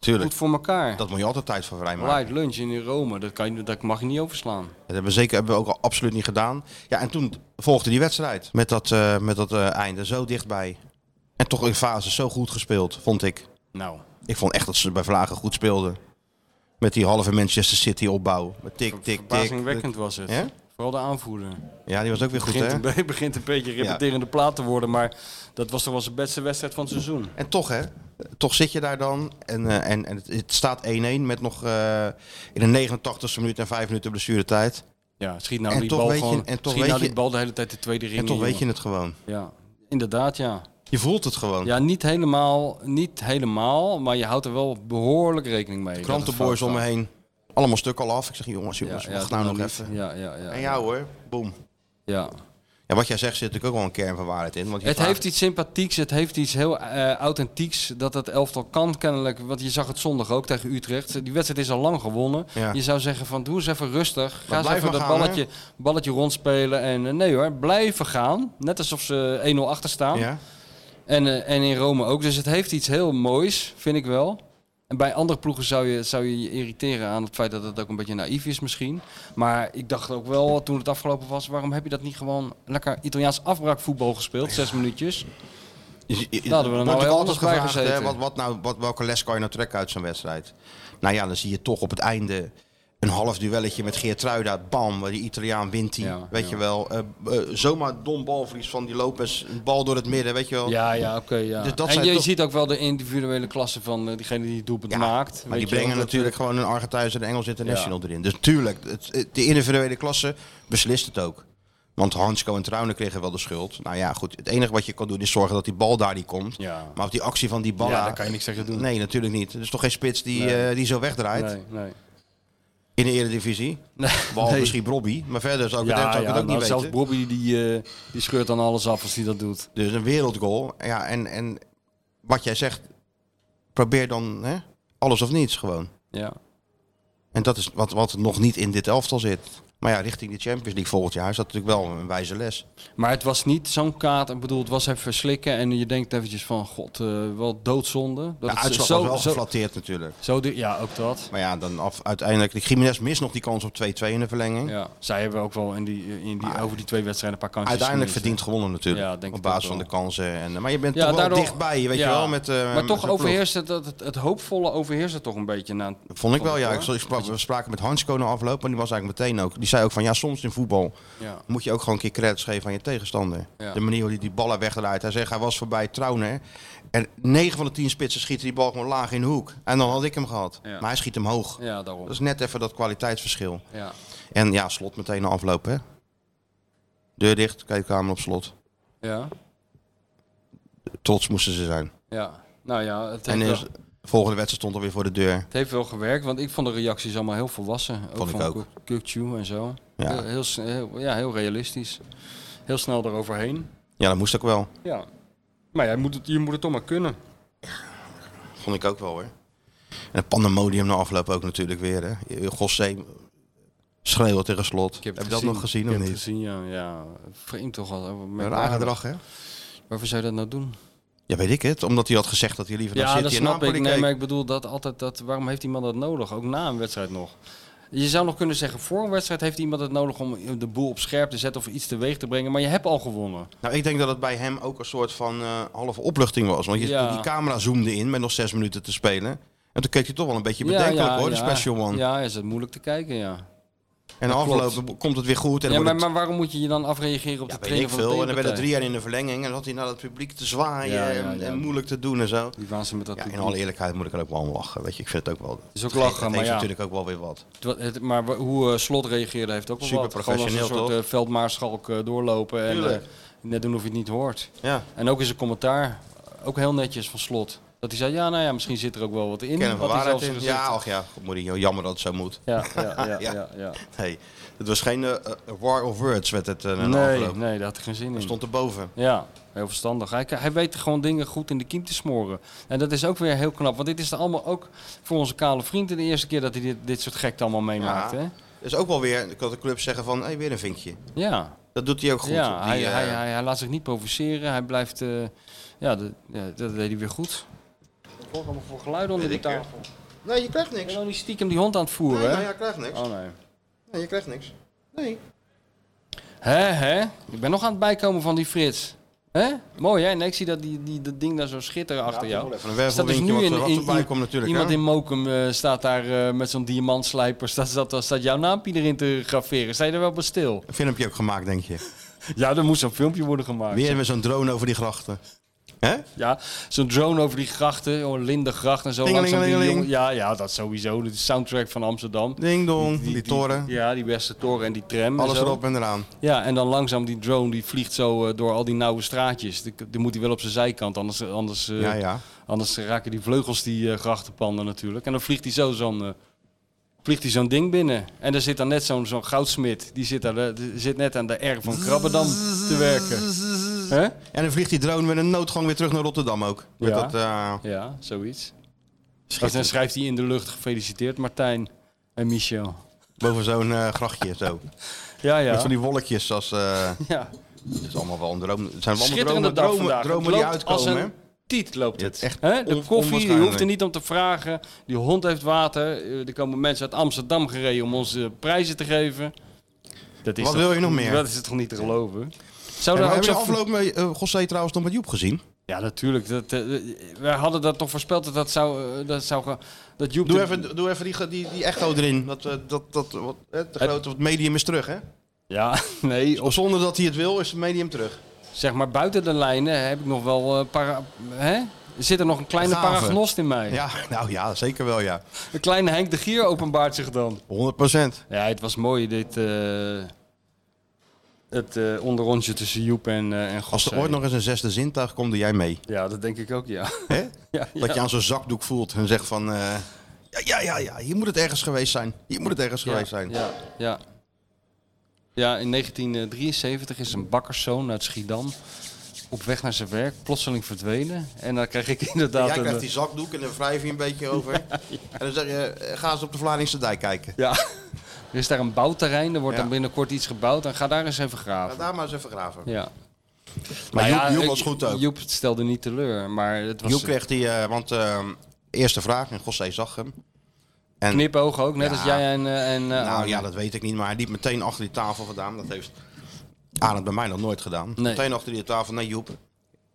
Speaker 5: Tuurlijk.
Speaker 6: goed voor elkaar.
Speaker 5: Dat moet je altijd tijd voor vrijmaken.
Speaker 6: Light lunch in Rome, dat, kan je, dat mag je niet overslaan.
Speaker 5: Dat hebben we zeker hebben we ook al absoluut niet gedaan. Ja, en toen volgde die wedstrijd met dat, eh, met dat eh, einde zo dichtbij. En toch in fase zo goed gespeeld, vond ik.
Speaker 6: Nou,
Speaker 5: Ik vond echt dat ze bij Vlagen goed speelden. Met die halve Manchester City opbouw. Met tik, tik, tik.
Speaker 6: verbazingwekkend was het.
Speaker 5: Ja?
Speaker 6: Vooral de aanvoerder.
Speaker 5: Ja, die was ook weer goed,
Speaker 6: begint,
Speaker 5: hè?
Speaker 6: een, be- begint een beetje repeterende plaat te worden, maar dat was toch wel zijn beste wedstrijd van het seizoen.
Speaker 5: En toch, hè? Toch zit je daar dan. En, eh, en, en het, het staat 1-1 met nog eh, in de 89ste minuut en 5 minuten blessuretijd.
Speaker 6: Ja, schiet nou
Speaker 5: En
Speaker 6: die
Speaker 5: toch
Speaker 6: bal
Speaker 5: weet je-
Speaker 6: gewoon.
Speaker 5: en toch
Speaker 6: schiet
Speaker 5: weet
Speaker 6: nou die
Speaker 5: je-
Speaker 6: bal de hele tijd de tweede ring.
Speaker 5: En toch
Speaker 6: in,
Speaker 5: weet je
Speaker 6: jongen.
Speaker 5: het gewoon.
Speaker 6: Ja, inderdaad, ja.
Speaker 5: Je voelt het gewoon.
Speaker 6: Ja, niet helemaal, niet helemaal, maar je houdt er wel behoorlijk rekening mee. dat het
Speaker 5: Krantenboys
Speaker 6: fout
Speaker 5: om me
Speaker 6: gaat.
Speaker 5: heen. Allemaal stuk al af. Ik zeg, jongens,
Speaker 6: Ja,
Speaker 5: jongens,
Speaker 6: ja,
Speaker 5: wacht
Speaker 6: doe
Speaker 5: nou nog
Speaker 6: niet.
Speaker 5: even. Dus
Speaker 6: Ja, ja, ja.
Speaker 5: En jou hoor, boem.
Speaker 6: ja.
Speaker 5: Ja, wat jij zegt zit natuurlijk ook wel een kern van waarheid in. Want je
Speaker 6: Het
Speaker 5: vraagt-
Speaker 6: heeft iets sympathieks, het heeft iets heel eh, authentieks dat het elftal kan kennelijk. Want je zag het zondag ook tegen Utrecht. Die wedstrijd is al lang gewonnen.
Speaker 5: Ja.
Speaker 6: Je zou zeggen van doe eens even rustig. Ga
Speaker 5: Maar
Speaker 6: eens even
Speaker 5: blijf maar
Speaker 6: dat
Speaker 5: gaan,
Speaker 6: balletje, balletje rondspelen. En eh, nee hoor, blijven gaan. Net alsof ze 1-0 achter staan.
Speaker 5: Ja?
Speaker 6: En, eh, en in Rome ook. Dus het heeft iets heel moois, vind ik wel. En bij andere ploegen zou je, zou je je irriteren aan het feit dat het ook een beetje naïef is misschien. Maar ik dacht ook wel, toen het afgelopen was, waarom heb je dat niet gewoon lekker Italiaans afbraakvoetbal gespeeld? Zes minuutjes.
Speaker 5: Je- je- Dus je-
Speaker 6: Nou, hadden we er
Speaker 5: wordt
Speaker 6: nou heel
Speaker 5: ook
Speaker 6: anders
Speaker 5: altijd
Speaker 6: bij
Speaker 5: gevraagd, hè,
Speaker 6: gezeten.
Speaker 5: wat, wat nou, wat, welke les kan je nou trekken uit zo'n wedstrijd? Nou ja, dan zie je toch op het einde een half duelletje met Geertruida. Bam, die Italiaan wint die.
Speaker 6: Ja,
Speaker 5: weet
Speaker 6: ja.
Speaker 5: je wel. Eh, eh, zomaar dom balverlies van die Lopez. Een bal door het midden, weet je wel.
Speaker 6: Ja, ja, oké. ja.
Speaker 5: Oh. Dus dat
Speaker 6: en
Speaker 5: zijn
Speaker 6: je
Speaker 5: toch-
Speaker 6: ziet ook wel de individuele klasse van eh, diegene die het doelpunt
Speaker 5: Ja,
Speaker 6: maakt.
Speaker 5: Maar
Speaker 6: weet
Speaker 5: die
Speaker 6: je wel,
Speaker 5: brengen
Speaker 6: dat-
Speaker 5: natuurlijk gewoon een Argentijnse en Engels International erin. Dus tuurlijk, het, het- de individuele klasse beslist het ook. Want Hansko en Trouwner kregen wel de schuld. Nou ja, goed. Het enige wat je kan doen is zorgen dat die bal daar niet komt.
Speaker 6: Ja.
Speaker 5: Maar op die actie van die bal.
Speaker 6: Ja, daar kan je niks tegen doen.
Speaker 5: Nee, natuurlijk niet. Er is toch geen spits die,
Speaker 6: Nee.
Speaker 5: eh, die zo wegdraait
Speaker 6: Nee, nee.
Speaker 5: in de Eredivisie.
Speaker 6: Nee.
Speaker 5: Behalve misschien Bobby. Maar verder zou ik het, zou ik het ook
Speaker 6: nou,
Speaker 5: niet
Speaker 6: zelfs
Speaker 5: weten.
Speaker 6: Bobby die, eh, die scheurt dan alles af als hij dat doet.
Speaker 5: Dus een wereldgoal. Ja, en, en wat jij zegt, probeer dan hè, alles of niets gewoon.
Speaker 6: Ja.
Speaker 5: En dat is wat, wat nog niet in dit elftal zit. Maar ja, richting de Champions League volgend jaar is dat natuurlijk wel een wijze les.
Speaker 6: Maar het was niet zo'n kaart. Ik bedoel, het was even slikken. En je denkt eventjes van, god, eh wel doodzonde.
Speaker 5: De
Speaker 6: Dat het
Speaker 5: uitslag
Speaker 6: zo,
Speaker 5: was wel
Speaker 6: zo,
Speaker 5: geflatteerd natuurlijk.
Speaker 6: zo di- Ja, ook dat.
Speaker 5: Maar ja, dan af, uiteindelijk, de Jiménez mist nog die kans op 2-2 in de verlenging.
Speaker 6: Ja. Zij hebben ook wel in die, eh, in die, over die twee wedstrijden een paar kansjes
Speaker 5: Uiteindelijk
Speaker 6: gemist,
Speaker 5: verdient gewonnen natuurlijk.
Speaker 6: dus, Ja, denk ik
Speaker 5: op basis
Speaker 6: ook
Speaker 5: van de
Speaker 6: wel.
Speaker 5: kansen. En, eh, maar je bent
Speaker 6: hè.
Speaker 5: toch wel
Speaker 6: daardoor-
Speaker 5: dichtbij, weet
Speaker 6: ja.
Speaker 5: je wel. Met, eh,
Speaker 6: maar
Speaker 5: met zo'n
Speaker 6: toch
Speaker 5: ploeg.
Speaker 6: overheerst het, het, het hoopvolle overheerst het toch een beetje. Na,
Speaker 5: Dat vond ik wel, ja. Ik,
Speaker 6: Hoor.
Speaker 5: sprak, we spraken met Hansko na afloop en die was eigenlijk meteen ook. Die zei ook van, ja, soms in voetbal
Speaker 6: ja.
Speaker 5: moet je ook gewoon een keer credits geven aan je tegenstander.
Speaker 6: Ja.
Speaker 5: De manier hoe hij die ballen wegdraait. Hij zegt, hij was voorbij Trouwner. En 9 van de 10 spitsen schieten die bal gewoon laag in de hoek. En dan had ik hem gehad.
Speaker 6: Ja.
Speaker 5: Maar hij schiet hem hoog.
Speaker 6: ja, daarom.
Speaker 5: Dat is net even dat kwaliteitsverschil.
Speaker 6: Ja.
Speaker 5: En ja, slot meteen na afloop, hè. Deur dicht, kijkkamer op slot.
Speaker 6: Ja,
Speaker 5: Trots moesten ze zijn.
Speaker 6: ja. Nou ja, het heeft,
Speaker 5: En
Speaker 6: wel,
Speaker 5: de volgende wedstrijd stond alweer voor de deur.
Speaker 6: het heeft wel gewerkt, want ik vond de reacties allemaal heel volwassen. Ook
Speaker 5: Vond ik
Speaker 6: van
Speaker 5: ook.
Speaker 6: Kuk- Kukçu en zo.
Speaker 5: Ja.
Speaker 6: Heel, heel, s- heel- ja, heel realistisch. Heel snel eroverheen.
Speaker 5: Ja, dat moest ook wel.
Speaker 6: Ja. Maar ja, je moet het, je moet het toch maar kunnen.
Speaker 5: Vond ik ook wel hoor. En het pandemonium na afloop ook natuurlijk weer. Hè. Gossé schreeuwt tegen slot. Heb, je dat nog gezien
Speaker 6: Ik
Speaker 5: of
Speaker 6: heb het
Speaker 5: niet?
Speaker 6: gezien, ja. ja. Vreemd toch wel.
Speaker 5: Een raar gedrag hè?
Speaker 6: Waarvoor zou je dat nou doen?
Speaker 5: Ja, weet ik het. Omdat hij had gezegd dat hij liever naar
Speaker 6: Ja,
Speaker 5: City
Speaker 6: dat
Speaker 5: en
Speaker 6: snap
Speaker 5: Napoli
Speaker 6: ik. Nee,
Speaker 5: keek.
Speaker 6: maar ik bedoel dat altijd. Dat, waarom heeft iemand dat nodig? Ook na een wedstrijd nog. Je zou nog kunnen zeggen, voor een wedstrijd heeft iemand het nodig om de boel op scherp te zetten of iets teweeg te brengen. Maar je hebt al gewonnen.
Speaker 5: Nou, ik denk dat het bij hem ook een soort van eh, halve opluchting was. Want je,
Speaker 6: Ja.
Speaker 5: die camera zoomde in met nog zes minuten te spelen. En toen keek hij toch wel een beetje bedenkelijk hoor, de special one.
Speaker 6: Ja, is het moeilijk te kijken, ja.
Speaker 5: En
Speaker 6: dat klopt.
Speaker 5: afgelopen komt het weer goed. En
Speaker 6: ja maar,
Speaker 5: dan wordt het-
Speaker 6: maar waarom moet je je dan afreageren op
Speaker 5: ja,
Speaker 6: de
Speaker 5: weet
Speaker 6: trainer
Speaker 5: ik
Speaker 6: van de
Speaker 5: veel. En dan werden drie
Speaker 6: tegenpartij?
Speaker 5: jaar in de verlenging. En dan had hij naar het publiek te zwaaien
Speaker 6: Ja, ja,
Speaker 5: en-
Speaker 6: ja.
Speaker 5: en moeilijk te doen en zo.
Speaker 6: Die waren ze met dat
Speaker 5: Ja, in
Speaker 6: publiek.
Speaker 5: alle eerlijkheid moet ik er ook wel om lachen. Weet je, ik vind het ook wel. Het
Speaker 6: is ook lachen,
Speaker 5: Het
Speaker 6: maar
Speaker 5: heeft
Speaker 6: ja.
Speaker 5: natuurlijk ook wel weer wat.
Speaker 6: Het wa- het- maar wa- hoe eh, Slot reageerde heeft ook wel
Speaker 5: Super
Speaker 6: wat. Gewoon als een
Speaker 5: professioneel,
Speaker 6: soort
Speaker 5: toch?
Speaker 6: eh, veldmaarschalk eh, doorlopen en eh, net doen of je het niet hoort.
Speaker 5: Ja,
Speaker 6: En ook is een commentaar, ook heel netjes van Slot. Dat hij zei, ja, nou ja, misschien zit er ook wel wat in.
Speaker 5: kennen we
Speaker 6: had hij
Speaker 5: waarheid
Speaker 6: zelfs
Speaker 5: in.
Speaker 6: gezegd.
Speaker 5: Ja, ach ja, goed, Mourinho, jammer dat het zo moet.
Speaker 6: Ja, ja, ja,
Speaker 5: Ja.
Speaker 6: ja, ja.
Speaker 5: Nee, het was geen eh, war of words werd het eh, na de
Speaker 6: Nee,
Speaker 5: afloop.
Speaker 6: nee, daar had ik geen zin in.
Speaker 5: Hij stond erboven.
Speaker 6: Ja, heel verstandig. Hij, hij weet gewoon dingen goed in de kiem te smoren. En dat is ook weer heel knap. Want dit is dan allemaal ook voor onze kale vrienden de eerste keer dat hij dit, dit soort gekte allemaal meemaakt.
Speaker 5: Ja.
Speaker 6: Hè?
Speaker 5: Dus ook wel weer, ik had de club zeggen van, hey, weer een vinkje.
Speaker 6: ja.
Speaker 5: Dat doet hij ook goed.
Speaker 6: ja,
Speaker 5: Die,
Speaker 6: hij,
Speaker 5: eh,
Speaker 6: hij, hij, hij laat zich niet provoceren. Hij blijft. eh, ja, de, ja, dat deed hij weer goed. Wat hoor ik allemaal voor geluid onder de
Speaker 5: Weet ik,
Speaker 6: tafel?
Speaker 5: Nee, je krijgt
Speaker 6: Ik
Speaker 5: niks.
Speaker 6: ben nog niet stiekem die hond aan het
Speaker 5: Nee,
Speaker 6: voeren,
Speaker 5: nou,
Speaker 6: hè?
Speaker 5: ja, je krijgt niks.
Speaker 6: Oh nee.
Speaker 5: Nee, je krijgt niks. Nee.
Speaker 6: Hè, hè? Ik ben nog aan het bijkomen van die Frits. Hè? Mooi, hè? Nee, ik zie dat, die, die, dat ding daar zo schitteren achter jou.
Speaker 5: Even een
Speaker 6: Staat dus
Speaker 5: wervelwinkje
Speaker 6: nu
Speaker 5: wat,
Speaker 6: in,
Speaker 5: er- wat
Speaker 6: in-
Speaker 5: erbij
Speaker 6: in-
Speaker 5: komt natuurlijk.
Speaker 6: Iemand
Speaker 5: hè?
Speaker 6: in Mokum eh, staat daar eh, met zo'n diamantslijper. Staat, staat, staat jouw naampje erin te graveren. Sta je er wel bij stil?
Speaker 5: Een filmpje ook gemaakt, denk je.
Speaker 6: Ja, er moest zo'n filmpje worden gemaakt.
Speaker 5: Weer met zo'n drone over die grachten. Hè?
Speaker 6: Ja, zo'n drone over die grachten. Oh, Lindengracht en zo. langzaam die
Speaker 5: Tingelingelingeling.
Speaker 6: jongen- ja, ja, dat sowieso. De soundtrack van Amsterdam.
Speaker 5: Ding dong, die, toren.
Speaker 6: Ja, die beste toren en die tram. en
Speaker 5: alles
Speaker 6: zo.
Speaker 5: erop en eraan.
Speaker 6: Ja, en dan langzaam die drone die vliegt zo eh, door al die nauwe straatjes. Die, die moet hij wel op zijn zijkant, anders, anders, eh,
Speaker 5: ja, ja.
Speaker 6: anders raken die vleugels die eh, grachtenpanden natuurlijk. En dan vliegt hij zo zo'n eh, vliegt hij zo'n ding binnen. En daar zit dan net zo'n zo'n goudsmit. Die zit, daar, eh, die zit net aan de R van Krabbendam te werken. Hè?
Speaker 5: En dan vliegt die drone met een noodgang weer terug naar Rotterdam ook. Met
Speaker 6: Ja.
Speaker 5: dat, eh,
Speaker 6: Ja, zoiets. Dus dan schrijft hij in de lucht gefeliciteerd Martijn en Michel.
Speaker 5: boven zo'n eh, grachtje zo.
Speaker 6: Ja,
Speaker 5: Met
Speaker 6: ja.
Speaker 5: van die wolkjes als... eh,
Speaker 6: ja.
Speaker 5: het is allemaal wel een droom. Het zijn allemaal
Speaker 6: Schitterende
Speaker 5: dromen,
Speaker 6: dag
Speaker 5: dromen,
Speaker 6: vandaag.
Speaker 5: dromen
Speaker 6: Het
Speaker 5: die
Speaker 6: loopt als
Speaker 5: uitkomen. hè?
Speaker 6: een tiet loopt
Speaker 5: Ja,
Speaker 6: het.
Speaker 5: echt
Speaker 6: Hè? De
Speaker 5: on-
Speaker 6: koffie, je
Speaker 5: onwaarschijnlijk.
Speaker 6: hoeft er niet om te vragen. Die hond heeft water. Eh, Er komen mensen uit Amsterdam gereden om ons eh, prijzen te geven. Dat
Speaker 5: Wat
Speaker 6: toch-
Speaker 5: wil je nog meer?
Speaker 6: Dat is toch niet te geloven?
Speaker 5: En
Speaker 6: Zou
Speaker 5: maar
Speaker 6: daar ook
Speaker 5: heb je
Speaker 6: zo
Speaker 5: afloop met eh, Gossé trouwens nog met Joep gezien?
Speaker 6: Ja, natuurlijk. Dat, eh, wij hadden dat toch voorspeld dat dat zou... eh, dat, zou ge- dat Joep
Speaker 5: Doe
Speaker 6: de-
Speaker 5: even, doe even die, ge- die, die echo erin. Dat, eh, dat, dat, wat, eh, de grote, wat medium is terug, hè?
Speaker 6: Ja, nee.
Speaker 5: Of zonder dat hij het wil, is het medium terug.
Speaker 6: Zeg maar buiten de lijnen heb ik nog wel... eh, para, hè? Er zit er nog een kleine
Speaker 5: Gave.
Speaker 6: paragnost in mij.
Speaker 5: Ja, nou ja, zeker wel, ja.
Speaker 6: Een kleine Henk de Gier openbaart zich dan.
Speaker 5: 100 procent.
Speaker 6: Ja, het was mooi dit. eh, het eh onderrondje tussen Joep en, eh en
Speaker 5: Als er
Speaker 6: Gossé.
Speaker 5: ooit nog eens een zesde zintuig komt, doe jij mee.
Speaker 6: Ja, dat denk ik ook, ja.
Speaker 5: Hè?
Speaker 6: ja, ja.
Speaker 5: Dat je aan zo'n zakdoek voelt en zegt van... eh, ja, ja, ja, ja, hier moet het ergens geweest zijn. Hier moet het ergens
Speaker 6: ja,
Speaker 5: geweest zijn.
Speaker 6: Ja, ja. Ja, in 1973 is een bakkerszoon uit Schiedam op weg naar zijn werk plotseling verdwenen. En dan krijg ik inderdaad...
Speaker 5: Jij
Speaker 6: een- eh,
Speaker 5: krijgt die zakdoek en dan wrijf je een beetje over. En dan zeg je, eh, ga eens op de Vlaardingse dijk kijken.
Speaker 6: Ja, er is daar een bouwterrein, er wordt
Speaker 5: Ja.
Speaker 6: dan binnenkort iets gebouwd. En ga daar eens even graven.
Speaker 5: Ga daar maar eens even graven.
Speaker 6: Ja.
Speaker 5: Maar
Speaker 6: Nou
Speaker 5: Joep,
Speaker 6: ja,
Speaker 5: Joep
Speaker 6: ik-
Speaker 5: was goed ook. Joep,
Speaker 6: Joep stelde niet teleur, maar het was...
Speaker 5: kreeg die... eh, want eh, eerste vraag, en Gossé zag hem. En,
Speaker 6: Knipogen ook, net
Speaker 5: Ja.
Speaker 6: als jij en... eh, en eh,
Speaker 5: Nou
Speaker 6: Arne.
Speaker 5: ja, dat weet ik niet, maar hij liep meteen achter die tafel gedaan. Dat heeft Arend bij mij nog nooit gedaan.
Speaker 6: Nee.
Speaker 5: Meteen achter die tafel naar Joep.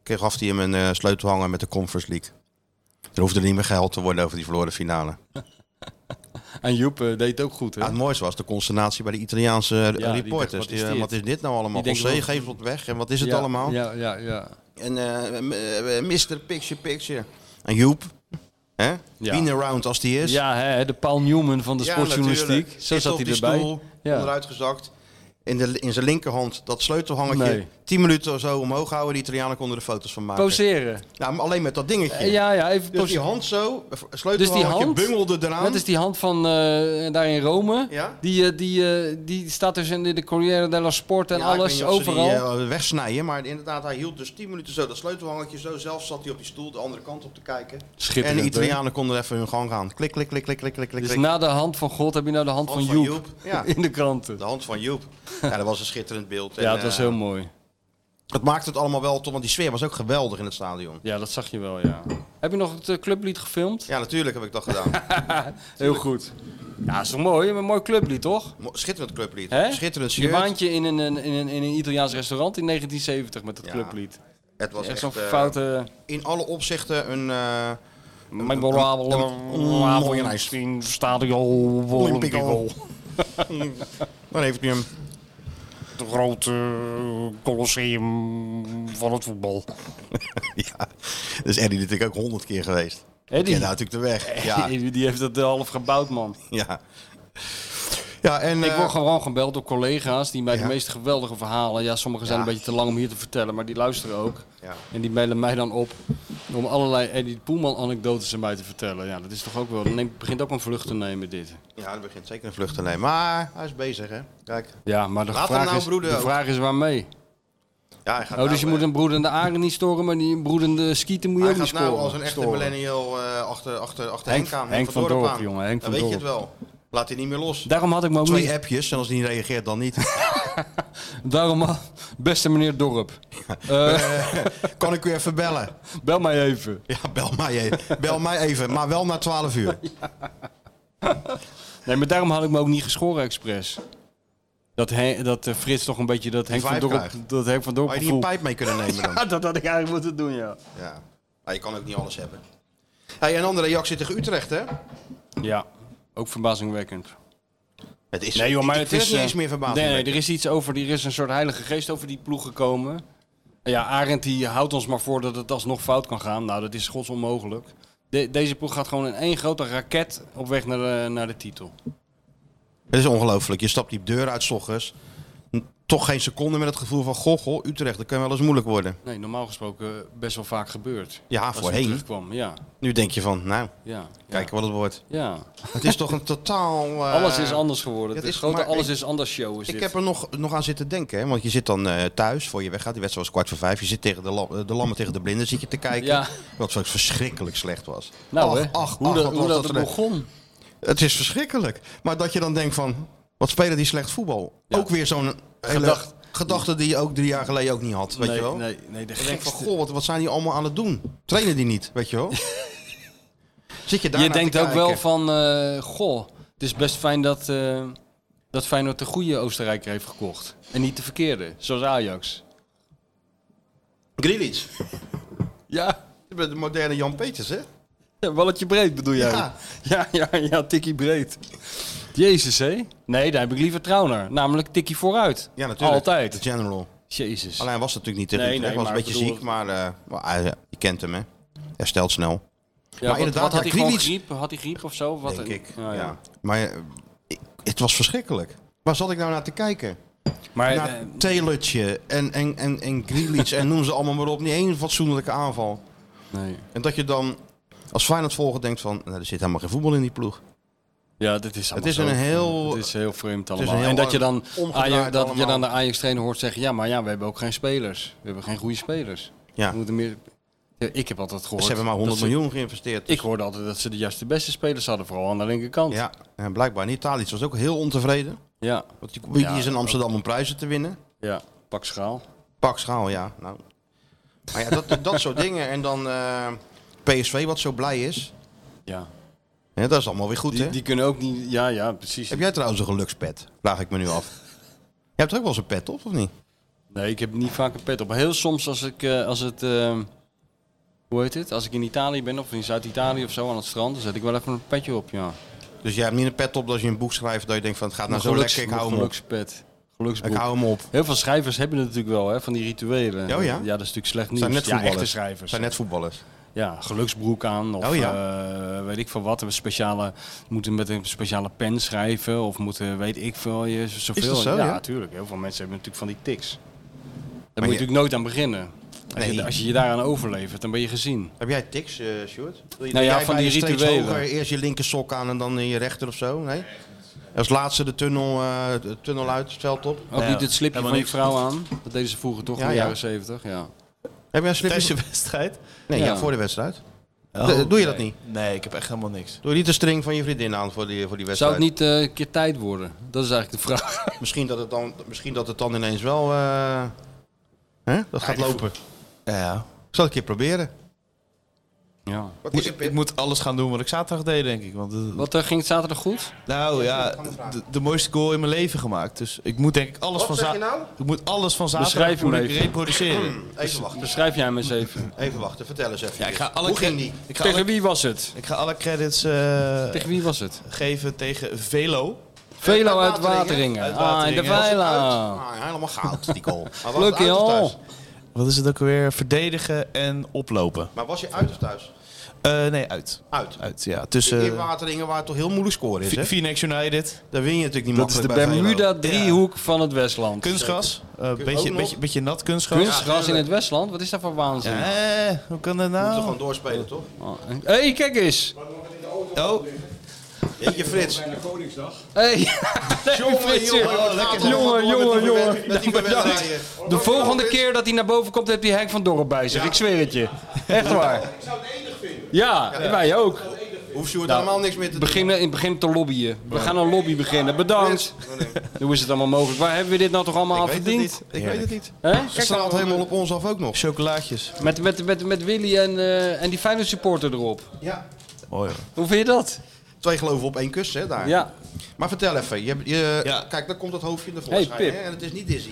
Speaker 5: Kreeg af hij hem een eh, sleutelhanger met de Conference League. Er hoefde niet meer gehuild te worden over die verloren finale.
Speaker 6: En Joep eh, deed het ook goed, hè?
Speaker 5: Ja, het mooiste was de consternatie bij de Italiaanse eh,
Speaker 6: Ja, die
Speaker 5: reporters.
Speaker 6: dacht, wat
Speaker 5: Die,
Speaker 6: is
Speaker 5: eh, wat,
Speaker 6: dit?
Speaker 5: is dit nou
Speaker 6: Die
Speaker 5: allemaal?
Speaker 6: denken
Speaker 5: José
Speaker 6: wel-
Speaker 5: geeft het weg en wat is het
Speaker 6: Ja,
Speaker 5: allemaal?
Speaker 6: Ja, ja, ja.
Speaker 5: En eh, m- eh, Mr. Picture Picture. En Joep. Hè?
Speaker 6: Ja.
Speaker 5: Been around als die is.
Speaker 6: ja hè, de Paul Newman van de
Speaker 5: Dus- Ja,
Speaker 6: sportjournalistiek.
Speaker 5: natuurlijk.
Speaker 6: Zo
Speaker 5: Zit
Speaker 6: zat
Speaker 5: op
Speaker 6: hij
Speaker 5: die
Speaker 6: erbij.
Speaker 5: Stoel,
Speaker 6: Ja.
Speaker 5: Onderuit gezakt. in, de, in zijn linkerhand dat sleutelhangertje.
Speaker 6: Nee.
Speaker 5: 10 minuten of zo omhoog houden. Die Italianen konden er foto's van maken.
Speaker 6: Poseren. Eh,
Speaker 5: Nou, maar alleen met dat dingetje.
Speaker 6: Ja, ja, even
Speaker 5: Dus die
Speaker 6: poseren.
Speaker 5: hand zo,
Speaker 6: Dus die
Speaker 5: sleutelhangertje
Speaker 6: hand,
Speaker 5: bungelde eraan.
Speaker 6: dat is die hand van eh, daar in Rome.
Speaker 5: Ja?
Speaker 6: Die, eh, die, eh, die staat dus in de Corriere della Sport en
Speaker 5: Ja, ik weet
Speaker 6: alles,
Speaker 5: niet of ze
Speaker 6: overal.
Speaker 5: Die, eh, wegsnijden, maar inderdaad, hij hield dus 10 minuten zo dat sleutelhangertje zo. Zelf zat hij op die stoel de andere kant op te kijken. En
Speaker 6: Schitterend,
Speaker 5: de
Speaker 6: hè?
Speaker 5: Italianen konden even hun gang gaan. Klik, klik, klik, klik, klik, klik, klik.
Speaker 6: Dus
Speaker 5: klik.
Speaker 6: na de hand van God heb je nou de hand,
Speaker 5: Hand
Speaker 6: van,
Speaker 5: van
Speaker 6: Joep,
Speaker 5: Joep, ja.
Speaker 6: in de kranten.
Speaker 5: De hand van Joep. Ja, dat was een schitterend beeld. En,
Speaker 6: Ja, dat was
Speaker 5: eh,
Speaker 6: heel mooi.
Speaker 5: Het maakt het allemaal wel toch, want die sfeer was ook geweldig in het stadion.
Speaker 6: Ja, dat zag je wel, ja. Heb je nog het eh, clublied gefilmd?
Speaker 5: Ja, natuurlijk heb ik dat gedaan.
Speaker 6: heel goed. Ja, is toch mooi? Een mooi clublied, toch?
Speaker 5: Mo- Schitterend clublied.
Speaker 6: Hè?
Speaker 5: Schitterend
Speaker 6: Je
Speaker 5: shirt.
Speaker 6: baantje in een, in, een, in een Italiaans restaurant in 1970 met dat
Speaker 5: Ja,
Speaker 6: clublied.
Speaker 5: Het was
Speaker 6: Echt
Speaker 5: echt,
Speaker 6: zo'n
Speaker 5: eh,
Speaker 6: foute...
Speaker 5: in alle opzichten een... eh,
Speaker 6: Memorabele avond in stadion Olimpico.
Speaker 5: dan heeft hij hem.
Speaker 6: Het grote eh, colosseum van het voetbal.
Speaker 5: ja, dat
Speaker 6: dus
Speaker 5: is Eddie natuurlijk ook honderd keer geweest.
Speaker 6: Eddie.
Speaker 5: Ja, natuurlijk de weg. Ja,
Speaker 6: Die, die heeft het eh, half gebouwd, man.
Speaker 5: ja. Ja, en...
Speaker 6: Ik
Speaker 5: eh,
Speaker 6: word gewoon gebeld door collega's die mij
Speaker 5: ja.
Speaker 6: de meest geweldige verhalen... Ja, sommige zijn
Speaker 5: Ja.
Speaker 6: een beetje te lang om hier te vertellen, maar die luisteren ook.
Speaker 5: ja.
Speaker 6: En die mailen mij dan op om allerlei Eddie Poelman-anekdotes aan mij te vertellen. Ja, dat is toch ook wel... Dan neemt- begint ook een vlucht te nemen, dit.
Speaker 5: ja, dat begint zeker een vlucht te nemen. Maar hij is bezig, hè. Kijk.
Speaker 6: Ja, maar de,
Speaker 5: Laat hem
Speaker 6: vraag,
Speaker 5: nou
Speaker 6: is,
Speaker 5: broeden
Speaker 6: de
Speaker 5: ook.
Speaker 6: vraag is waarmee?
Speaker 5: Ja, hij gaat
Speaker 6: Oh, dus
Speaker 5: nou,
Speaker 6: je
Speaker 5: eh,
Speaker 6: moet een broedende aren niet storen, maar die broedende skieten moet je
Speaker 5: Hij
Speaker 6: ook niet
Speaker 5: gaat
Speaker 6: storen.
Speaker 5: nou als een echte
Speaker 6: storen.
Speaker 5: millennial eh, achter, achter, achter
Speaker 6: Henk-
Speaker 5: Henk aan.
Speaker 6: Henk van
Speaker 5: Dorp
Speaker 6: Dorp,
Speaker 5: aan.
Speaker 6: jongen, Henk
Speaker 5: Dan
Speaker 6: van
Speaker 5: weet je het
Speaker 6: Dorp.
Speaker 5: wel. Laat hij niet meer los.
Speaker 6: Daarom had ik me ook
Speaker 5: Twee
Speaker 6: niet...
Speaker 5: appjes en als hij niet reageert dan niet.
Speaker 6: Daarom, ha- beste meneer Dorp,
Speaker 5: kan ik u even bellen?
Speaker 6: bel mij even.
Speaker 5: Ja, bel mij even. Bel mij even, maar wel na 12 uur.
Speaker 6: Nee, maar daarom had ik me ook niet geschoren expres. Dat, Hen- dat eh, Frits toch een beetje dat Henk van
Speaker 5: vibe
Speaker 6: Dorp,
Speaker 5: krijgt.
Speaker 6: dat Henk van Dorp
Speaker 5: Had je niet een
Speaker 6: gevoel...
Speaker 5: pijp mee kunnen nemen dan?
Speaker 6: Ja, dat had ik eigenlijk moeten doen, ja.
Speaker 5: Ja. Maar je kan ook niet alles hebben. Hey, een andere reactie tegen Utrecht, hè?
Speaker 6: Ja, ook verbazingwekkend.
Speaker 5: Het is,
Speaker 6: Nee joh, maar
Speaker 5: ik
Speaker 6: het
Speaker 5: vind
Speaker 6: is...
Speaker 5: niet
Speaker 6: eh,
Speaker 5: eens meer verbazing.
Speaker 6: Nee, nee, er is iets over, er is een soort heilige geest over die ploeg gekomen. En Ja, Arend die houdt ons maar voor dat het alsnog fout kan gaan. Nou, dat is gods onmogelijk. De- deze ploeg gaat gewoon in één grote raket op weg naar de, naar de titel.
Speaker 5: Het is ongelooflijk. Je stapt die deur uit 's ochtends. N- Toch geen seconde met het gevoel van... Goh, goh, Utrecht, dat kan wel eens moeilijk worden.
Speaker 6: Nee, normaal gesproken best wel vaak gebeurd.
Speaker 5: Ja,
Speaker 6: Als
Speaker 5: voorheen.
Speaker 6: hij terugkwam, ja.
Speaker 5: Nu denk je van, nou,
Speaker 6: ja
Speaker 5: kijken wat het wordt.
Speaker 6: Ja.
Speaker 5: Het is toch een totaal... eh,
Speaker 6: Alles is anders geworden.
Speaker 5: dat
Speaker 6: Het is
Speaker 5: is-
Speaker 6: grote
Speaker 5: maar
Speaker 6: alles
Speaker 5: ik-
Speaker 6: is anders show is
Speaker 5: Ik
Speaker 6: dit.
Speaker 5: heb er nog, nog aan zitten denken, hè? want je zit dan eh, thuis voor je weggaat. Die wedstrijd was kwart voor vijf. Je zit tegen de, lam- eh, de lammen tegen de blinden zit je te kijken.
Speaker 6: Ja.
Speaker 5: Wat zo verschrikkelijk slecht was.
Speaker 6: nou,
Speaker 5: ach,
Speaker 6: hè,
Speaker 5: ach,
Speaker 6: hoe
Speaker 5: ach,
Speaker 6: dat,
Speaker 5: wat
Speaker 6: hoe
Speaker 5: was
Speaker 6: dat,
Speaker 5: slecht.
Speaker 6: begon.
Speaker 5: Het is verschrikkelijk. Maar dat je dan denkt van, wat spelen die slecht voetbal? Ook weer zo'n hele
Speaker 6: Gedacht-
Speaker 5: gedachte die je ook drie jaar geleden ook niet had, weet
Speaker 6: nee,
Speaker 5: je wel?
Speaker 6: Nee, nee, de
Speaker 5: Ik denk van,
Speaker 6: gekste.
Speaker 5: goh, wat, wat zijn die allemaal aan het doen? Trainen die niet, weet je wel? Zit je daar
Speaker 6: Je
Speaker 5: naar te
Speaker 6: denkt ook
Speaker 5: kijken?
Speaker 6: wel van, eh, goh, het is best fijn dat, eh dat Feyenoord de goede Oostenrijker heeft gekocht. En niet de verkeerde, zoals Ajax.
Speaker 5: Grealish.
Speaker 6: Ja,
Speaker 5: Je bent de moderne Jan Peters, hè?
Speaker 6: ja, balletje breed bedoel jij?
Speaker 5: Ja.
Speaker 6: ja, ja, ja, tikkie breed. Jezus, hé? Nee, daar heb ik liever trouw naar. Namelijk tikkie vooruit.
Speaker 5: Ja, natuurlijk. De
Speaker 6: Altijd.
Speaker 5: general.
Speaker 6: Jezus.
Speaker 5: Alleen was het natuurlijk niet tegen
Speaker 6: Nee,
Speaker 5: Utrecht.
Speaker 6: nee,
Speaker 5: was een
Speaker 6: maar
Speaker 5: beetje
Speaker 6: ik bedoel-
Speaker 5: ziek, maar, eh, maar hij- je kent hem, hè? Herstelt snel,
Speaker 6: Ja,
Speaker 5: maar
Speaker 6: wat-
Speaker 5: inderdaad,
Speaker 6: wat had
Speaker 5: ja,
Speaker 6: hij gewoon
Speaker 5: Grealish-
Speaker 6: griep? Had hij griep of zo? Wat
Speaker 5: denk
Speaker 6: een- oh,
Speaker 5: ik.
Speaker 6: Ja, ja.
Speaker 5: Ja. Maar eh, ik- het was verschrikkelijk. Waar zat ik nou naar te kijken?
Speaker 6: Maar
Speaker 5: naar
Speaker 6: eh,
Speaker 5: Telutje en, en, en, en Grealish en noem ze allemaal maar op. Niet één fatsoenlijke aanval.
Speaker 6: nee.
Speaker 5: En dat je dan als Feyenoord volger denkt van... Nou, er zit helemaal geen voetbal in die ploeg.
Speaker 6: Ja, dit is allemaal
Speaker 5: is een
Speaker 6: zo-
Speaker 5: heel-
Speaker 6: Het is heel vreemd allemaal.
Speaker 5: heel
Speaker 6: en dat je dan
Speaker 5: omgedraaid
Speaker 6: Ajax, dat je
Speaker 5: allemaal.
Speaker 6: dan de Ajax trainer hoort zeggen: "Ja, maar ja, we hebben ook geen spelers. We hebben geen goede spelers.
Speaker 5: Ja.
Speaker 6: We moeten meer Ja, ik heb altijd gehoord.
Speaker 5: Ze hebben maar
Speaker 6: eh, dat
Speaker 5: 100
Speaker 6: ze-
Speaker 5: miljoen geïnvesteerd.
Speaker 6: Ik hoorde altijd dat ze de juiste beste spelers hadden, vooral aan de linkerkant.
Speaker 5: Ja, en blijkbaar niet. Thalys was ook heel ontevreden.
Speaker 6: ja.
Speaker 5: Want die, die
Speaker 6: Ja,
Speaker 5: is in Amsterdam om prijzen te winnen.
Speaker 6: Ja. Pak schaal.
Speaker 5: Pak schaal, ja. Nou. Maar ja, dat, dat soort dingen. En dan eh, PSV, wat zo blij is.
Speaker 6: Ja.
Speaker 5: Ja, dat is allemaal weer goed,
Speaker 6: Die,
Speaker 5: hè?
Speaker 6: die kunnen ook niet. Ja, ja, precies.
Speaker 5: Heb jij trouwens een gelukspet? Vraag ik me nu af. Jij hebt er ook wel eens een pet op, of niet?
Speaker 6: Nee, ik heb niet vaak een pet op. Heel soms als ik eh, als het. eh, hoe heet het? Als ik in Italië ben of in Zuid-Italië of zo aan het strand, dan zet ik wel even een petje op, ja.
Speaker 5: Dus jij hebt niet een pet op als je een boek schrijft dat je denkt van het gaat nou zo
Speaker 6: Geluks-
Speaker 5: lekker, ik hou hem op.
Speaker 6: gelukspet.
Speaker 5: Ik
Speaker 6: Geluksboek.
Speaker 5: hou hem op.
Speaker 6: Heel veel schrijvers hebben het natuurlijk wel, hè, van die rituelen.
Speaker 5: Oh ja?
Speaker 6: Ja, dat is natuurlijk slecht nieuws.
Speaker 5: Zijn net
Speaker 6: ja,
Speaker 5: voetballers.
Speaker 6: echte schrijvers.
Speaker 5: Zijn net voetballers.
Speaker 6: Ja, geluksbroek aan of
Speaker 5: Oh ja.
Speaker 6: eh, weet ik veel wat. Een speciale, moeten met een speciale pen schrijven. Of moeten, weet ik veel, je, zoveel.
Speaker 5: dat zo,
Speaker 6: ja,
Speaker 5: ja?
Speaker 6: natuurlijk. Heel veel mensen hebben natuurlijk van die tics. Daar moet je
Speaker 5: je-
Speaker 6: natuurlijk nooit aan beginnen. Als,
Speaker 5: Nee.
Speaker 6: je, als je je daaraan overlevert, dan ben je gezien.
Speaker 5: Heb jij tics, eh Sjoerd? Wil je,
Speaker 6: Nou ja,
Speaker 5: jij
Speaker 6: van
Speaker 5: bij
Speaker 6: die
Speaker 5: je steeds
Speaker 6: rituelen.
Speaker 5: hoger eerst je linker sok aan en dan in je rechter of zo? Nee? Als laatste de tunnel, eh, de tunnel uit, het veld op.
Speaker 6: Ook
Speaker 1: Ja,
Speaker 6: niet het slipje
Speaker 1: helemaal
Speaker 6: van die
Speaker 1: niks.
Speaker 6: vrouw aan. Dat deden ze vroeger toch
Speaker 5: Ja,
Speaker 6: in de
Speaker 5: ja.
Speaker 6: jaren zeventig. Ja.
Speaker 5: Heb jij
Speaker 1: Tijdens
Speaker 5: een slipje?
Speaker 1: je wedstrijd?
Speaker 5: Nee, ja.
Speaker 6: Ja.
Speaker 5: voor de wedstrijd. Doe- doe je dat
Speaker 1: nee.
Speaker 5: niet?
Speaker 1: Nee, ik heb echt helemaal niks.
Speaker 5: Doe je niet de string van je vriendin aan voor die, voor die
Speaker 6: Zou
Speaker 5: wedstrijd?
Speaker 6: het niet eh, een keer tijd worden? Dat is eigenlijk de vraag.
Speaker 5: Misschien dat het dan, misschien dat het dan ineens wel eh, hè? dat gaat lopen.
Speaker 1: Ja.
Speaker 5: Ik zal het een keer proberen.
Speaker 6: Ja.
Speaker 5: Wat
Speaker 1: Ik, ik moet alles gaan doen wat ik zaterdag deed, denk ik. Want, eh,
Speaker 6: Wat eh, ging het zaterdag goed?
Speaker 1: nou ja, de, de mooiste goal in mijn leven gemaakt. Dus ik moet denk ik alles van
Speaker 5: zeg je
Speaker 1: zaterdag...
Speaker 5: nou?
Speaker 1: Ik moet alles van zaterdag
Speaker 6: Beschrijf hem
Speaker 1: moet ik
Speaker 6: even.
Speaker 1: reproduceren.
Speaker 5: Even wachten,
Speaker 6: Beschrijf jij hem eens even.
Speaker 5: even wachten. Vertel eens even.
Speaker 1: Ja, ik ga alle
Speaker 5: Hoe ging
Speaker 1: cre-
Speaker 5: die?
Speaker 1: Ik ga alle,
Speaker 6: Tegen wie was het?
Speaker 1: ik ga alle credits eh,
Speaker 6: Tegen wie was het?
Speaker 1: geven tegen Velo.
Speaker 6: Velo
Speaker 5: uit
Speaker 6: uit
Speaker 5: Wateringen.
Speaker 6: Wateringen.
Speaker 1: Uit
Speaker 6: Ah, in de
Speaker 1: Wateringen.
Speaker 6: Vela.
Speaker 5: Ah, helemaal goud, die goal. Maar was het
Speaker 6: Gelukkig
Speaker 5: uit of thuis?
Speaker 6: al.
Speaker 1: Wat is het ook alweer? Verdedigen en oplopen.
Speaker 5: Maar was je uit of thuis?
Speaker 1: Eh, nee, uit.
Speaker 5: Uit.
Speaker 1: Uit, Dus, eh, ja.
Speaker 5: In
Speaker 1: Tussen
Speaker 5: Wateringen waar het toch heel moeilijk scoren is,
Speaker 1: Ph-
Speaker 5: hè?
Speaker 1: Phoenix United.
Speaker 5: Daar win je natuurlijk niet
Speaker 6: Dat is de
Speaker 5: makkelijk bij Velo.
Speaker 6: Bermuda driehoek van het Westland.
Speaker 1: Kunstgras. Eh
Speaker 5: ook
Speaker 1: beetje,
Speaker 5: Oh, nog?
Speaker 1: beetje, beetje nat kunstgras.
Speaker 6: Kunstgras in het Westland? Wat is dat voor waanzin? Hé,
Speaker 1: Eh, hoe kan dat
Speaker 5: Je moet er
Speaker 1: nou?
Speaker 5: gewoon doorspelen, toch?
Speaker 6: hey, kijk eens.
Speaker 1: Oh,
Speaker 5: Jeetje, Frits.
Speaker 6: Hey.
Speaker 5: Jongen,
Speaker 6: Frits,
Speaker 5: Oh, jongen.
Speaker 6: joh.
Speaker 5: wat gaat er
Speaker 6: Jongen,
Speaker 5: allemaal door
Speaker 6: jongen, jongen.
Speaker 5: met die verwen- met die verwenningen?
Speaker 6: De volgende keer dat hij naar boven komt, heeft hij Henk van Dorp bij zich. Ik zweer het je. Echt waar. Ik zou het enig vinden. Ja, wij ook.
Speaker 5: Hoeft Sjoerd helemaal niks meer te doen.
Speaker 6: Beginnen, in- begin te lobbyen. We gaan een lobby beginnen. Bedankt. Hoe is het allemaal mogelijk? Waar hebben we dit nou toch allemaal aan
Speaker 5: Ik weet het
Speaker 6: verdiend?
Speaker 5: niet. Ik weet het niet.
Speaker 6: Hè?
Speaker 5: Ze staan altijd helemaal op ons af ook nog.
Speaker 1: chocolaatjes.
Speaker 6: Met, met, met, met Willy en, eh, en die fijne supporter erop.
Speaker 5: Ja.
Speaker 1: Mooi hoor.
Speaker 6: Hoe vind je dat?
Speaker 5: Twee geloven op één kus, hè, daar.
Speaker 6: Ja.
Speaker 5: Maar vertel even. Je, je,
Speaker 1: Ja.
Speaker 5: Kijk, dan komt dat hoofdje naar voorschijn,
Speaker 6: Pip.
Speaker 5: hè, en het is niet Dizzy.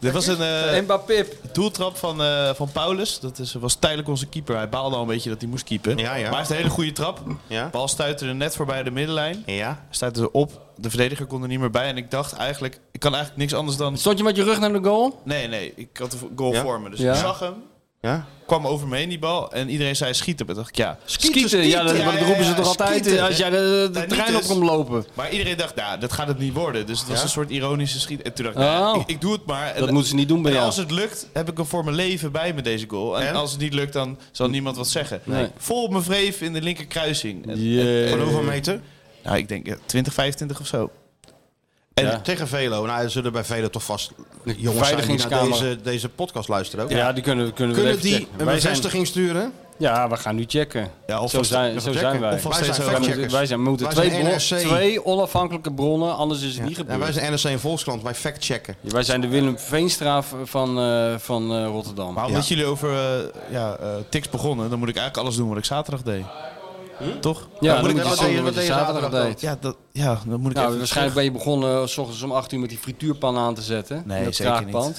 Speaker 1: Dit was een eh,
Speaker 6: En Pip.
Speaker 1: doeltrap van, eh, van Paulus. Dat is, was tijdelijk onze keeper. Hij baalde al een beetje dat hij moest keepen.
Speaker 5: Ja,
Speaker 1: Maar
Speaker 5: ja.
Speaker 1: hij heeft een hele goede trap.
Speaker 5: Ja.
Speaker 1: Bal stuiterde net voorbij de middenlijn.
Speaker 5: ja.
Speaker 1: Stuitte op. De verdediger kon er niet meer bij. En ik dacht eigenlijk, ik kan eigenlijk niks anders dan...
Speaker 6: Stond je met je rug naar de goal?
Speaker 1: Nee, nee. Ik had de goal
Speaker 5: Ja?
Speaker 1: voor me. Dus
Speaker 6: Ja.
Speaker 1: ik zag hem.
Speaker 5: Ja?
Speaker 1: Kwam over me heen die bal. En iedereen zei schieten. Maar dacht ik, ja.
Speaker 6: Skieten. Ja, dat,
Speaker 1: Ja,
Speaker 6: maar dat
Speaker 1: ja,
Speaker 6: roepen ze
Speaker 1: ja,
Speaker 6: toch altijd
Speaker 1: skieten.
Speaker 6: als jij de, de
Speaker 1: Ja, niet
Speaker 6: trein op
Speaker 1: dus.
Speaker 6: komt lopen.
Speaker 1: Maar iedereen dacht, nou, dat gaat het niet worden. Dus het was
Speaker 5: Ja?
Speaker 1: een soort ironische schiet. En toen dacht ik, nou,
Speaker 6: Oh.
Speaker 1: ik, ik doe het maar. En
Speaker 6: Dat moeten ze niet doen bij
Speaker 1: en
Speaker 6: jou.
Speaker 1: als het lukt, heb ik hem voor mijn leven bij me deze goal. En,
Speaker 5: En?
Speaker 1: als het niet lukt, dan zal niemand wat zeggen.
Speaker 6: Nee.
Speaker 1: Vol op mijn vreef in de linkerkruising. En,
Speaker 6: Jee.
Speaker 5: Van hoeveel meter?
Speaker 1: nou, ik denk eh, 20, 25 of zo. En
Speaker 6: Ja.
Speaker 5: Tegen Velo. Nou, er zullen bij Velo toch vast jongens zijn die naar
Speaker 6: Beveiligingskamer.
Speaker 5: deze, deze podcast luisteren ook.
Speaker 6: Ja, die kunnen, we- kunnen we
Speaker 5: Kunnen
Speaker 6: even
Speaker 5: die
Speaker 6: checken.
Speaker 5: een
Speaker 6: Wij zijn-
Speaker 5: bevestiging sturen?
Speaker 6: Ja, we gaan nu checken.
Speaker 1: Ja, of
Speaker 6: zo
Speaker 1: als-
Speaker 6: zijn, zo zijn wij.
Speaker 1: Of als steeds
Speaker 5: Wij zijn
Speaker 1: zo-
Speaker 6: Wij
Speaker 5: factcheckers.
Speaker 6: moeten, wij zijn, we moeten
Speaker 5: Wij
Speaker 6: twee,
Speaker 5: zijn
Speaker 6: bron-
Speaker 5: NRC.
Speaker 6: twee onafhankelijke bronnen, anders is het niet
Speaker 5: Ja,
Speaker 6: gebeurd.
Speaker 5: wij zijn NRC en Volkskrant, wij factchecken.
Speaker 6: Ja, wij zijn de Willem Veenstraaf van, eh, van eh, Rotterdam.
Speaker 1: Maar omdat jullie over eh, ja, eh, tics begonnen, dan moet ik eigenlijk alles doen wat ik zaterdag deed. Toch?
Speaker 6: ja, dan
Speaker 1: moet
Speaker 6: moet
Speaker 1: ik
Speaker 6: je
Speaker 1: dan-
Speaker 5: wat
Speaker 6: zien
Speaker 5: deed je-
Speaker 6: wat je
Speaker 5: Hm? wat deed je
Speaker 6: zaterdag
Speaker 5: zaterdag
Speaker 6: deed.
Speaker 1: ja, dat, ja, dan moet ik
Speaker 6: Nou,
Speaker 1: even
Speaker 6: waarschijnlijk ben je begonnen eh, s ochtends om 8 uur met die frituurpan aan te zetten.
Speaker 1: Nee,
Speaker 6: in dat
Speaker 1: zeker niet.
Speaker 6: kraakpand.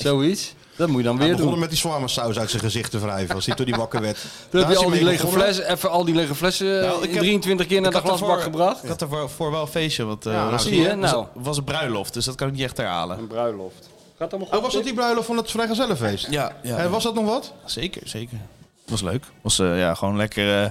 Speaker 6: Zoiets. Dat moet je dan weer
Speaker 5: We
Speaker 6: doen.
Speaker 5: begonnen met die zwarmersaus uit zijn gezicht te wrijven als hij toen die wakker werd.
Speaker 6: Dan
Speaker 5: Daar
Speaker 6: heb je
Speaker 5: is hij
Speaker 6: al die
Speaker 5: mee
Speaker 6: lege
Speaker 5: begonnen.
Speaker 6: flessen, even al die lege flessen eh,
Speaker 1: Nou, ik heb-
Speaker 6: 23 keer naar
Speaker 1: Ik
Speaker 6: de
Speaker 1: had
Speaker 6: glasbak
Speaker 1: ervoor-
Speaker 6: gebracht.
Speaker 1: Ik had er voor wel een feestje, want eh
Speaker 5: Ja, nou,
Speaker 1: was,
Speaker 5: zie
Speaker 6: Zie je,
Speaker 1: was-
Speaker 6: nou.
Speaker 1: was een bruiloft, dus dat kan ik niet echt herhalen.
Speaker 6: Een bruiloft. Gaat allemaal goed?
Speaker 5: Oh, was dat die bruiloft van het vrijgezellenfeest?
Speaker 1: Ja, ja.
Speaker 5: Eh, was dat nog wat?
Speaker 1: Zeker, zeker. Was leuk. Was eh, ja, gewoon lekker eh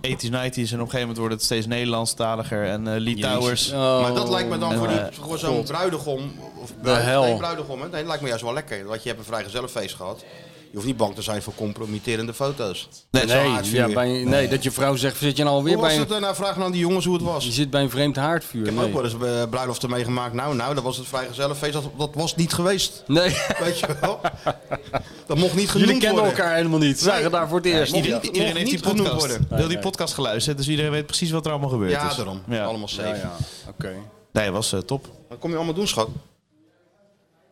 Speaker 1: 80s, 90s en op een gegeven moment wordt het steeds Nederlandstaliger en eh Litouwers.
Speaker 6: Oh.
Speaker 5: Maar dat lijkt me dan voor, die,
Speaker 1: eh,
Speaker 5: voor zo'n bruidegom. Of
Speaker 6: hel.
Speaker 5: Nee, bruidegom, hè? Nee, dat lijkt me juist wel lekker. Want je hebt een vrijgezellenfeest gehad. Je hoeft niet bang te zijn voor compromitterende foto's.
Speaker 6: Nee,
Speaker 5: Zo'n
Speaker 6: nee,
Speaker 5: haardvuur.
Speaker 6: ja, bij, nee, dat je vrouw zegt, zit je nou alweer
Speaker 5: Hoe was
Speaker 6: bij
Speaker 5: het?
Speaker 6: een,
Speaker 5: eh, Nou, vraag nou aan die jongens hoe het was.
Speaker 6: je
Speaker 5: Ik
Speaker 6: zit bij een vreemd haardvuur?
Speaker 5: heb
Speaker 6: Nee.
Speaker 5: ook wel eens eh, bruiloften meegemaakt. Nou, nou, dat was het vrijgezellenfeest. Dat, dat was niet geweest.
Speaker 6: nee.
Speaker 5: Weet je wel? Dat mocht niet genoemd
Speaker 6: Jullie kennen
Speaker 5: worden.
Speaker 6: elkaar helemaal niet. Ze zagen daar voor het eerst.
Speaker 5: Mocht
Speaker 1: Iedereen,
Speaker 5: niet-
Speaker 1: iedereen
Speaker 5: mocht
Speaker 1: heeft die
Speaker 5: niet genoemd
Speaker 1: podcast,
Speaker 5: worden.
Speaker 1: heel die podcast geluisterd, dus iedereen weet precies wat er allemaal gebeurd
Speaker 5: Ja,
Speaker 1: is.
Speaker 5: daarom.
Speaker 1: Ja.
Speaker 5: Allemaal safe.
Speaker 6: Ja, ja, oké.
Speaker 1: Nee, was eh, top.
Speaker 5: Wat kom je allemaal doen, schat?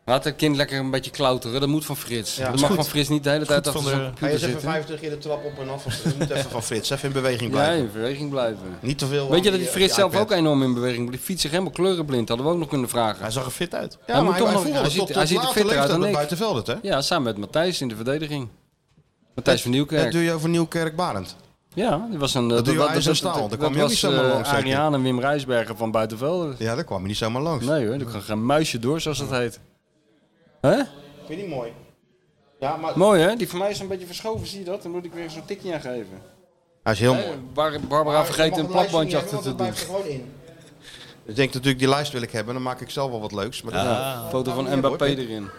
Speaker 6: Laat het kind lekker een beetje klauteren. Dat moet van Frits.
Speaker 5: dat
Speaker 6: dat
Speaker 5: is
Speaker 6: mag
Speaker 5: goed.
Speaker 6: van Frits niet de hele tijd
Speaker 1: goed van
Speaker 6: achter
Speaker 1: de-
Speaker 6: zijn
Speaker 5: Hij
Speaker 6: computer
Speaker 5: is even
Speaker 6: zitten.
Speaker 5: 50 keer de trap op en af. Je moet even van Frits. Even in beweging
Speaker 6: Ja,
Speaker 5: blijven.
Speaker 6: in beweging blijven.
Speaker 5: Niet te veel.
Speaker 6: Weet je
Speaker 5: aan
Speaker 6: dat die
Speaker 5: eh,
Speaker 6: Frits zelf
Speaker 5: iPad.
Speaker 6: ook enorm in beweging blijft? Die fietst zich helemaal kleurenblind. Hadden we ook nog kunnen vragen.
Speaker 1: Hij zag er fit uit.
Speaker 5: Ja,
Speaker 6: Hij
Speaker 5: maar
Speaker 6: moet toch
Speaker 5: hij,
Speaker 6: nog-
Speaker 5: voelde
Speaker 6: hij
Speaker 5: het
Speaker 6: ziet-
Speaker 5: tot- tot
Speaker 6: hij ziet er
Speaker 5: later
Speaker 6: fitter uit dan
Speaker 5: leeftijd
Speaker 6: ik.
Speaker 5: buitenveld het, hè?
Speaker 6: Ja, samen met Matthijs in de verdediging. Matthijs van
Speaker 5: Dat
Speaker 6: Nieuwkerk.
Speaker 5: doe je over Nieuwkerk-Barend.
Speaker 6: Ja, die was een... eh,
Speaker 5: duo ijzer en staal, daar kwam je ook niet
Speaker 6: was
Speaker 5: zomaar
Speaker 6: eh,
Speaker 5: langs, zeker?
Speaker 6: Ariaan en Wim Rijsbergen van Buitenvelden.
Speaker 5: Ja, daar kwam je niet zomaar langs.
Speaker 6: Nee hoor, er kan geen muisje door zoals dat heet. Hè?
Speaker 5: Vind je die mooi? Ja, maar...
Speaker 6: Mooi hè? Die van mij is een beetje verschoven, zie je dat? Dan moet ik weer zo'n tikje aan geven.
Speaker 5: Hij is heel mooi.
Speaker 6: Bar- Barbara vergeet een plakbandje achter te doen.
Speaker 5: Ik denk natuurlijk, die lijst wil ik hebben, dan maak ik zelf wel wat leuks. Maar
Speaker 6: Foto van Mbappé erin.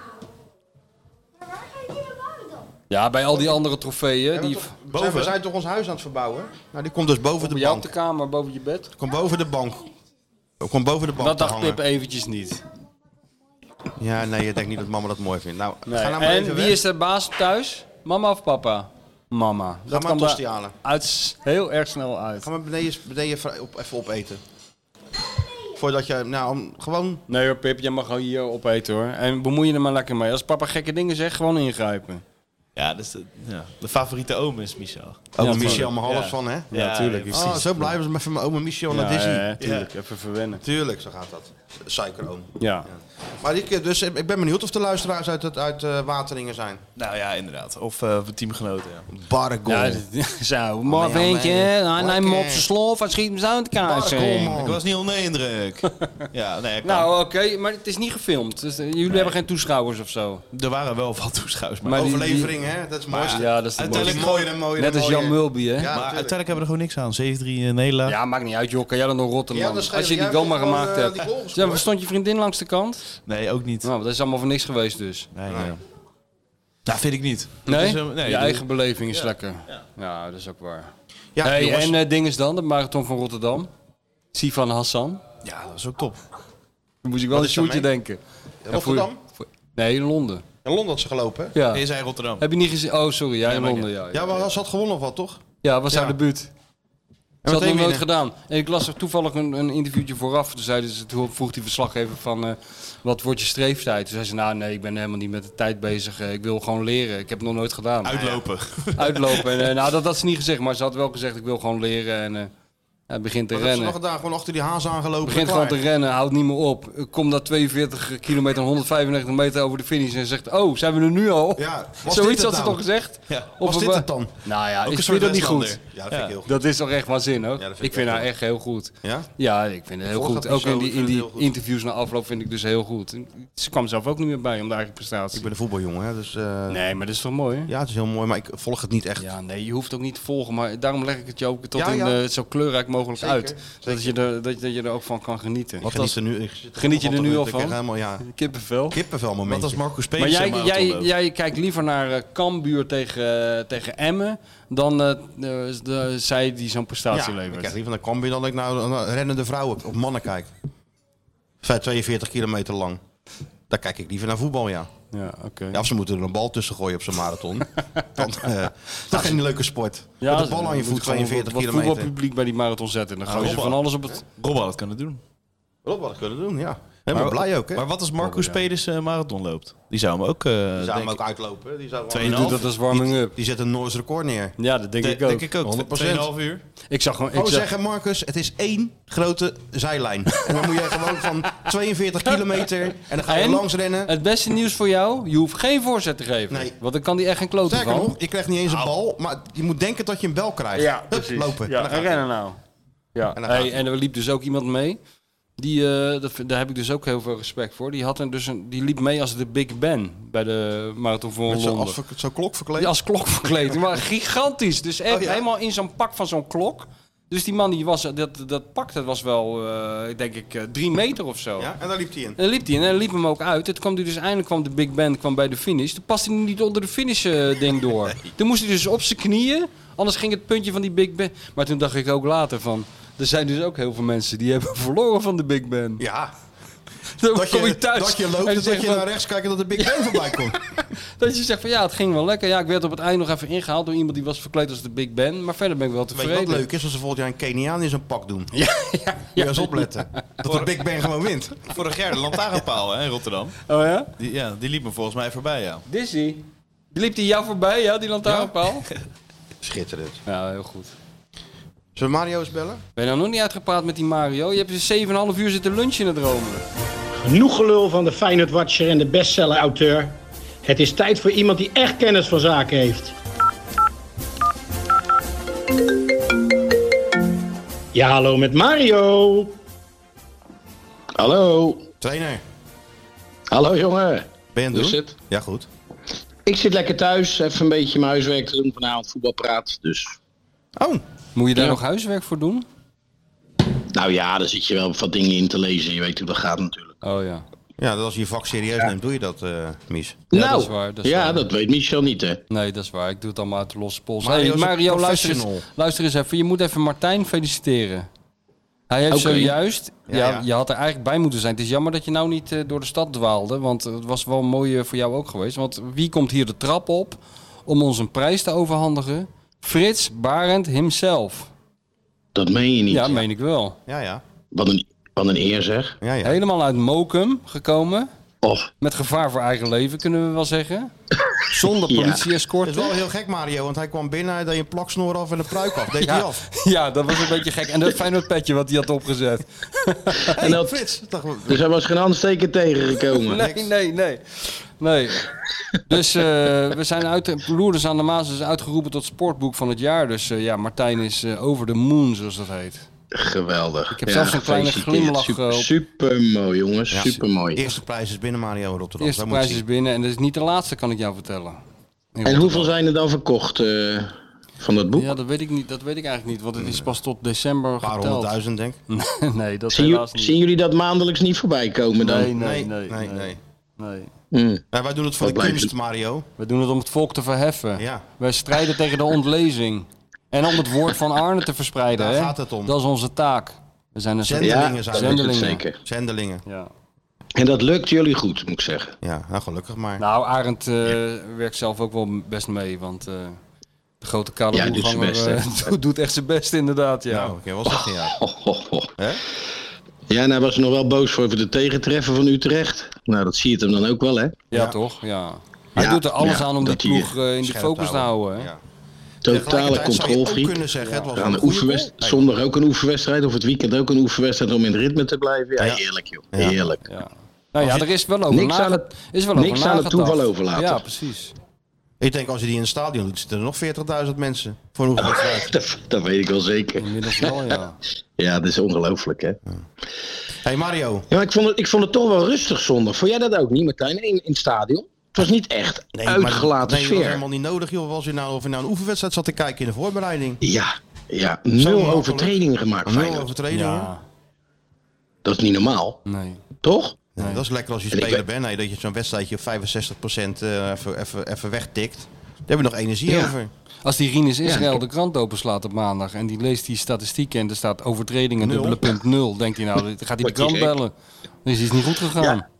Speaker 6: Ja, bij al die andere trofeeën. Die
Speaker 5: boven. We zijn toch ons huis aan het verbouwen? Nou, die komt dus boven de
Speaker 6: bij jou op
Speaker 5: bank.
Speaker 6: de kamer, boven je bed.
Speaker 5: Komt boven de bank. Komt boven de bank
Speaker 6: Dat
Speaker 5: te
Speaker 6: dacht
Speaker 5: hangen.
Speaker 6: Pip eventjes niet.
Speaker 5: Ja, nee, je denkt niet dat mama dat mooi vindt. Nou,
Speaker 6: Nee.
Speaker 5: ga nou maar
Speaker 6: en
Speaker 5: even
Speaker 6: wie
Speaker 5: weg.
Speaker 6: is de baas thuis? Mama of papa? Mama.
Speaker 5: Ga maar een
Speaker 6: bij-
Speaker 5: tosti halen.
Speaker 6: uit, heel erg snel uit.
Speaker 5: Ga maar beneden, beneden vrij- op, even opeten. Voordat je, nou, om- gewoon...
Speaker 6: Nee hoor, Pip, jij mag gewoon hier opeten hoor. En bemoei je er maar lekker mee. Als papa gekke dingen zegt, gewoon ingrijpen.
Speaker 1: Ja, dus de, ja, de favoriete oom is Michel.
Speaker 5: Oma
Speaker 6: tuurlijk.
Speaker 5: Michel, mijn half
Speaker 1: Ja.
Speaker 5: van, hè?
Speaker 1: Ja, tuurlijk.
Speaker 5: Oh, zo blij was ik met van mijn oma Michel naar
Speaker 6: ja,
Speaker 5: Disney.
Speaker 6: ja, tuurlijk. Even verwennen.
Speaker 5: Tuurlijk, zo gaat dat. Suikeroom.
Speaker 6: Ja.
Speaker 5: Maar ik, dus, ik ben benieuwd of de luisteraars uit, het- uit eh, Wateringen zijn.
Speaker 1: Nou ja, inderdaad. Of eh teamgenoten, ja.
Speaker 5: Bargol.
Speaker 6: Ja, zo. Maar
Speaker 5: ja,
Speaker 6: vind je,
Speaker 5: nee.
Speaker 6: hij neemt hem op
Speaker 5: Lekker.
Speaker 6: zijn slof, hij schiet hem zo in de kaars.
Speaker 5: Bargol,
Speaker 1: Ik
Speaker 5: man.
Speaker 1: was niet onder de indruk. ja, nee, ik
Speaker 6: Nou, oké, maar het is niet gefilmd. Dus eh, jullie hebben geen toeschouwers of zo.
Speaker 1: Er waren wel wat toeschouwers, maar,
Speaker 6: Maar die-
Speaker 5: Overlevering, hè? Dat is mooi.
Speaker 6: die- ja, dat is de
Speaker 5: Uiteindelijk
Speaker 1: mooiste.
Speaker 5: mooier en mooier
Speaker 6: Net
Speaker 5: en
Speaker 6: als Jan
Speaker 5: mooier.
Speaker 6: Mulby, hè?
Speaker 5: Ja,
Speaker 6: Ja,
Speaker 1: maar
Speaker 5: natuurlijk.
Speaker 1: uiteindelijk hebben we er gewoon niks aan. eh, 7-3 in Nederland.
Speaker 6: maakt niet uit, joh. Kan jij dan nog
Speaker 5: Ja,
Speaker 6: Rotterdam?
Speaker 5: dan schelen
Speaker 6: als je die
Speaker 5: jij
Speaker 6: goal
Speaker 5: dus
Speaker 6: maar
Speaker 5: gewoon,
Speaker 6: gemaakt
Speaker 5: eh,
Speaker 6: hebt.
Speaker 5: die goal gescoord.
Speaker 6: Ja, maar stond je vriendin langs de kant?
Speaker 1: Nee, ook niet.
Speaker 6: Nou, dat is allemaal voor niks geweest dus.
Speaker 1: Nee, nee. Nou, vind ik niet. Dat
Speaker 6: Nee?
Speaker 1: is, eh, nee
Speaker 6: je
Speaker 1: dat-
Speaker 6: eigen beleving is lekker. Ja. dat is ook waar.
Speaker 5: Ja,
Speaker 6: hey,
Speaker 5: jongens.
Speaker 6: en eh ding is dan, de marathon van Rotterdam. Sifan Hassan.
Speaker 1: Ja, dat is ook top.
Speaker 6: Dan moest ik wel
Speaker 5: Wat
Speaker 6: een
Speaker 5: is daarmee?
Speaker 6: shootje denken. Ja, voor-
Speaker 5: Rotterdam?
Speaker 6: voor- nee, in Londen.
Speaker 5: In Londen had ze gelopen, hè?
Speaker 6: Ja.
Speaker 1: Nee, zij Rotterdam.
Speaker 6: Heb je niet gezien? Oh, sorry. Ja, in
Speaker 1: maakt
Speaker 6: Londen, ja.
Speaker 5: Ja, maar ze had gewonnen of wat, toch?
Speaker 6: Ja, was
Speaker 5: Ja.
Speaker 6: haar debuut. Ze had
Speaker 5: meteen
Speaker 6: nog nooit
Speaker 5: winnen.
Speaker 6: gedaan. En ik las er toevallig een, een interviewtje vooraf. Toen, zeiden ze, toen vroeg die verslaggever van, eh, wat wordt je streeftijd? Toen zei ze, nou nee, ik ben helemaal niet met de tijd bezig. Eh, ik wil gewoon leren. Ik heb het nog nooit gedaan.
Speaker 1: Uitlopen.
Speaker 6: Uitlopen. En, eh, nou, dat had ze niet gezegd. Maar ze had wel gezegd, ik wil gewoon leren. En eh, hij begint te
Speaker 5: Wat hebben ze
Speaker 6: rennen.
Speaker 5: nog gedaan? Gewoon achter die haas aangelopen.
Speaker 6: Begint
Speaker 5: klaar.
Speaker 6: gewoon te rennen, houdt niet meer op. Eh, Komt dat 42 kilometer, 195 meter over de finish en zegt, oh, zijn we er nu al?
Speaker 5: Ja, was dit het
Speaker 6: Zoiets had ze
Speaker 5: dan?
Speaker 6: toch gezegd?
Speaker 1: Ja.
Speaker 6: Of
Speaker 5: Was
Speaker 6: we-
Speaker 5: dit het dan?
Speaker 6: Nou ja,
Speaker 1: een
Speaker 6: ik
Speaker 1: soort
Speaker 6: vind dat niet goed.
Speaker 1: Westlander.
Speaker 5: Ja, dat vind ik heel goed.
Speaker 6: Dat is toch echt waanzinnig?
Speaker 5: Ja, dat vind
Speaker 6: ik
Speaker 5: ik
Speaker 6: vind
Speaker 5: echt
Speaker 6: haar echt heel goed.
Speaker 5: Ja?
Speaker 6: Ja, ik vind het heel
Speaker 5: Volg
Speaker 6: goed.
Speaker 5: dat
Speaker 6: Ook
Speaker 5: persoon,
Speaker 6: in die,
Speaker 5: ik
Speaker 6: in
Speaker 5: vind het
Speaker 6: die
Speaker 5: heel goed.
Speaker 6: interviews na afloop vind ik dus heel goed. Ze kwam zelf ook niet meer bij om de eigen prestatie.
Speaker 5: Ik ben een voetbaljongen, hè, dus... eh,
Speaker 6: Nee, maar dat is toch mooi? hè?
Speaker 5: Ja, het is heel mooi, maar ik volg het niet echt.
Speaker 6: Ja, nee, je hoeft ook niet te volgen. Maar daarom leg ik het je ook tot
Speaker 5: Ja,
Speaker 6: in,
Speaker 5: ja.
Speaker 6: eh, zo kleurrijk mogelijk
Speaker 5: Zeker,
Speaker 6: uit. Dat, je er, dat, je- dat je er ook van kan genieten.
Speaker 5: Ik geniet er nu, ik zit
Speaker 6: Geniet je er
Speaker 5: toch
Speaker 6: nu al
Speaker 5: Ik
Speaker 6: van?
Speaker 5: krijg helemaal, ja,
Speaker 6: Kippenvel.
Speaker 5: kippenvel moment.
Speaker 1: Wat als Marco Spees
Speaker 6: Maar jij,
Speaker 1: zijn marathon
Speaker 6: jij,
Speaker 1: loopt?
Speaker 6: jij kijkt liever naar eh, Cambuur tegen, eh, tegen Emmen dan eh, de, de- zij die zo'n
Speaker 5: ja,
Speaker 6: prestatie
Speaker 5: ik
Speaker 6: levert.
Speaker 5: krijg liever naar Cambuur dan dat ik nou naar rennende vrouwen of mannen kijk. Vijf- 42 kilometer lang. Daar kijk ik liever naar voetbal, ja.
Speaker 6: Ja, oké.
Speaker 5: ja of ze moeten er een bal tussen gooien op zo'n marathon. dan, eh dat is geen leuke sport.
Speaker 6: Ja,
Speaker 5: Met een bal aan je
Speaker 6: moet
Speaker 5: voet,
Speaker 6: gewoon
Speaker 5: 42
Speaker 6: wat,
Speaker 5: kilometer.
Speaker 6: Wat voetbalpubliek bij die marathon zetten. Dan gaan ze
Speaker 1: Robben.
Speaker 6: van alles op het...
Speaker 1: Rob had het kunnen doen.
Speaker 5: Rob had het kunnen doen, ja. Helemaal blij ook, hè.
Speaker 1: Maar wat als Marco Speders eh, marathon loopt? Die zou hem ook... eh,
Speaker 5: die zou
Speaker 1: denk
Speaker 5: hem ook
Speaker 1: ik-
Speaker 5: uitlopen. hè. Die, zou
Speaker 1: Tweeënhalf.
Speaker 5: gewoon-
Speaker 1: Doe
Speaker 6: Dat is warming up.
Speaker 5: die zet een Noors record neer.
Speaker 6: Ja, dat denk
Speaker 1: de-
Speaker 6: ik ook.
Speaker 1: Denk ik ook.
Speaker 5: 100%.
Speaker 1: 2,5 uur.
Speaker 6: Ik zag gewoon... Ik
Speaker 5: Gewoon
Speaker 6: zag-
Speaker 5: zeggen, Marcus, Oh, het is één grote zijlijn. En dan moet je gewoon van 42 kilometer en dan ga je
Speaker 6: En?
Speaker 5: langs rennen.
Speaker 6: Het beste nieuws voor jou, je hoeft geen voorzet te geven.
Speaker 5: Nee.
Speaker 6: Want dan kan die echt geen klote
Speaker 5: Sterker
Speaker 6: van.
Speaker 5: nog, je krijgt niet eens een bal, maar je moet denken dat je een bel krijgt. Hup, lopen. En dan gaat hij.
Speaker 6: nou. Ja.
Speaker 5: En
Speaker 6: En,
Speaker 5: dan gaat
Speaker 6: hey, en er liep dus ook iemand mee. Die, eh, dat, vind- daar heb ik dus ook heel veel respect voor. Die, had er dus een, die liep mee als de Big Ben bij de Marathon van
Speaker 5: Met zo'n
Speaker 6: Londen.
Speaker 5: als- zo'n klok verkleed.
Speaker 6: Die als klok verkleed. Maar gigantisch. Dus echt
Speaker 5: Oh, ja.
Speaker 6: helemaal in zo'n pak van zo'n klok. Dus die man die was, dat, dat pak dat was wel, eh, ik denk ik, eh, drie meter of zo.
Speaker 5: Ja, en daar liep hij in.
Speaker 6: En dan liep hij en dan liep hem ook uit. Het kwam hij dus eindelijk kwam de Big Band kwam bij de finish. Toen paste hij niet onder de finish eh, ding door. Toen moest hij dus op zijn knieën. Anders ging het puntje van die Big Band. Maar toen dacht ik ook later van. Er zijn dus ook heel veel mensen die hebben verloren van de Big Band.
Speaker 5: Ja,
Speaker 6: Dan
Speaker 5: dat
Speaker 6: kom
Speaker 5: je,
Speaker 6: je thuis
Speaker 5: dat je
Speaker 6: en
Speaker 5: loopt
Speaker 6: dan
Speaker 5: en dat
Speaker 6: zeg
Speaker 5: je
Speaker 6: van-
Speaker 5: naar rechts kijkt en dat de Big Ben voorbij komt.
Speaker 6: dat je zegt van ja, het ging wel lekker. Ja, ik werd op het eind nog even ingehaald door iemand die was verkleed als de Big Ben. Maar verder ben ik wel
Speaker 5: Weet je
Speaker 6: tevreden.
Speaker 5: wat leuk is? Als ze volgend jaar een Keniaan in zo'n pak doen. Ja, ja, eens opletten. Dat de Big Ben gewoon wint.
Speaker 1: Vorig jaar de lantaarnpaal hè, in Rotterdam.
Speaker 6: Oh ja?
Speaker 1: Die, ja, die liep me volgens mij voorbij, ja.
Speaker 6: Dizzy. Liep die jou voorbij, ja, die lantaarnpaal?
Speaker 5: Schitterend.
Speaker 6: Ja, heel goed.
Speaker 5: Zullen we Mario eens bellen?
Speaker 6: Ben je nou nog niet uitgepraat met die Mario? Je hebt dus 7,5 uur zitten lunchen in het Rome.
Speaker 8: Genoeg gelul van de Feyenoord Watcher en de bestseller-auteur. Het is tijd voor iemand die echt kennis van zaken heeft. Ja, hallo met Mario.
Speaker 9: Hallo,
Speaker 5: Trainer,
Speaker 9: hallo jongen.
Speaker 5: ben je aan het
Speaker 9: Hoe is
Speaker 5: doen?
Speaker 9: het?
Speaker 5: Ja, goed.
Speaker 9: Ik zit lekker thuis, even een beetje mijn huiswerk te doen vanavond voetbalpraat. Dus
Speaker 5: Oh,
Speaker 6: Moet je daar
Speaker 9: Ja.
Speaker 6: nog huiswerk voor doen?
Speaker 9: Nou ja, daar zit je wel wat dingen in te lezen. Je weet hoe dat gaat natuurlijk.
Speaker 6: Oh ja.
Speaker 5: ja, dat als je je vak serieus neemt, doe je dat, eh Mies.
Speaker 9: nou,
Speaker 6: dat is waar, dat is
Speaker 9: ja,
Speaker 6: waar.
Speaker 9: dat weet Michel niet, hè?
Speaker 6: Nee, dat is waar. Ik doe het allemaal uit de losse pols.
Speaker 5: Mario
Speaker 6: Hey,
Speaker 5: is een
Speaker 6: Mario, luister eens,
Speaker 5: professional.
Speaker 6: luister eens even. Je moet even Martijn feliciteren. Hij heeft
Speaker 9: Oké.
Speaker 6: zojuist... Ja,
Speaker 5: Ja, ja.
Speaker 6: Je had er eigenlijk bij moeten zijn. Het is jammer dat je nou niet eh, door de stad dwaalde. Want het was wel mooi eh, voor jou ook geweest. Want wie komt hier de trap op om ons een prijs te overhandigen? Frits Barend himself.
Speaker 9: Dat meen je niet.
Speaker 6: Ja, meen ik wel.
Speaker 5: Ja, ja.
Speaker 9: Wat, een, wat een eer zeg.
Speaker 5: ja, ja.
Speaker 6: Helemaal uit Mokum gekomen.
Speaker 9: Of,
Speaker 6: Met gevaar voor eigen leven, kunnen we wel zeggen. Zonder
Speaker 9: Ja.
Speaker 5: Het is
Speaker 6: politie-escorte.
Speaker 5: wel heel gek, Mario, want hij kwam binnen, hij deed een plaksnor af en een pruik af. Deed hij af.
Speaker 6: Ja, dat was een beetje gek. En dat Feyenoord petje wat hij had opgezet.
Speaker 5: Hey,
Speaker 9: dat-
Speaker 5: Frits. dacht ik,
Speaker 9: dus hij was geen handsteken tegengekomen.
Speaker 6: Nee, nee, nee. nee. Dus eh, we zijn uit, Loerders aan de Maas is uitgeroepen tot sportboek van het jaar. Dus eh, ja, Martijn is eh, over de moon, zoals dat
Speaker 5: Oh,
Speaker 6: heet.
Speaker 9: Geweldig. Ik
Speaker 6: heb zelfs een kleine glimlach, eh,
Speaker 9: Super,
Speaker 6: op-
Speaker 9: mooi, jongens.
Speaker 5: Ja.
Speaker 9: Super
Speaker 5: De
Speaker 9: mooi.
Speaker 5: eerste prijs is binnen Mario in
Speaker 6: De
Speaker 5: Rotterdam.
Speaker 6: eerste
Speaker 5: Daar moet je
Speaker 6: prijs is binnen en dat is niet de laatste, kan ik jou vertellen.
Speaker 9: En hoeveel zijn er dan verkocht eh, van dat boek?
Speaker 6: Ja, dat weet ik niet. Dat weet ik eigenlijk niet, want het is pas tot december
Speaker 5: Een paar
Speaker 6: geteld.
Speaker 5: honderdduizend, denk ik.
Speaker 6: nee, dat
Speaker 9: zien,
Speaker 6: helaas
Speaker 9: jullie,
Speaker 6: niet.
Speaker 9: zien jullie dat maandelijks niet voorbij komen dan?
Speaker 6: Nee, nee, nee, nee,
Speaker 5: nee.
Speaker 6: nee.
Speaker 9: Mm.
Speaker 5: Ja, wij doen het voor
Speaker 9: Dat
Speaker 5: de
Speaker 9: blijft
Speaker 5: kunst, Mario.
Speaker 6: We doen het om het volk te verheffen.
Speaker 5: Ja.
Speaker 6: Wij strijden tegen de ontlezing. En om het woord van Arne te verspreiden.
Speaker 5: Daar
Speaker 6: hè?
Speaker 5: gaat het om.
Speaker 6: Dat is onze taak. We zijn een soort-
Speaker 9: Ja, dat
Speaker 5: Zendelingen zijn
Speaker 9: is
Speaker 5: we.
Speaker 9: het
Speaker 6: Zendelingen.
Speaker 9: zeker.
Speaker 5: Zendelingen.
Speaker 6: Ja.
Speaker 9: En dat lukt jullie goed, moet ik zeggen.
Speaker 5: Ja, nou, gelukkig maar.
Speaker 6: Nou, Arend eh, werkt zelf ook wel best mee, want eh, de grote kale
Speaker 9: Ja, hij doet
Speaker 6: boerganger,
Speaker 9: zijn best,
Speaker 6: eh, doet- doet echt zijn best inderdaad, ja.
Speaker 5: Nou, ik kan wel zeggen, ja.
Speaker 9: Ho, ho, ho.
Speaker 5: Hè?
Speaker 9: Ja, en hij was er nog wel boos voor over de tegentreffen van Utrecht. Nou, dat zie je het hem dan ook wel, hè?
Speaker 6: ja, toch? Ja. Hij
Speaker 9: Ja,
Speaker 6: doet er alles
Speaker 9: ja,
Speaker 6: aan om die
Speaker 9: dat hij,
Speaker 6: ploeg eh, in de
Speaker 5: Scherp
Speaker 6: focus te houden. hè.
Speaker 5: Ja.
Speaker 9: Totale
Speaker 5: Tegelijkertijd zou je ook
Speaker 9: controlfreak.
Speaker 5: kunnen zeggen, het was
Speaker 9: Aan
Speaker 5: een
Speaker 9: de
Speaker 5: goede
Speaker 9: oefenwedst-
Speaker 5: goal.
Speaker 9: zondag ook een oefenwedstrijd, of het weekend ook een oefenwedstrijd om in het ritme te blijven. Ja,
Speaker 5: Ja.
Speaker 9: heerlijk joh,
Speaker 5: Ja.
Speaker 9: heerlijk.
Speaker 6: Ja. Nou ja, er is wel over
Speaker 9: Niks
Speaker 6: nage-
Speaker 9: aan het-
Speaker 6: is wel over
Speaker 9: niks aan het
Speaker 6: nagedacht.
Speaker 9: toeval overlaten.
Speaker 6: Ja, precies.
Speaker 5: Ik denk, als je die in een stadion doet, zitten er nog 40.000 mensen voor een oefenwedstrijd.
Speaker 9: Dat, dat weet ik wel zeker.
Speaker 6: Inmiddels wel, ja.
Speaker 9: Ja, dat is ongelooflijk hè.
Speaker 5: hey Mario.
Speaker 9: Ja, maar ik vond, het, ik vond het toch wel rustig zondag. Vond jij dat ook niet Martijn, in, in het stadion? Het was niet echt
Speaker 5: maar,
Speaker 9: uitgelaten
Speaker 5: nee, dat was
Speaker 9: sfeer.
Speaker 5: helemaal niet nodig, joh. Was je nou, of je nou een oefenwedstrijd zat te kijken in de voorbereiding.
Speaker 9: Ja, ja, nul
Speaker 5: makkelijk.
Speaker 9: overtredingen gemaakt
Speaker 5: Nul
Speaker 9: Feyenoord.
Speaker 5: overtredingen.
Speaker 6: Ja,
Speaker 9: Dat is niet normaal,
Speaker 6: nee.
Speaker 9: toch?
Speaker 5: Nee, Dat is lekker als je
Speaker 9: En ik
Speaker 5: speler
Speaker 9: weet-
Speaker 5: bent. hè, dat je zo'n wedstrijdje op 65% eh, even, even, even wegtikt. Daar hebben we nog energie
Speaker 9: Ja.
Speaker 5: over.
Speaker 6: Als die Rinus Israël
Speaker 9: Ja.
Speaker 6: de krant openslaat op maandag en die leest die statistieken en er staat overtredingen dubbele punt nul, denkt hij nou, dan gaat hij de
Speaker 9: Wordt hij
Speaker 6: krant
Speaker 9: gek.
Speaker 6: bellen. Dus is niet goed gegaan.
Speaker 9: Ja.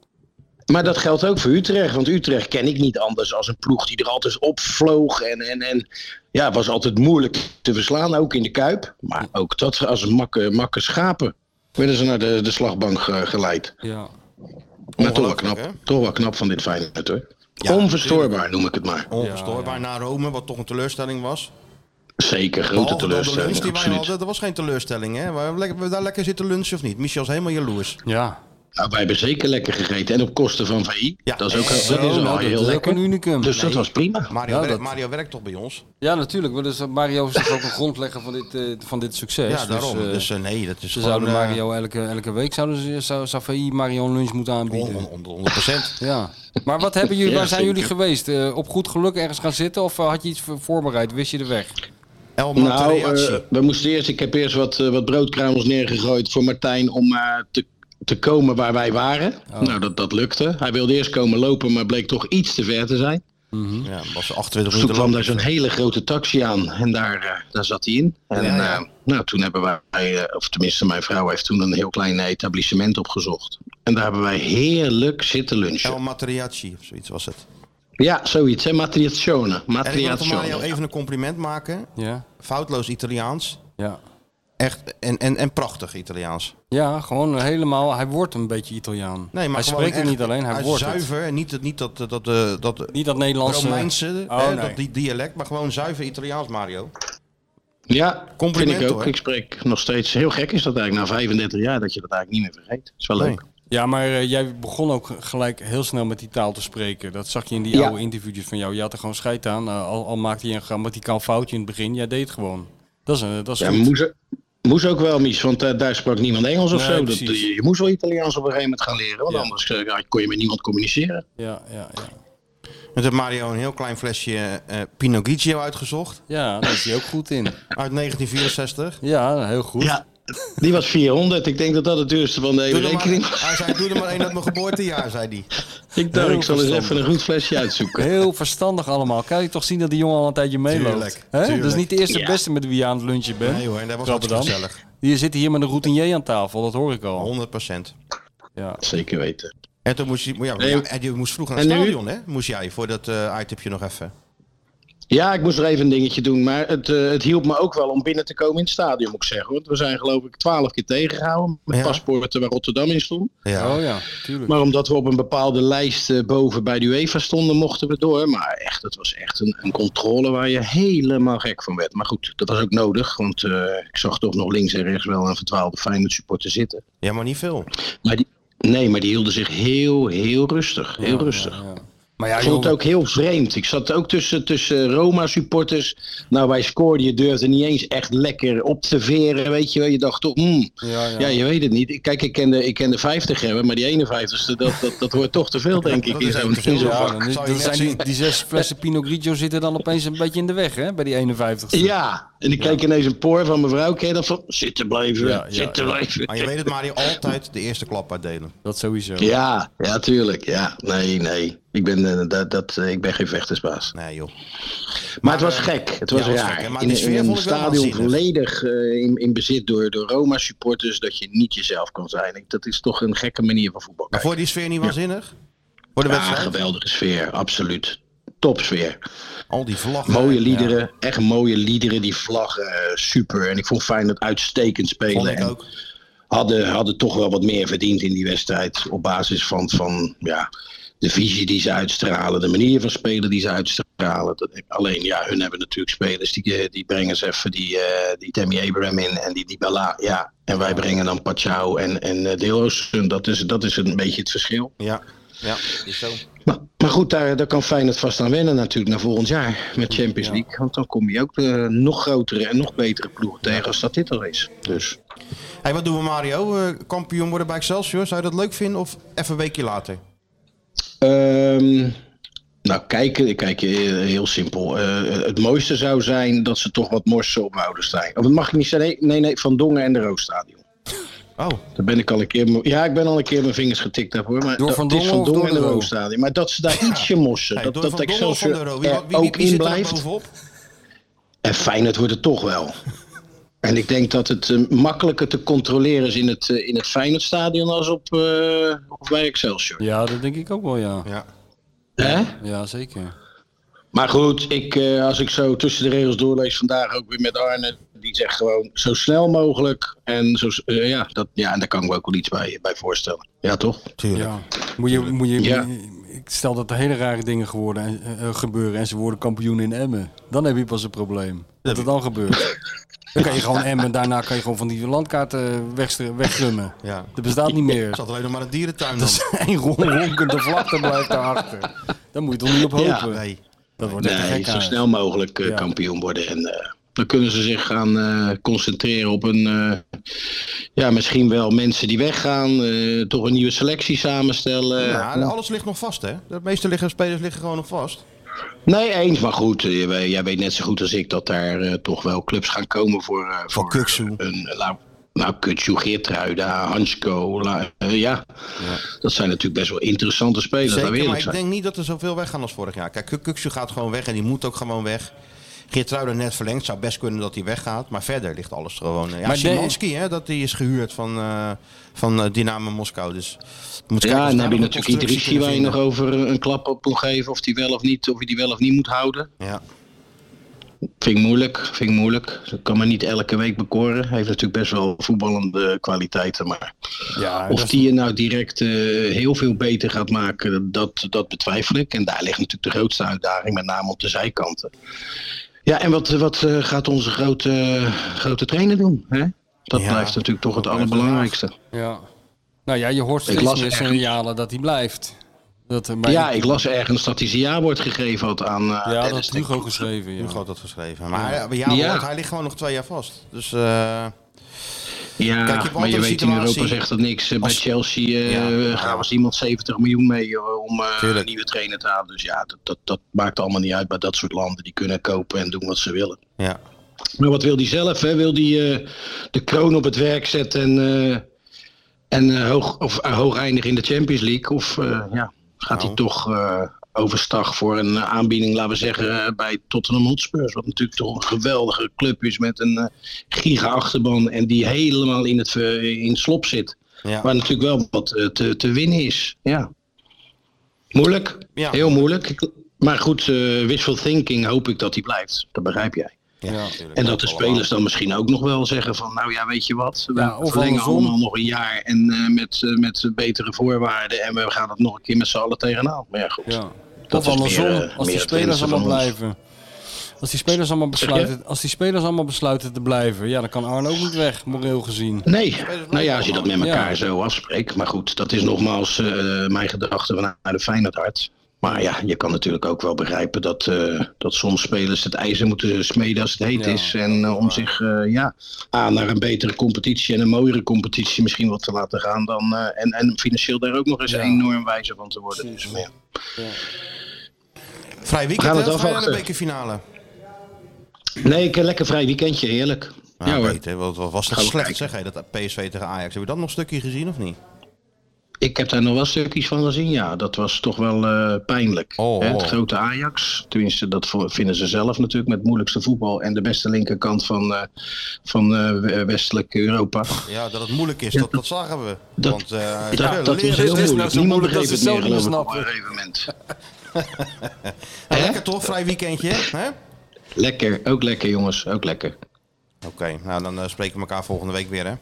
Speaker 9: Maar dat geldt ook voor Utrecht. Want Utrecht ken ik niet anders als een ploeg die er altijd opvloog. En, en, en ja, het was altijd moeilijk te verslaan, ook in de Kuip. Maar ook dat als een makke, makke schapen werden ze naar de, de slagbank ge- geleid.
Speaker 6: Ja.
Speaker 9: Maar toch wel,
Speaker 5: Ongelooflijk,
Speaker 9: knap,
Speaker 5: hè?
Speaker 9: toch wel knap van dit Feyenoord hoor. Onverstoorbaar noem ik het maar.
Speaker 5: Onverstoorbaar naar Rome, wat toch een teleurstelling was.
Speaker 9: Zeker, grote
Speaker 5: Behalve dan de lunch
Speaker 9: teleurstelling.
Speaker 5: die wij
Speaker 9: Absoluut.
Speaker 5: hadden, dat was geen teleurstelling. Hè? We hebben lekker- we daar lekker zitten lunchen of niet? Michel is helemaal jaloers.
Speaker 6: Ja.
Speaker 9: Nou, wij hebben zeker lekker gegeten. En op kosten van VI.
Speaker 5: Ja, Eh,
Speaker 9: dat is ook,
Speaker 5: zo,
Speaker 9: dat is
Speaker 6: nou,
Speaker 9: al
Speaker 6: dat
Speaker 9: heel
Speaker 6: is ook
Speaker 9: lekker.
Speaker 6: een unicum.
Speaker 9: Dus dat was prima.
Speaker 5: Mario,
Speaker 6: Ja,
Speaker 5: werkt-
Speaker 6: dat-
Speaker 5: Mario werkt toch bij ons?
Speaker 6: Ja, natuurlijk. maar Dus Mario is toch ook een grondlegger van dit, eh, van dit succes.
Speaker 5: ja, daarom.
Speaker 6: Dus,
Speaker 5: Dus,
Speaker 6: eh,
Speaker 5: eh, nee, dat is
Speaker 6: ze
Speaker 5: gewoon...
Speaker 6: zouden
Speaker 5: eh,
Speaker 6: Mario elke, elke week zouden ze, zou, zou VI Mario een lunch moeten aanbieden.
Speaker 5: on- on- 100%.
Speaker 6: Ja. Maar wat hebben jullie,
Speaker 9: Ja,
Speaker 6: waar zijn
Speaker 9: zeker.
Speaker 6: jullie geweest? Eh, op goed geluk ergens gaan zitten of eh, had je iets voor- voorbereid? Wist je de weg?
Speaker 5: El
Speaker 9: Nou,
Speaker 5: Materazzi.
Speaker 9: eh, we moesten eerst, ik heb eerst wat, eh, wat broodkruimels neergegooid voor Martijn om eh, te, te komen waar wij waren.
Speaker 5: Oh.
Speaker 9: Nou, dat, dat lukte. Hij wilde eerst komen lopen, maar bleek toch iets te ver te zijn.
Speaker 5: Hm? ja, was
Speaker 9: Dus
Speaker 5: 28
Speaker 9: toen
Speaker 5: minuten
Speaker 9: kwam
Speaker 5: lang.
Speaker 9: daar zo'n hele grote taxi aan en daar, eh, daar zat hij in. En
Speaker 5: ja.
Speaker 9: eh, nou, toen hebben wij, eh, of tenminste mijn vrouw heeft toen een heel klein etablissement opgezocht. En daar hebben wij heerlijk zitten lunchen.
Speaker 5: El Materiaci of zoiets was het.
Speaker 9: Ja, zoiets, hè? Matriazione.
Speaker 5: En ik wil voor Mario
Speaker 9: Matriazione.
Speaker 5: even een compliment maken.
Speaker 6: Ja.
Speaker 5: Foutloos Italiaans.
Speaker 6: Ja.
Speaker 5: Echt, en, en, en prachtig Italiaans.
Speaker 6: Ja, gewoon helemaal. Hij wordt een beetje Italiaan.
Speaker 5: Nee, maar
Speaker 6: hij
Speaker 5: gewoon
Speaker 6: spreekt het
Speaker 5: echt-
Speaker 6: niet alleen, hij,
Speaker 5: is
Speaker 6: wordt het.
Speaker 5: zuiver en niet, dat- niet dat, dat, dat, eh, dat
Speaker 6: Niet dat Nederlandse...
Speaker 5: Romeinse,
Speaker 6: Oh,
Speaker 5: hè,
Speaker 6: nee.
Speaker 5: dat, die dialect, maar gewoon zuiver Italiaans, Mario.
Speaker 9: Ja,
Speaker 5: Compliment,
Speaker 9: vind ik ook.
Speaker 5: hoor.
Speaker 9: Ik spreek nog steeds. Heel gek is dat eigenlijk na 35 jaar dat je dat eigenlijk niet meer vergeet. Dat is wel leuk.
Speaker 6: Ja, maar eh, jij begon ook gelijk heel snel met die taal te spreken. Dat zag je in die
Speaker 9: Ja.
Speaker 6: oude interviewjes van jou. Je had er gewoon scheid aan. eh, al, al maakte je een grammaticaal foutje in het begin. Jij deed het gewoon. Dat is, een, dat is
Speaker 9: Ja,
Speaker 6: goed.
Speaker 9: moest, moest ook wel, Mies, want eh, daar sprak niemand Engels of
Speaker 6: Nee,
Speaker 9: zo. Dat, eh,
Speaker 6: precies.
Speaker 9: je, je moest wel Italiaans op een gegeven moment gaan leren, want
Speaker 6: Ja.
Speaker 9: anders eh, kon je met niemand communiceren.
Speaker 6: Ja, ja, ja.
Speaker 5: Met heeft Mario een heel klein flesje eh Pinocchio uitgezocht.
Speaker 6: Ja, daar is hij ook goed in.
Speaker 5: Uit 1964.
Speaker 6: Ja, heel goed.
Speaker 9: Ja, die was 400. Ik denk dat dat het duurste van de hele
Speaker 5: Doe er maar,
Speaker 9: rekening was.
Speaker 5: hij zei, doe er maar één uit mijn geboortejaar, zei hij.
Speaker 9: Ik dacht,
Speaker 6: Heel
Speaker 9: ik zal eens
Speaker 6: verstandig.
Speaker 9: even een goed flesje uitzoeken.
Speaker 6: Heel verstandig allemaal. Kan je toch zien dat die jongen al een tijdje meeloopt?
Speaker 5: Tuurlijk,
Speaker 6: hè?
Speaker 5: tuurlijk.
Speaker 6: Dat is niet de eerste
Speaker 9: Ja.
Speaker 6: beste met wie je aan het lunchen bent.
Speaker 5: Nee hoor, en dat was
Speaker 6: Rotterdam.
Speaker 5: hartstikke gezellig.
Speaker 6: Je zit hier met een routinier aan tafel, dat hoor ik al.
Speaker 5: 100 procent.
Speaker 6: Ja.
Speaker 9: Zeker weten.
Speaker 5: En toen moest je, ja,
Speaker 9: Nee.
Speaker 5: ja, en je moest vroeg naar het
Speaker 9: En nu?
Speaker 5: stadion, hè? Moest jij voor dat eh itempje nog even.
Speaker 9: Ja, ik moest nog even een dingetje doen. Maar het, eh, het hielp me ook wel om binnen te komen in het stadion, moet ik zeggen. Want we zijn geloof ik twaalf keer tegengehouden. Met
Speaker 5: Ja.
Speaker 9: paspoorten waar Rotterdam in stond.
Speaker 5: Ja.
Speaker 6: Oh ja, tuurlijk.
Speaker 9: Maar omdat we op een bepaalde lijst eh, boven bij de UEFA stonden, mochten we door. Maar echt, dat was echt een, een controle waar je helemaal gek van werd. Maar goed, dat was ook nodig. Want eh, ik zag toch nog links en rechts wel een verdwaalde Feyenoord supporter zitten.
Speaker 5: ja, maar niet veel.
Speaker 9: Maar die, nee, maar die hielden zich heel, heel rustig. Heel rustig.
Speaker 6: Maar ja,
Speaker 9: Ik vond
Speaker 6: joh,
Speaker 9: het ook heel vreemd. Ik zat ook tussen, tussen Roma-supporters. Nou, wij scoorden. Je durfde niet eens echt lekker op te veren. Weet je wel. Je dacht toch, hmm,
Speaker 6: Ja,
Speaker 9: ja,
Speaker 6: ja.
Speaker 9: je weet het niet. Ik- Kijk, ik ken de, ik ken de 50 hebben, maar die 51ste, dat, dat, dat wordt toch te veel, denk ik.
Speaker 5: Dat
Speaker 9: in
Speaker 5: is
Speaker 9: zo'n-
Speaker 5: ook te veel.
Speaker 9: in zo'n
Speaker 6: ja,
Speaker 9: vak.
Speaker 6: dan is-
Speaker 5: Zou je
Speaker 6: dan
Speaker 5: net
Speaker 6: zijn
Speaker 5: zien.
Speaker 6: die, die zes flessen Pinot Grigio zitten dan opeens een beetje in de weg, hè? Bij die 51
Speaker 9: Ja, en ik keek ineens een poor van mevrouw. Ken je dat van, zitten blijven,
Speaker 6: Ja, ja,
Speaker 9: zitten
Speaker 6: ja.
Speaker 9: blijven.
Speaker 5: Maar je weet het, Mario, altijd de eerste klap uitdelen.
Speaker 6: Dat sowieso.
Speaker 9: Ja, ja, tuurlijk. Ja, nee, nee. Ik ben, eh, dat, dat, eh, ik ben geen vechtersbaas.
Speaker 5: Nee joh.
Speaker 9: Maar, het was
Speaker 5: eh,
Speaker 9: gek. Het was
Speaker 5: ja, het was
Speaker 9: raar.
Speaker 5: gek, hè, maar
Speaker 9: in,
Speaker 5: die sfeer
Speaker 9: in een
Speaker 5: vond ik wel
Speaker 9: stadion
Speaker 5: waanzinnig.
Speaker 9: volledig eh, in, in bezit door, door Roma-supporters dat je niet jezelf kan zijn. Ik- Dat is toch een gekke manier van voetbal.
Speaker 5: Maar
Speaker 9: kijken.
Speaker 5: voor die sfeer niet waanzinnig? Voor de
Speaker 9: ja,
Speaker 5: wedstrijd?
Speaker 9: geweldige sfeer, absoluut. Topsfeer.
Speaker 5: Al die vlaggen.
Speaker 9: Mooie
Speaker 5: Ja.
Speaker 9: liederen, echt mooie liederen. Die vlaggen, eh, super. En ik vond Feyenoord uitstekend spelen.
Speaker 5: Vond ik
Speaker 9: En
Speaker 5: ook.
Speaker 9: Hadden, hadden toch wel wat meer verdiend in die wedstrijd. Op basis van, van ja, de visie die ze uitstralen, de manier van spelen die ze uitstralen. Dat- alleen ja, hun hebben natuurlijk spelers die, eh, die brengen ze even die, eh, die Tammy Abraham in en die Dybala. Ja. En wij brengen dan Pachau en, en eh, Deelroos. Dat is, dat is een beetje het verschil.
Speaker 5: Ja. Ja, is zo.
Speaker 9: Maar, maar goed, daar, daar kan Feyenoord vast aan wennen natuurlijk naar volgend jaar met Champions League. Want dan kom je ook eh, nog grotere en nog betere ploegen tegen als dat dit al is. Dus
Speaker 5: Hey, wat doen we Mario? Eh, kampioen worden bij Excelsior? Zou je dat leuk vinden of even een weekje later?
Speaker 9: Ehm, nou, kijken, kijken eh, heel simpel. Eh, het mooiste zou zijn dat ze toch wat morsen op Woudenstein. Of dat mag ik niet zeggen. Nee, nee, nee, Van Dongen en de Roosstadion.
Speaker 5: Oh,
Speaker 9: Daar ben ik al een keer. m- Ja, ik ben al een keer mijn vingers getikt daarvoor. Maar
Speaker 6: Door
Speaker 9: dat-
Speaker 6: Van
Speaker 9: het is
Speaker 6: Dongen
Speaker 9: Van
Speaker 6: of door
Speaker 9: Dongen en de
Speaker 6: de Roo?
Speaker 9: Roosstadion. Maar dat ze daar ietsje morsen.
Speaker 5: hey,
Speaker 9: dat
Speaker 5: door
Speaker 9: dat
Speaker 5: Van Bommel of Van der
Speaker 9: Excelsior
Speaker 5: Rohe? Wie,
Speaker 9: er
Speaker 5: wie, wie,
Speaker 9: ook
Speaker 5: wie
Speaker 9: in
Speaker 5: zit er nou
Speaker 9: blijft.
Speaker 5: bovenop?
Speaker 9: En Feyenoord wordt het toch wel. En ik denk dat het eh, makkelijker te controleren is in het, eh, in het Feyenoordstadion als op, eh op bij Excelsior.
Speaker 6: Ja, dat denk ik ook wel, ja.
Speaker 5: Ja.
Speaker 9: Hè?
Speaker 6: Ja, zeker.
Speaker 9: Maar goed, ik, eh, als ik zo tussen de regels doorlees vandaag ook weer met Arne, die zegt gewoon zo snel mogelijk. En, zo, s- eh, ja, dat, ja, en daar kan ik me ook wel iets bij, bij voorstellen. Ja, toch?
Speaker 5: Tuurlijk.
Speaker 6: Ja. Moet je, moet je,
Speaker 9: Ja.
Speaker 6: Ik stel dat er hele rare dingen geworden, en- eh, eh, gebeuren en ze worden kampioen in Emmen. Dan heb je pas een probleem. Dat het dan gebeurt. Dan kan je gewoon Emmen, daarna kan je gewoon van die landkaarten wegstre- wegrummen.
Speaker 5: Ja.
Speaker 6: Dat bestaat niet meer.
Speaker 5: Er zat alleen nog maar een dierentuin
Speaker 6: Dat
Speaker 5: dan.
Speaker 6: is één ron- ronkende vlakte blijft daarachter. Daar moet je toch niet op
Speaker 9: Ja.
Speaker 6: hopen.
Speaker 5: Nee.
Speaker 6: Dat wordt echt
Speaker 9: Nee,
Speaker 6: gek
Speaker 9: zo snel mogelijk eh,
Speaker 6: Ja.
Speaker 9: kampioen worden. En eh, dan kunnen ze zich gaan eh, concentreren op een. eh, ja, misschien wel mensen die weggaan. eh, toch een nieuwe selectie samenstellen. Eh,
Speaker 5: Ja, Nou, alles ligt nog vast, hè? De meeste liggen, spelers liggen gewoon nog vast.
Speaker 9: Nee, eens. Maar goed, eh, je weet- jij weet net zo goed als ik dat daar eh, toch wel clubs gaan komen voor. eh, voor
Speaker 5: Kuksu.
Speaker 9: Een, eh, nou, nou, Kutsu, Geertruida, Hansko. La- eh, ja. dat zijn natuurlijk best wel interessante spelers. Zeker,
Speaker 5: Zeker, maar
Speaker 9: eerlijk
Speaker 5: ik
Speaker 9: zijn.
Speaker 5: denk niet dat er zoveel weggaan als vorig jaar. Kijk, Kuk- Kuksu gaat gewoon weg en die moet ook gewoon weg. Geertruiden net verlengd, zou best kunnen dat hij weggaat. Maar verder ligt alles gewoon... eh, Ja,
Speaker 6: Maar de-
Speaker 5: Szymanski, hè, dat die is gehuurd van, eh, van eh, Dynamo Moskou. Dus moet kijken
Speaker 9: Ja,
Speaker 5: of
Speaker 9: en dan heb
Speaker 5: ze daar
Speaker 9: je
Speaker 5: nog een
Speaker 9: natuurlijk
Speaker 5: constructie
Speaker 9: Idrissi waar je nog
Speaker 5: kunnen
Speaker 9: over een klap op moet geven. Of die wel of niet, of je die wel of niet moet houden.
Speaker 5: vinden. Ja.
Speaker 9: Vind ik moeilijk, vind ik moeilijk. Dat kan me niet elke week bekoren. Hij heeft natuurlijk best wel voetballende kwaliteiten. Maar
Speaker 6: Ja,
Speaker 9: of die je nou direct eh, heel veel beter gaat maken, dat, dat betwijfel ik. En daar ligt natuurlijk de grootste uitdaging, met name op de zijkanten. Ja, en wat, wat eh, gaat onze grote, grote trainer doen? Hè? Dat
Speaker 5: Ja,
Speaker 9: blijft natuurlijk toch het
Speaker 5: dat blijft
Speaker 9: allerbelangrijkste.
Speaker 6: Ja. Nou ja, je hoort steeds
Speaker 9: las
Speaker 6: meer
Speaker 9: echt-
Speaker 6: signalen dat hij blijft. Dat er bij
Speaker 9: Ja, ik las ergens dat hij zijn jaarwoord gegeven had aan eh,
Speaker 6: ja, dat
Speaker 9: Dennis
Speaker 6: is
Speaker 9: Ten
Speaker 6: Hugo geschreven. Ja.
Speaker 5: Hugo had dat geschreven. Maar hij- eh, ja,
Speaker 9: Ja.
Speaker 5: want hij ligt gewoon nog twee jaar vast. Dus eh,
Speaker 9: Ja,
Speaker 5: Kijk, je hebt
Speaker 9: maar je
Speaker 5: altijd
Speaker 9: weet
Speaker 5: een
Speaker 9: in Europa
Speaker 5: situatie-
Speaker 9: zegt dat niks. Eh, Bij
Speaker 5: Als-
Speaker 9: Chelsea eh, gaan was iemand 70 miljoen mee eh, om eh, een nieuwe trainer te halen. Dus ja, dat, dat, dat maakt allemaal niet uit bij dat soort landen. Die kunnen kopen en doen wat ze willen.
Speaker 5: Ja.
Speaker 9: Maar wat wil die zelf? Hè? Wil die eh, de kroon op het werk zetten en, eh, en eh, hoog, of, eh, hoog eindigen in de Champions League? Of eh, ja, gaat
Speaker 5: Nou.
Speaker 9: hij toch eh, overstag voor een eh, aanbieding, laten we zeggen, eh, bij Tottenham Hotspurs? Wat natuurlijk toch een geweldige club is met een eh, giga-achterban en die helemaal in het ver- in het slop zit.
Speaker 5: Ja.
Speaker 9: Waar natuurlijk wel wat eh, te, te winnen is. Ja. Moeilijk,
Speaker 5: Ja.
Speaker 9: heel moeilijk. Ik- Maar goed, eh, wishful thinking hoop ik dat hij blijft. Dat begrijp jij. En dat de spelers dan misschien ook nog wel zeggen van, nou ja, weet je wat, we
Speaker 6: Ja, of
Speaker 9: verlengen
Speaker 6: andersom.
Speaker 9: allemaal nog een jaar en eh, met, eh, met betere voorwaarden en we gaan het nog een keer met z'n allen tegenaan. Maar ja, goed.
Speaker 6: Ja.
Speaker 9: Dat
Speaker 6: Of
Speaker 9: is
Speaker 6: andersom,
Speaker 9: meer, eh,
Speaker 6: als die
Speaker 9: meer het
Speaker 6: spelers
Speaker 9: wensen van
Speaker 6: allemaal
Speaker 9: ons.
Speaker 6: blijven. Als die spelers allemaal,
Speaker 9: Zeg je?
Speaker 6: besluiten, als die spelers allemaal besluiten te blijven, ja, dan kan Arne ook niet weg, moreel gezien.
Speaker 9: Nee, nou ja, als je dat met elkaar
Speaker 6: Ja.
Speaker 9: zo afspreekt. Maar goed, dat is nogmaals eh, mijn gedachte vanuit de Feyenoord hart. Maar ja, je kan natuurlijk ook wel begrijpen dat, eh, dat soms spelers het ijzer moeten smeden als het heet
Speaker 6: Ja,
Speaker 9: is. En eh, om zich eh, ja, aan naar een betere competitie en een mooiere competitie misschien wat te laten gaan. Dan, eh, en, en financieel daar ook nog eens enorm wijzer van te worden. Dus, maar ja.
Speaker 5: Vrij
Speaker 9: We
Speaker 5: weekend,
Speaker 9: gaan
Speaker 5: hè?
Speaker 9: het
Speaker 5: Of Ga je naar de
Speaker 9: afwachten.
Speaker 5: bekerfinale?
Speaker 9: Nee, ik heb lekker vrij weekendje, heerlijk.
Speaker 5: Ja,
Speaker 9: ja hoor.
Speaker 5: weet, hè, wat, wat was dat
Speaker 9: Gaan we
Speaker 5: slecht,
Speaker 9: kijken.
Speaker 5: zeg hé, dat PSV tegen Ajax. Heb je dat nog een stukje gezien of niet?
Speaker 9: Ik heb daar nog wel stukjes van gezien. Ja, dat was toch wel eh, pijnlijk.
Speaker 5: Oh,
Speaker 9: Hè,
Speaker 5: oh.
Speaker 9: Het grote Ajax. Tenminste, dat vo- vinden ze zelf natuurlijk met het moeilijkste voetbal. En de beste linkerkant van, eh, van eh, we- westelijk Europa.
Speaker 5: Ja, dat het moeilijk is, dat, dat zagen we.
Speaker 9: Dat-
Speaker 5: Want, eh,
Speaker 9: Dat,
Speaker 5: ja,
Speaker 9: dat
Speaker 5: leren
Speaker 9: is
Speaker 5: is-
Speaker 9: heel
Speaker 5: is nou
Speaker 9: moeilijk.
Speaker 5: zo
Speaker 9: Niemand
Speaker 5: moeilijk dat
Speaker 9: begreep
Speaker 5: ze
Speaker 9: het
Speaker 5: zelf
Speaker 9: meer geloof
Speaker 5: niet meer
Speaker 9: ik op
Speaker 5: snappen.
Speaker 9: een gegeven moment.
Speaker 5: Nou,
Speaker 9: Hè?
Speaker 5: Lekker toch, vrij weekendje? hè? Oké,
Speaker 9: Lekker, ook lekker jongens, ook lekker.
Speaker 5: nou dan eh, spreken we elkaar volgende week weer, hè?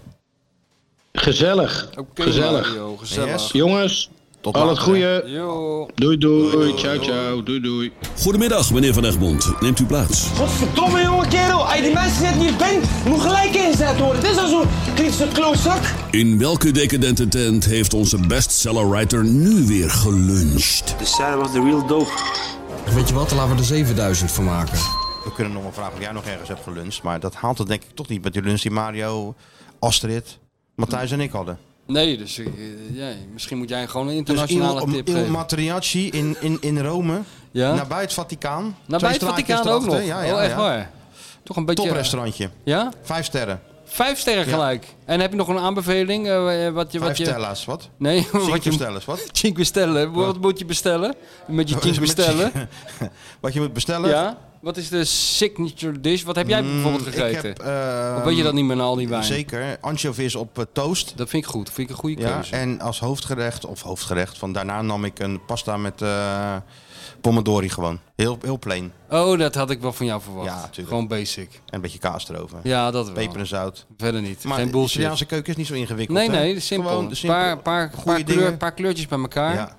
Speaker 9: Gezellig,
Speaker 6: Oké,
Speaker 9: gezellig.
Speaker 6: Mario, gezellig.
Speaker 5: Yes.
Speaker 9: Jongens,
Speaker 5: Tot
Speaker 9: al het
Speaker 5: later,
Speaker 9: goede.
Speaker 6: Yo.
Speaker 9: Doei doei, ciao ciao, doei doei.
Speaker 3: Goedemiddag, meneer Van Egmond. Neemt u plaats.
Speaker 10: Godverdomme jonge kerel, als je die mensen net niet bent, moet gelijk ingezet worden. Dit is al zo'n kritische klootzak.
Speaker 3: In welke decadente tent heeft onze bestsellerwriter nu weer geluncht?
Speaker 11: Dus zij was de real dope. Weet je wat, laten we er 7000 van maken.
Speaker 5: We kunnen nog wel vragen of jij nog ergens hebt geluncht. Maar dat haalt het denk ik toch niet met die lunch die Mario, Astrid, Matthijs en ik hadden.
Speaker 6: Nee, dus eh, ja, misschien moet jij gewoon een
Speaker 5: Dus
Speaker 6: internationale
Speaker 5: Il,
Speaker 6: tip
Speaker 5: Il
Speaker 6: geven.
Speaker 5: Matriacci in, in, in Rome,
Speaker 6: Ja?
Speaker 5: nabij het Vaticaan.
Speaker 6: nou, bij
Speaker 5: Twee
Speaker 6: het
Speaker 5: straatjes
Speaker 6: Vaticaan ook nog.
Speaker 5: erachter. Ja, ja,
Speaker 6: oh, echt
Speaker 5: ja.
Speaker 6: waar. Toch een beetje...
Speaker 5: Toprestaurantje.
Speaker 6: Ja?
Speaker 5: Vijf sterren.
Speaker 6: Vijf sterren
Speaker 5: Ja.
Speaker 6: gelijk. En heb je nog een aanbeveling? eh, wat je,
Speaker 5: Vijf
Speaker 6: wat je...
Speaker 5: stella's, wat?
Speaker 6: Nee, wat
Speaker 5: Cinque
Speaker 6: je...
Speaker 5: stella's, wat?
Speaker 6: Cinque stellen. Wat moet je bestellen? Met je cinque
Speaker 5: Oh, Met-
Speaker 6: stellen.
Speaker 5: Wat je moet bestellen?
Speaker 6: Ja? Wat is de signature dish? Wat heb jij bijvoorbeeld
Speaker 5: Mm, Ik
Speaker 6: gegeten?
Speaker 5: heb, eh,
Speaker 6: of weet je dat niet meer na al die wijn?
Speaker 5: Zeker. Anchovies op eh, toast.
Speaker 6: Dat vind ik goed. Vind ik een goede
Speaker 5: Ja,
Speaker 6: keuze.
Speaker 5: en als hoofdgerecht, of hoofdgerecht, van daarna nam ik een pasta met eh, pomodori gewoon. Heel, heel plain.
Speaker 6: Oh, dat had ik wel van jou verwacht.
Speaker 5: Ja, tuurlijk.
Speaker 6: Gewoon basic.
Speaker 5: En een beetje kaas erover.
Speaker 6: Ja, dat wel.
Speaker 5: Peper en zout.
Speaker 6: Verder niet.
Speaker 5: Maar
Speaker 6: Geen
Speaker 5: de
Speaker 6: bullshit.
Speaker 5: Italiaanse keuken is niet zo ingewikkeld.
Speaker 6: Nee,
Speaker 5: hè?
Speaker 6: nee. Simpel.
Speaker 5: Gewoon
Speaker 6: Een
Speaker 5: simpel.
Speaker 6: paar, paar, paar,
Speaker 5: goede
Speaker 6: kleur-
Speaker 5: dingen.
Speaker 6: paar kleurtjes bij elkaar.
Speaker 5: Ja.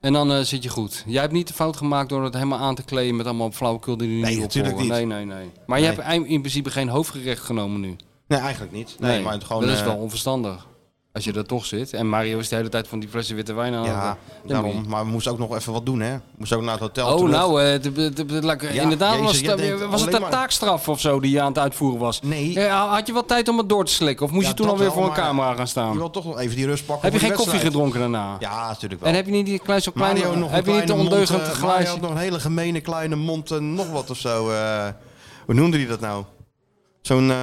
Speaker 6: En dan eh, zit je goed. Jij hebt niet de fout gemaakt door het helemaal aan te kleden met allemaal flauwekul die er niet
Speaker 5: Nee,
Speaker 6: op
Speaker 5: natuurlijk
Speaker 6: horen.
Speaker 5: niet.
Speaker 6: Nee, nee, nee. Maar je
Speaker 5: Nee.
Speaker 6: hebt ei- in principe geen hoofdgerecht genomen nu.
Speaker 5: Nee, eigenlijk niet. Nee, maar het gewoon...
Speaker 6: dat is
Speaker 5: eh,
Speaker 6: wel onverstandig. Als je daar toch zit. En Mario is de hele tijd van die flessen witte wijn aan het
Speaker 5: ja,
Speaker 6: halen. Dan moet
Speaker 5: daarom.
Speaker 6: je-
Speaker 5: Maar we moesten ook nog even wat doen, hè. We moesten ook naar het hotel
Speaker 6: Oh,
Speaker 5: terug.
Speaker 6: nou, eh, de- de- de- de- lekker.
Speaker 5: Ja,
Speaker 6: inderdaad
Speaker 5: Jezus,
Speaker 6: was
Speaker 5: jij
Speaker 6: het,
Speaker 5: denkt
Speaker 6: eh, was het
Speaker 5: alleen
Speaker 6: een
Speaker 5: maar-
Speaker 6: taakstraf of zo die je aan het uitvoeren was.
Speaker 5: Nee.
Speaker 6: Eh, had je wel tijd om het door te slikken? Of moest
Speaker 5: Ja,
Speaker 6: je toen
Speaker 5: dat
Speaker 6: alweer
Speaker 5: wel,
Speaker 6: voor een
Speaker 5: maar eh,
Speaker 6: camera gaan staan?
Speaker 5: Je wil toch nog even die rust pakken
Speaker 6: Heb je
Speaker 5: voor
Speaker 6: geen
Speaker 5: die
Speaker 6: koffie
Speaker 5: wedstrijd.
Speaker 6: gedronken daarna?
Speaker 5: Ja, natuurlijk wel.
Speaker 6: En heb je niet die klein zo klein...
Speaker 5: Mario nog een
Speaker 6: heb je niet
Speaker 5: kleine
Speaker 6: een
Speaker 5: mond,
Speaker 6: ondeugend
Speaker 5: eh, Mario
Speaker 6: glaasje?
Speaker 5: had nog een hele gemene kleine mond en nog wat of zo. eh. hoe noemde hij dat nou? Zo'n... eh,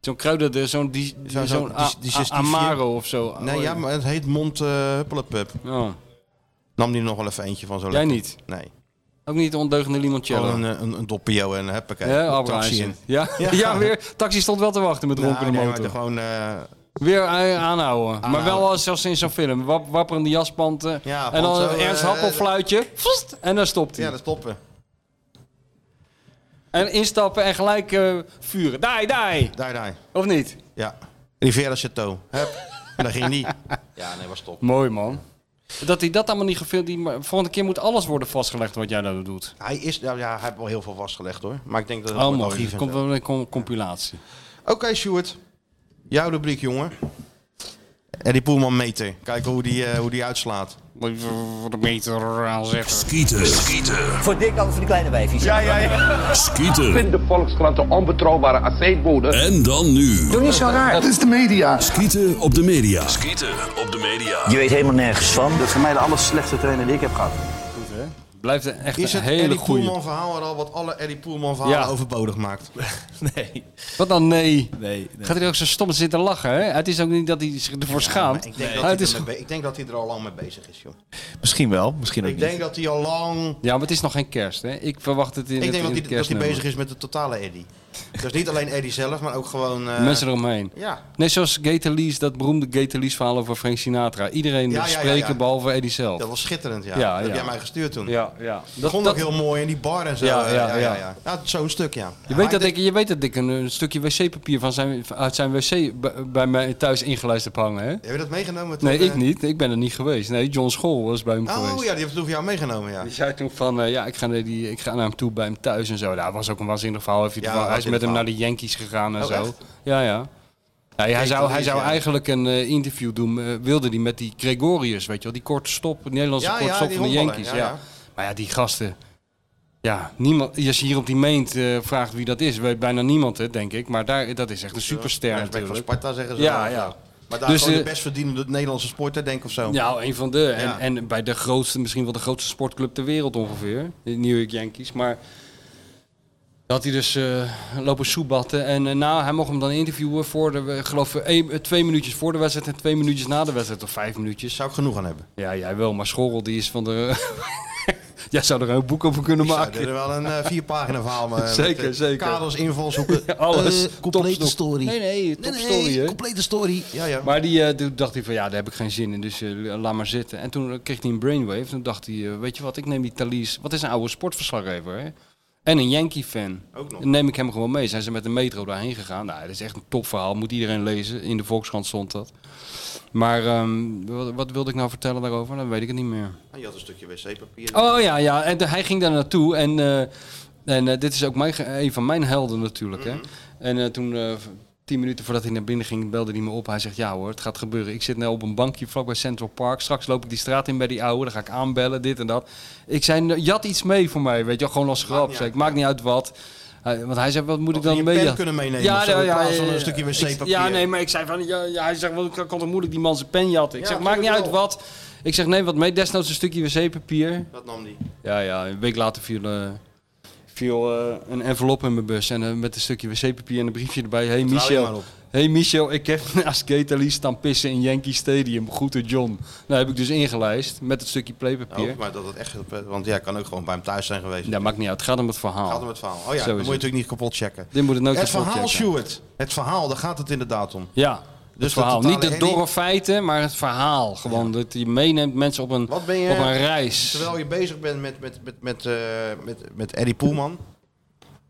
Speaker 6: Zo'n kruiden, zo'n di-
Speaker 5: Zo- zo-
Speaker 6: zo'n a-
Speaker 5: die- die
Speaker 6: a-
Speaker 5: zestiefje.
Speaker 6: Amaro of zo.
Speaker 5: nee,
Speaker 6: Oh,
Speaker 5: ja, maar het heet mond eh huppelepup.
Speaker 6: Oh.
Speaker 5: Nam die nog wel even eentje van zo
Speaker 6: Jij
Speaker 5: lekker.
Speaker 6: niet?
Speaker 5: Nee.
Speaker 6: Ook niet de ondeugende limoncello.
Speaker 5: Gewoon een, een, een doppio en huppakee.
Speaker 6: Ja,
Speaker 5: een
Speaker 6: Albert
Speaker 5: Oh, taxi
Speaker 6: Einstein.
Speaker 5: in.
Speaker 6: Ja?
Speaker 5: Ja.
Speaker 6: Ja. weer. Taxi stond wel te wachten met
Speaker 5: Nou,
Speaker 6: ronkende
Speaker 5: nee, maar
Speaker 6: motor.
Speaker 5: gewoon... eh,
Speaker 6: Weer eh, aanhouden. Maar wel als, zoals in zo'n film. Wap, wapperende jaspanten.
Speaker 5: Ja,
Speaker 6: en dan
Speaker 5: want zo,
Speaker 6: een ernst
Speaker 5: eh,
Speaker 6: happelfluitje. Vst, en dan stopt hij.
Speaker 5: ja, dat stoppen.
Speaker 6: En instappen en gelijk eh, vuren. Dai, dai.
Speaker 5: Daar, daar.
Speaker 6: Of niet?
Speaker 5: Ja. Rivera Chateau. Hup. En daar ging die. Ja, nee, was top.
Speaker 6: Mooi man. Dat hij dat allemaal niet gefilmd... Die, maar volgende keer moet alles worden vastgelegd wat jij nou doet.
Speaker 5: Hij is... Nou ja, hij heeft wel heel veel vastgelegd, hoor. Maar ik denk dat het
Speaker 6: Oh
Speaker 5: voor het
Speaker 6: mooi.
Speaker 5: archief
Speaker 6: Er
Speaker 5: en
Speaker 6: komt
Speaker 5: zo.
Speaker 6: wel een com- compilatie.
Speaker 5: Oké, Stuart. Jouw rubriek, jongen. En die Poelman meter. Kijken hoe die, eh, hoe die uitslaat.
Speaker 6: Even voor de meter aanzetten.
Speaker 3: Skieten. Skieten.
Speaker 12: Voor dik als voor die kleine wijfjes.
Speaker 6: Ja, ja,
Speaker 3: Skieten.
Speaker 12: Ik vind
Speaker 3: de Volkskrant een onbetrouwbare aceetbode. En dan nu.
Speaker 12: Doe niet zo raar.
Speaker 3: Dat is de media. Skieten op de media. Skieten op de media. Je weet helemaal nergens van. Dat is voor mij de aller slechtste trainer die ik heb gehad.
Speaker 6: Blijft een- echt
Speaker 5: Is
Speaker 6: een
Speaker 5: het
Speaker 6: hele
Speaker 5: Eddie
Speaker 6: goede.
Speaker 5: Poelman verhaal er al wat alle Eddie Poelman verhalen
Speaker 6: Ja.
Speaker 5: overbodig maakt?
Speaker 1: nee.
Speaker 6: Wat dan nee?
Speaker 1: Nee, nee.
Speaker 6: Gaat hij ook zo stom zitten lachen? Hè? Het is ook niet dat hij zich ervoor schaamt.
Speaker 5: Ik denk,
Speaker 6: Nee. Ah,
Speaker 5: dat
Speaker 6: Het
Speaker 5: hij
Speaker 6: is
Speaker 5: er mee
Speaker 6: ge-
Speaker 5: be- ik denk dat hij er al lang mee bezig is, joh.
Speaker 1: Misschien wel, misschien ook
Speaker 5: Ik
Speaker 1: niet.
Speaker 5: denk dat hij al lang...
Speaker 6: Ja, maar het is nog geen kerst. Hè? Ik verwacht het in
Speaker 5: Ik
Speaker 6: het,
Speaker 5: denk dat
Speaker 6: in het
Speaker 5: hij, dat hij
Speaker 6: kerstnummer.
Speaker 5: bezig is met de totale Eddie. Dus niet alleen Eddie zelf, maar ook gewoon... eh,
Speaker 6: Mensen eromheen.
Speaker 5: Ja.
Speaker 6: Net zoals Gator Lees, dat beroemde Gator Lees verhaal over Frank Sinatra. Iedereen
Speaker 5: Ja,
Speaker 6: moet
Speaker 5: ja, ja,
Speaker 6: spreken
Speaker 5: ja.
Speaker 6: behalve Eddie zelf.
Speaker 5: Dat was schitterend, ja.
Speaker 6: Ja,
Speaker 5: dat
Speaker 6: ja.
Speaker 5: heb jij mij gestuurd toen.
Speaker 6: Ja, ja.
Speaker 5: Dat vond
Speaker 6: dat-
Speaker 5: ik heel mooi in die bar en zo.
Speaker 6: Ja, ja, ja.
Speaker 5: Ja, Zo'n stuk, ja.
Speaker 6: Je, weet dat ik, je weet dat ik een, een stukje wc-papier van zijn, uit zijn wc b- bij mij thuis ingelijst heb hangen, hè?
Speaker 5: Heb je dat meegenomen toen?
Speaker 6: Nee, ik
Speaker 5: eh?
Speaker 6: niet. Ik ben er niet geweest. Nee, John School was bij hem
Speaker 5: Oh
Speaker 6: geweest.
Speaker 5: ja, die heeft het toen voor jou meegenomen, ja.
Speaker 6: Die zei toen van, eh, ja, ik ga, naar die, ik ga naar hem toe bij hem thuis en zo. Daar was ook een waanzinnig verhaal. Heeft hij
Speaker 5: Ja,
Speaker 6: ervan- hij is met hem
Speaker 5: waanzinnig
Speaker 6: naar de Yankees gegaan en
Speaker 5: Oh,
Speaker 6: zo.
Speaker 5: echt?
Speaker 6: Ja, ja. Ja, hij
Speaker 5: Kijk,
Speaker 6: zou,
Speaker 5: dat
Speaker 6: hij
Speaker 5: is,
Speaker 6: zou
Speaker 5: ja.
Speaker 6: eigenlijk een eh, interview doen, eh, wilde die met die Gregorius, weet je wel. Die korte stop, die Nederlandse
Speaker 5: Ja,
Speaker 6: korte
Speaker 5: ja,
Speaker 6: stop
Speaker 5: die
Speaker 6: van de
Speaker 5: honkballer,
Speaker 6: Yankees. Ja,
Speaker 5: ja, ja.
Speaker 6: Maar ja, die gasten. Ja, niemand, als je hier op die meent eh, vraagt wie dat is, weet bijna niemand het, denk ik. Maar daar, dat is echt een superster
Speaker 5: Respect van
Speaker 6: natuurlijk.
Speaker 5: Sparta, zeggen ze.
Speaker 6: Ja,
Speaker 5: wel.
Speaker 6: ja.
Speaker 5: Maar daar
Speaker 6: Dus,
Speaker 5: is gewoon
Speaker 6: eh,
Speaker 5: de best verdienende Nederlandse sporter, denk ik, of zo.
Speaker 6: Ja, Nou, een van de. En,
Speaker 5: Oh. Ja.
Speaker 6: en bij de grootste, misschien wel de grootste sportclub ter wereld ongeveer. De New York Yankees. Maar dat hij dus eh, lopen soebatten. En eh, nou, hij mocht hem dan interviewen voor de, eh, geloof ik, één- eh, twee minuutjes voor de wedstrijd en twee minuutjes na de wedstrijd. Of vijf minuutjes.
Speaker 5: Zou ik genoeg aan hebben.
Speaker 6: Ja, jij wel. Maar Schorrel, die is van de... jij zou er een boek over kunnen
Speaker 5: Ik zou
Speaker 6: maken.
Speaker 5: er wel een eh, vierpagina verhaal maar
Speaker 6: Zeker,
Speaker 5: met, eh,
Speaker 6: zeker.
Speaker 5: Kaders, invalshoeken.
Speaker 6: Alles.
Speaker 5: Eh, complete
Speaker 6: Topsnoep.
Speaker 5: story.
Speaker 6: Nee, nee,
Speaker 5: Nee,
Speaker 6: topstory,
Speaker 5: nee,
Speaker 6: hè?
Speaker 5: complete story. Ja, ja.
Speaker 6: Maar die, eh, toen dacht hij van ja, daar heb ik geen zin in, dus eh, laat maar zitten. En toen kreeg hij een brainwave. Toen dacht hij, eh, weet je wat, ik neem die Thalys. Wat is een oude sportverslaggever, hè? En een Yankee-fan.
Speaker 5: Ook nog.
Speaker 6: Dan neem ik hem gewoon mee. Zijn ze met de metro daarheen gegaan? Nou, dat is echt een topverhaal. Moet iedereen lezen. In de Volkskrant stond dat. Maar ehm, wat, wat wilde ik nou vertellen daarover? Dan weet ik het niet meer.
Speaker 5: En Ah, je had een stukje wc-papier.
Speaker 6: Oh ja, ja. En de- hij ging daar naartoe. En, eh, en eh, dit is ook mijn, ge- een van mijn helden natuurlijk.
Speaker 5: Mhm.
Speaker 6: Hè? En eh, toen, eh, v- tien minuten voordat hij naar binnen ging, belde hij me op. Hij zegt, ja hoor, het gaat gebeuren. Ik zit nu op een bankje vlakbij Central Park. Straks loop ik die straat in bij die oude. Dan ga ik aanbellen, dit en dat. Ik zei, "Nou, je had iets mee voor mij, weet je wel. Gewoon als grap. Zeg, ik maak niet uit wat. Hij- want hij zei, wat moet ik dan
Speaker 5: je
Speaker 6: mee?
Speaker 5: pen kunnen meenemen of zo, in plaats van een stukje
Speaker 6: Ik-
Speaker 5: wc-papier.
Speaker 6: Ja, nee, maar ik zei van, ja, ja, hij zegt, wel, ik kan toch moeilijk die man zijn pen jatten. Ik
Speaker 5: Ja,
Speaker 6: zeg, maakt niet uit
Speaker 5: tuurlijk wel.
Speaker 6: wat. Ik zeg, neem wat mee, desnoods een stukje wc-papier.
Speaker 5: Dat nam die.
Speaker 6: Ja, ja, een week later viel, eh, viel eh, een envelop in mijn bus. En eh, met een stukje wc-papier en een briefje erbij. Hey
Speaker 5: Vertrouw je
Speaker 6: Michel,
Speaker 5: maar op.
Speaker 6: hey Michel, ik heb naast Gatorly staan pissen in Yankee Stadium. Goed door John. Nou heb ik dus ingelijst met het stukje playpapier.
Speaker 5: Oh, maar dat het echt... Want jij kan ook gewoon bij hem thuis zijn geweest.
Speaker 6: Ja, maakt niet uit. Het gaat om het verhaal.
Speaker 5: Gaat om het verhaal. Oh ja,
Speaker 6: Zo is
Speaker 5: dan moet je
Speaker 6: het.
Speaker 5: natuurlijk niet kapot checken.
Speaker 6: Dit moet het nooit
Speaker 5: Het
Speaker 6: kapot
Speaker 5: verhaal,
Speaker 6: checken.
Speaker 5: Stuart. Het verhaal, daar gaat het inderdaad om.
Speaker 6: Ja,
Speaker 5: Dus
Speaker 6: het
Speaker 5: de
Speaker 6: verhaal.
Speaker 5: totale
Speaker 6: Niet de
Speaker 5: herrie-
Speaker 6: dorre feiten, maar het verhaal. Gewoon dat je meeneemt mensen op een,
Speaker 5: Wat ben je,
Speaker 6: op een reis.
Speaker 5: terwijl je bezig bent met, met, met, met, eh, met, met Eddie Poelman,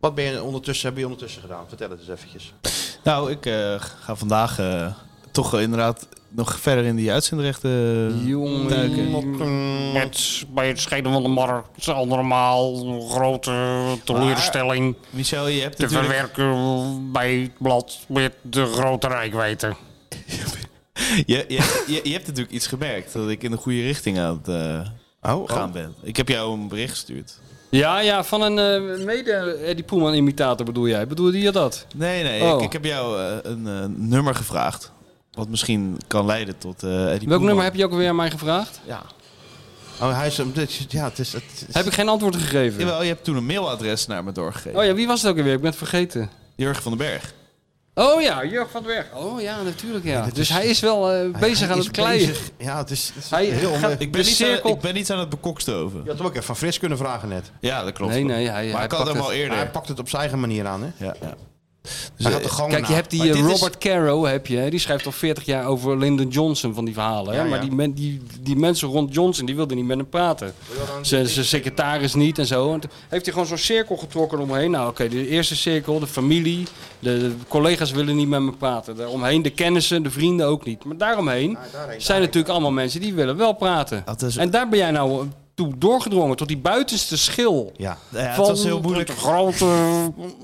Speaker 5: wat ben je ondertussen, heb je ondertussen gedaan? Vertel het eens eventjes.
Speaker 1: Nou, ik eh, ga vandaag eh, toch eh, inderdaad nog verder in die uitzendrechten
Speaker 5: Mm.
Speaker 6: Jongen.
Speaker 1: duiken.
Speaker 6: Met, bij het scheiden van de markt. Het is al normaal. Een grote teleurstelling.
Speaker 1: Michel, je hebt
Speaker 6: te
Speaker 1: natuurlijk...
Speaker 6: verwerken bij het blad met de grote rijkwijde.
Speaker 1: Je, je, je, je hebt natuurlijk iets gemerkt dat ik in de goede richting aan het eh,
Speaker 5: Oh,
Speaker 1: gaan ben. Ik heb jou een bericht gestuurd.
Speaker 6: Ja, ja, van een eh, mede Eddie Poelman-imitator bedoel jij. Bedoelde je dat?
Speaker 1: Nee, nee,
Speaker 6: Oh.
Speaker 1: ik, ik heb jou eh, een eh, nummer gevraagd. Wat misschien kan leiden tot eh Eddie
Speaker 6: Welk nummer heb je ook weer aan mij gevraagd?
Speaker 1: Ja.
Speaker 5: Oh, hij is hem. dit is- Ja, het is. Het is-
Speaker 6: Heb ik geen antwoord gegeven?
Speaker 1: Jawel, je hebt toen een mailadres naar me doorgegeven.
Speaker 6: Oh ja, wie was het ook alweer? Ik ben het vergeten.
Speaker 1: Jurgen van den Berg.
Speaker 6: Oh ja, Jurg van den Berg. Oh ja, natuurlijk ja. dus hij is wel eh, bezig aan
Speaker 5: is
Speaker 6: het kleien.
Speaker 5: bezig. Ja, het is, het is
Speaker 6: Hij
Speaker 5: heel
Speaker 6: gaat-
Speaker 5: onbe-
Speaker 1: Ik
Speaker 6: De
Speaker 1: ben, niet
Speaker 6: cirkel-
Speaker 1: aan, ik ben niet aan het bekokstoven.
Speaker 5: Je had hem ook even van Fris kunnen vragen net.
Speaker 1: Ja, dat klopt.
Speaker 6: Nee, nee, hij,
Speaker 1: maar
Speaker 6: hij
Speaker 1: ik had
Speaker 6: pakt
Speaker 1: hem
Speaker 6: het.
Speaker 1: al eerder.
Speaker 5: Maar hij pakt het op zijn eigen manier aan, hè? Dus,
Speaker 1: Ja, ja.
Speaker 5: hij gaat de gang
Speaker 6: Dus, Kijk, je
Speaker 5: na.
Speaker 6: hebt die
Speaker 1: Maar
Speaker 6: eh,
Speaker 1: dit is-
Speaker 6: Robert Caro, heb je, hè, die schrijft al 40 jaar over Lyndon Johnson van die verhalen. Hè?
Speaker 5: Ja, ja.
Speaker 6: Maar die, men- die, die mensen rond Johnson, die wilden niet met hem praten. Zijn zijn secretaris niet en zo. En toen heeft hij gewoon zo'n cirkel getrokken omheen. Nou oké, de eerste cirkel, de familie, de, de collega's willen niet met me praten. Daaromheen de kennissen, de vrienden ook niet. Maar daaromheen
Speaker 5: daarheen,
Speaker 6: zijn natuurlijk allemaal mensen die willen wel praten.
Speaker 1: Dat is-
Speaker 6: En daar ben jij nou toe doorgedrongen, tot die buitenste schil.
Speaker 5: Ja.
Speaker 1: Ja, ja,
Speaker 6: Van
Speaker 1: het was heel moeilijk.
Speaker 6: Het grote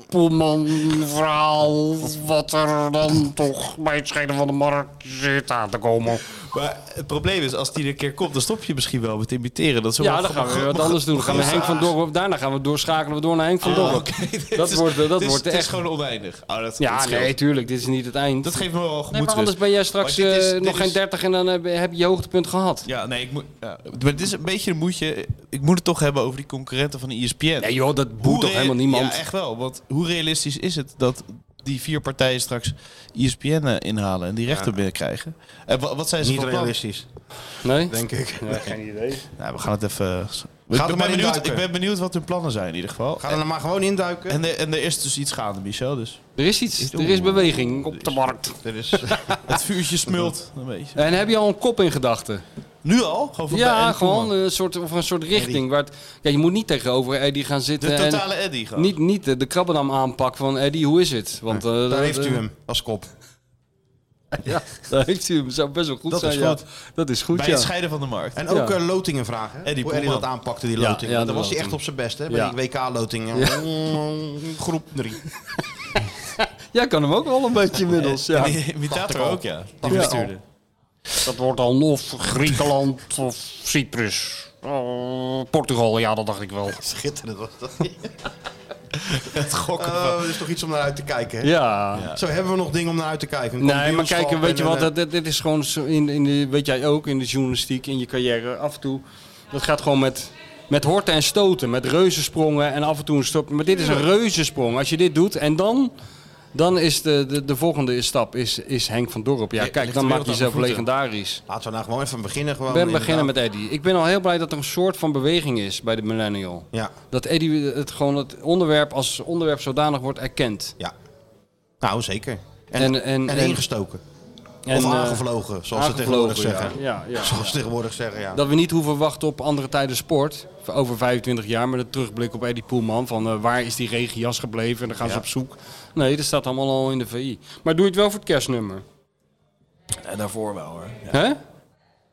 Speaker 6: Poelman-verhaal. Wat er dan toch bij het scheiden van de markt zit aan te komen.
Speaker 1: Maar het probleem is, als die er een keer komt, dan stop je misschien wel met imiteren. Dat is
Speaker 6: Ja, dan gaan we weer wat anders doen. Dan gaan we Henk van Dorp. Daarna gaan we doorschakelen we door naar Henk van
Speaker 1: Ah,
Speaker 6: Dorp.
Speaker 1: oké. Dit
Speaker 6: Dat
Speaker 1: is-
Speaker 6: wordt, eh, dat
Speaker 1: dit is-
Speaker 6: wordt
Speaker 1: dit
Speaker 6: echt
Speaker 1: is gewoon oneindig. Oh, dat,
Speaker 6: Ja,
Speaker 1: dat scheelt.
Speaker 6: nee, tuurlijk. Dit is niet het eind.
Speaker 1: Dat geeft me wel
Speaker 6: Nee, maar
Speaker 1: gemoedsrust.
Speaker 6: anders ben jij straks
Speaker 1: Maar dit is-
Speaker 6: eh,
Speaker 1: dit
Speaker 6: nog geen
Speaker 1: is-
Speaker 6: 30 en dan heb, heb je je hoogtepunt gehad.
Speaker 1: Ja, nee, ik moet. Ja. Maar het is een beetje een moedje. Ik moet het toch hebben over die concurrenten van de E ESPN. Nee
Speaker 6: joh, dat boeit toch helemaal niemand?
Speaker 1: Ja, echt wel. Want hoe realistisch is het dat die vier partijen straks ESPN eh, inhalen en die rechten
Speaker 5: Ja.
Speaker 1: binnenkrijgen? En wa- wat zijn ze
Speaker 5: Niet
Speaker 1: van plan?
Speaker 5: realistisch.
Speaker 6: Nee?
Speaker 5: Denk ik.
Speaker 6: Ja, geen idee.
Speaker 1: Nou, we gaan het even...
Speaker 5: er
Speaker 1: Ik
Speaker 5: maar
Speaker 1: ben, benieuwd,
Speaker 5: induiken.
Speaker 1: ik ben benieuwd wat hun plannen zijn in ieder geval.
Speaker 5: Ga er nou maar gewoon induiken.
Speaker 1: En, er- en er is dus iets gaande, Michel. Dus.
Speaker 6: Er is iets. Er is beweging op de markt.
Speaker 5: Er is...
Speaker 1: Het vuurtje smult een beetje.
Speaker 6: En heb je al een kop in gedachten?
Speaker 1: Nu al? Gewoon van bij
Speaker 6: Ja,
Speaker 1: Andy Koeman.
Speaker 6: gewoon een soort, of een soort richting. Waar het, ja, je moet niet tegenover Eddie gaan zitten.
Speaker 1: De
Speaker 6: en
Speaker 1: totale Eddie gewoon.
Speaker 6: Niet, niet de, de krabbendam aanpak van Eddie, hoe is het? Want, eh,
Speaker 5: Daar
Speaker 6: dat-
Speaker 5: heeft u
Speaker 6: eh,
Speaker 5: hem als kop.
Speaker 6: Ja, daar heeft u hem. Zou best wel goed
Speaker 1: Dat
Speaker 6: zijn.
Speaker 1: is
Speaker 6: ja.
Speaker 1: goed.
Speaker 6: Dat is goed,
Speaker 1: Bij
Speaker 6: ja.
Speaker 1: het scheiden van de markt.
Speaker 5: En ook
Speaker 6: Ja.
Speaker 5: eh, lotingen vragen. hè?
Speaker 1: Eddie
Speaker 5: Hoe Eddie
Speaker 1: Poelman.
Speaker 5: dat aanpakte, die
Speaker 1: Ja,
Speaker 5: lotingen.
Speaker 6: ja, de
Speaker 5: Dan was hij
Speaker 6: loting.
Speaker 5: echt op zijn best, hè? Bij
Speaker 6: Ja.
Speaker 5: die WK-lotingen. Mm, Groep 3.
Speaker 6: Jij kan hem ook wel een beetje inmiddels. Ja.
Speaker 1: Imitator ook, ja. Die
Speaker 6: Ja.
Speaker 1: verstuurde.
Speaker 6: Dat wordt dan of Griekenland of Cyprus. Oh, Portugal, ja, dat dacht ik wel.
Speaker 5: Schitterend was dat.
Speaker 1: Het gokken van...
Speaker 5: Oh, dat is toch iets om naar uit te kijken, hè?
Speaker 6: Ja.
Speaker 5: Zo hebben we nog dingen om naar uit te kijken. Een
Speaker 6: Nee, maar
Speaker 5: kampioenschap
Speaker 6: kijk, weet je
Speaker 5: en
Speaker 6: wat,
Speaker 5: een,
Speaker 6: dat,
Speaker 5: eh,
Speaker 6: dit- dit is gewoon, zo in, in de, weet jij ook, in de journalistiek, in je carrière, af en toe, dat gaat gewoon met, met horten en stoten, met reuzensprongen en af en toe een stop. Maar dit is een reuzensprong, als je dit doet en dan, dan is de, de, de volgende stap is, is Henk van Dorp. Ja,
Speaker 5: Ja,
Speaker 6: kijk,
Speaker 5: ligt
Speaker 6: dan
Speaker 5: de
Speaker 6: maak
Speaker 5: wereld
Speaker 6: je
Speaker 5: aan
Speaker 6: jezelf
Speaker 5: mijn voeten.
Speaker 6: legendarisch.
Speaker 5: Laten we nou gewoon even beginnen. Gewoon
Speaker 6: Ik ben beginnen met Eddy. Ik ben al heel blij dat er een soort van beweging is bij de millennial.
Speaker 5: Ja.
Speaker 6: Dat Eddy het, gewoon het onderwerp als onderwerp zodanig wordt erkend.
Speaker 5: ja. Nou, zeker. En,
Speaker 6: En-
Speaker 5: en,
Speaker 6: en- en-
Speaker 5: ingestoken.
Speaker 6: En,
Speaker 5: of
Speaker 6: eh,
Speaker 5: aangevlogen, zoals ze
Speaker 6: aangevlogen,
Speaker 5: tegenwoordig zeggen.
Speaker 6: ja, ja, ja.
Speaker 5: zoals ze tegenwoordig zeggen, ja.
Speaker 6: Dat we niet hoeven wachten op andere tijden sport. Over 25 jaar met een terugblik op Eddie Poelman. Van eh, waar is die regenjas gebleven? En dan gaan ze
Speaker 5: Ja.
Speaker 6: op zoek. Nee, dat staat allemaal al in de VI. Maar doe je het wel voor het kerstnummer.
Speaker 5: Eh,
Speaker 1: En daarvoor wel, hoor.
Speaker 6: Hè?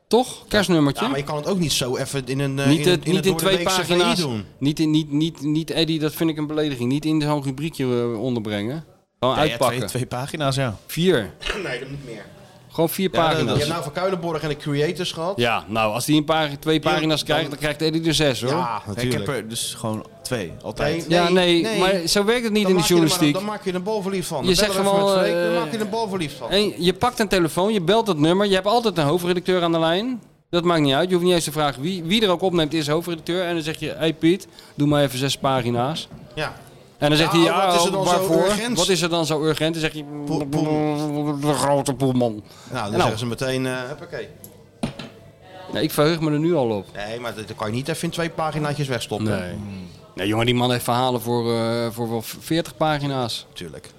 Speaker 6: Toch? Kerstnummertje?
Speaker 5: Ja, Nou, maar je kan het ook niet zo even in een... eh,
Speaker 6: niet
Speaker 5: in,
Speaker 6: het, niet in
Speaker 5: het
Speaker 6: twee
Speaker 5: doordeweekse VI
Speaker 6: pagina's.
Speaker 5: doen.
Speaker 6: Niet, in, niet, niet, niet Eddie, dat vind ik een belediging. Niet in zo'n rubriekje eh, onderbrengen. Gewoon
Speaker 1: Ja, ja,
Speaker 6: uitpakken.
Speaker 1: twee, twee pagina's, ja.
Speaker 6: Vier.
Speaker 5: Nee, dat moet meer.
Speaker 6: Gewoon vier
Speaker 5: Ja, dan- je
Speaker 6: pagina's.
Speaker 5: hebt nou van Kuilenborg en de Creators gehad.
Speaker 6: Ja, nou, als die een paar, twee pagina's
Speaker 5: dan-
Speaker 6: krijgt, dan krijgt Eddie er zes hoor.
Speaker 5: Ja,
Speaker 1: Ik heb
Speaker 5: natuurlijk.
Speaker 1: er dus gewoon twee, altijd.
Speaker 5: Nee,
Speaker 6: ja, nee,
Speaker 5: nee.
Speaker 6: maar zo werkt het niet in
Speaker 5: Dan
Speaker 6: de
Speaker 5: maak je er maar-
Speaker 6: journalistiek.
Speaker 5: Dan maak je er een balverliefd van.
Speaker 6: Je
Speaker 5: Dan
Speaker 6: zegt
Speaker 5: bellen we even
Speaker 6: gewoon,
Speaker 5: met Freek, Dan
Speaker 6: eh,
Speaker 5: maak je er een balverliefd van.
Speaker 6: En je pakt een telefoon, je belt dat nummer, je hebt altijd een hoofdredacteur aan de lijn. Dat maakt niet uit, je hoeft niet eens te vragen wie, wie er ook opneemt is hoofdredacteur. En dan zeg je, hey Piet, doe maar even zes pagina's.
Speaker 5: Ja.
Speaker 6: En dan zegt
Speaker 5: Ja,
Speaker 6: hij, ja,
Speaker 5: wat is er dan zo
Speaker 6: waarvoor?
Speaker 5: urgent?
Speaker 6: Wat is er dan zo urgent? Dan zeg je, de grote poelman.
Speaker 5: Nou, dan
Speaker 6: Nou.
Speaker 5: zeggen ze meteen, eh huppakee.
Speaker 6: Ja, Nou, ik verheug me er nu al op.
Speaker 5: Nee, maar dat dat kan je niet even in twee paginaatjes wegstoppen.
Speaker 6: Nee. nee jongen, die man heeft verhalen voor, eh, voor wel 40 pagina's.
Speaker 5: Natuurlijk.
Speaker 6: nou.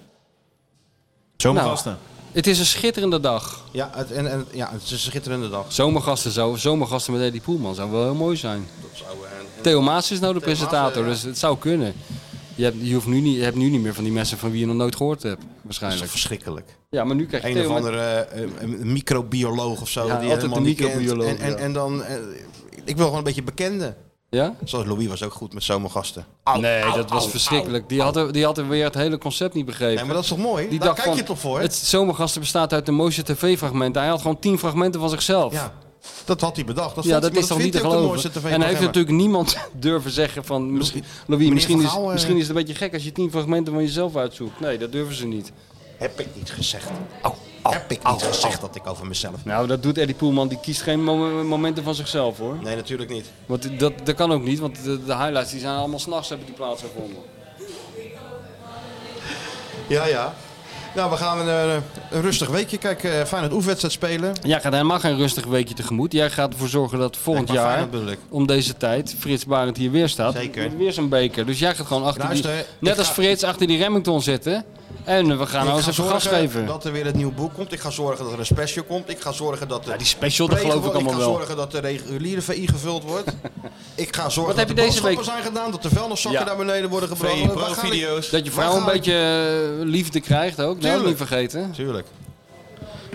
Speaker 1: Zomergasten.
Speaker 6: Het is een schitterende dag.
Speaker 5: Ja, het, en, en, ja, het is een schitterende dag.
Speaker 6: Zomergasten, zou, zomergasten met Eddie Poelman zou wel heel mooi zijn.
Speaker 5: eh,
Speaker 6: Theo Maas is nou de
Speaker 5: Theo Maas,
Speaker 6: presentator,
Speaker 5: ja.
Speaker 6: dus het zou kunnen. Je hebt, je, hoeft nu niet, je hebt nu niet meer van die mensen van wie je nog nooit gehoord hebt,
Speaker 5: Dat is
Speaker 6: waarschijnlijk.
Speaker 5: toch verschrikkelijk.
Speaker 6: Ja, maar nu krijg je
Speaker 5: Een
Speaker 6: Theo
Speaker 5: of
Speaker 6: met-
Speaker 5: andere eh, een- een microbioloog of zo.
Speaker 6: Ja,
Speaker 5: die je
Speaker 6: altijd
Speaker 5: helemaal
Speaker 6: een
Speaker 5: niet kent.
Speaker 6: microbioloog,
Speaker 5: En, en,
Speaker 6: ja.
Speaker 5: en dan, eh, ik wil gewoon een beetje bekende.
Speaker 6: Ja?
Speaker 5: Zoals Louis was ook goed met zomergasten.
Speaker 6: nee, dat was verschrikkelijk. die, hadden, die hadden weer het hele concept niet begrepen.
Speaker 5: Nee, maar dat is toch mooi?
Speaker 6: die
Speaker 5: Daar
Speaker 6: dacht
Speaker 5: kijk
Speaker 6: van,
Speaker 5: je toch voor?
Speaker 6: Het zomergasten bestaat uit de mooiste tv-fragmenten. Hij had gewoon tien fragmenten van zichzelf.
Speaker 5: Ja, dat had hij bedacht. Dat,
Speaker 6: Ja,
Speaker 5: vond-
Speaker 6: dat
Speaker 5: maar
Speaker 6: is toch niet te
Speaker 5: vindt hij ook de
Speaker 6: geloven.
Speaker 5: mooiste
Speaker 6: en hij heeft
Speaker 5: tv-programma.
Speaker 6: natuurlijk niemand durven zeggen van... Misschien, Louis,
Speaker 5: meneer
Speaker 6: misschien,
Speaker 5: Van
Speaker 6: is,
Speaker 5: Gaal, eh,
Speaker 6: misschien is het een beetje gek als je tien fragmenten van jezelf uitzoekt. Nee, dat durven ze niet.
Speaker 5: Heb ik niet gezegd. Oh, Heb ik niet gezegd dat ik over mezelf...
Speaker 6: Nou, dat doet Eddie Poelman. Die kiest geen mom- momenten van zichzelf, hoor.
Speaker 5: Nee, natuurlijk niet.
Speaker 6: Want dat, dat kan ook niet, want de, de highlights die zijn allemaal s'nachts hebben die plaatsgevonden.
Speaker 5: Ja, ja. Nou, we gaan een, eh, een rustig weekje. Kijk, eh Feyenoord oefenwedstrijd spelen.
Speaker 6: Jij gaat helemaal geen rustig weekje tegemoet. Jij gaat ervoor zorgen dat volgend
Speaker 5: Kijk, maar
Speaker 6: jaar,
Speaker 5: Feyenoord bedoel ik.
Speaker 6: om deze tijd, Frits Barend hier weer staat.
Speaker 5: Zeker.
Speaker 6: Met Weer zo'n beker. Dus jij gaat gewoon achter die,
Speaker 5: Luister,
Speaker 6: net
Speaker 5: ik
Speaker 6: als
Speaker 5: ga-
Speaker 6: Frits, achter die Remington zitten. En we gaan nou
Speaker 5: Ik
Speaker 6: eens
Speaker 5: ga
Speaker 6: even gas
Speaker 5: zorgen
Speaker 6: geven.
Speaker 5: dat er weer het nieuwe boek komt. Ik ga zorgen dat er een special komt. Ik ga zorgen dat... De
Speaker 6: Ja, die special, dat
Speaker 5: play-
Speaker 6: geloof ik allemaal
Speaker 5: Ik ga
Speaker 6: wel.
Speaker 5: zorgen dat de reguliere VI gevuld wordt. ik ga zorgen
Speaker 6: Wat
Speaker 5: dat
Speaker 6: heb
Speaker 5: de
Speaker 6: je deze
Speaker 5: boodschappen
Speaker 6: week-
Speaker 5: zijn gedaan. Dat de vuilniszakken
Speaker 6: Ja.
Speaker 5: naar beneden worden gebracht.
Speaker 1: VI
Speaker 5: Waar ga ik-
Speaker 1: Pro-video's.
Speaker 6: Dat je vrouw
Speaker 5: Waar
Speaker 6: een
Speaker 5: ga ik-
Speaker 6: beetje eh, liefde krijgt ook. Nee,
Speaker 5: Tuurlijk.
Speaker 6: niet vergeten.
Speaker 5: Tuurlijk.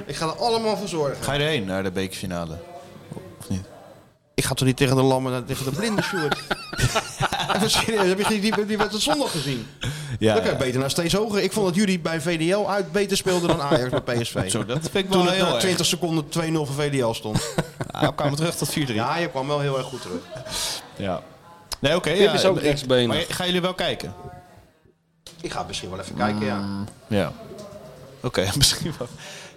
Speaker 5: Ik ga er allemaal voor zorgen.
Speaker 1: Ga je erheen naar de bekerfinale? Of niet?
Speaker 5: eh, Ik ga toch niet tegen de lammen, tegen de blinden, Sjoerd? Even serieus, heb je die, die, die wedstrijd zondag gezien?
Speaker 1: Ja,
Speaker 5: dat kan
Speaker 1: ja.
Speaker 5: beter naar steeds hoger. Ik vond dat jullie bij VDL uit beter speelden dan Ajax bij PSV.
Speaker 1: Zo, dat vind ik wel
Speaker 5: Toen het
Speaker 1: heel
Speaker 5: na
Speaker 1: erg.
Speaker 5: 20 seconden 2-0 voor VDL stond.
Speaker 1: Ja, kwam het nou, terug tot 4-3.
Speaker 5: Ja, je kwam wel heel erg goed terug.
Speaker 1: Ja. Nee, oké.
Speaker 5: Pim
Speaker 1: ja,
Speaker 5: is ook
Speaker 1: eh,
Speaker 5: rechtsbenig.
Speaker 1: Maar gaan jullie wel kijken?
Speaker 5: Ik ga misschien wel
Speaker 6: Ah.
Speaker 5: even kijken, ja.
Speaker 1: Ja. Oké, misschien wel.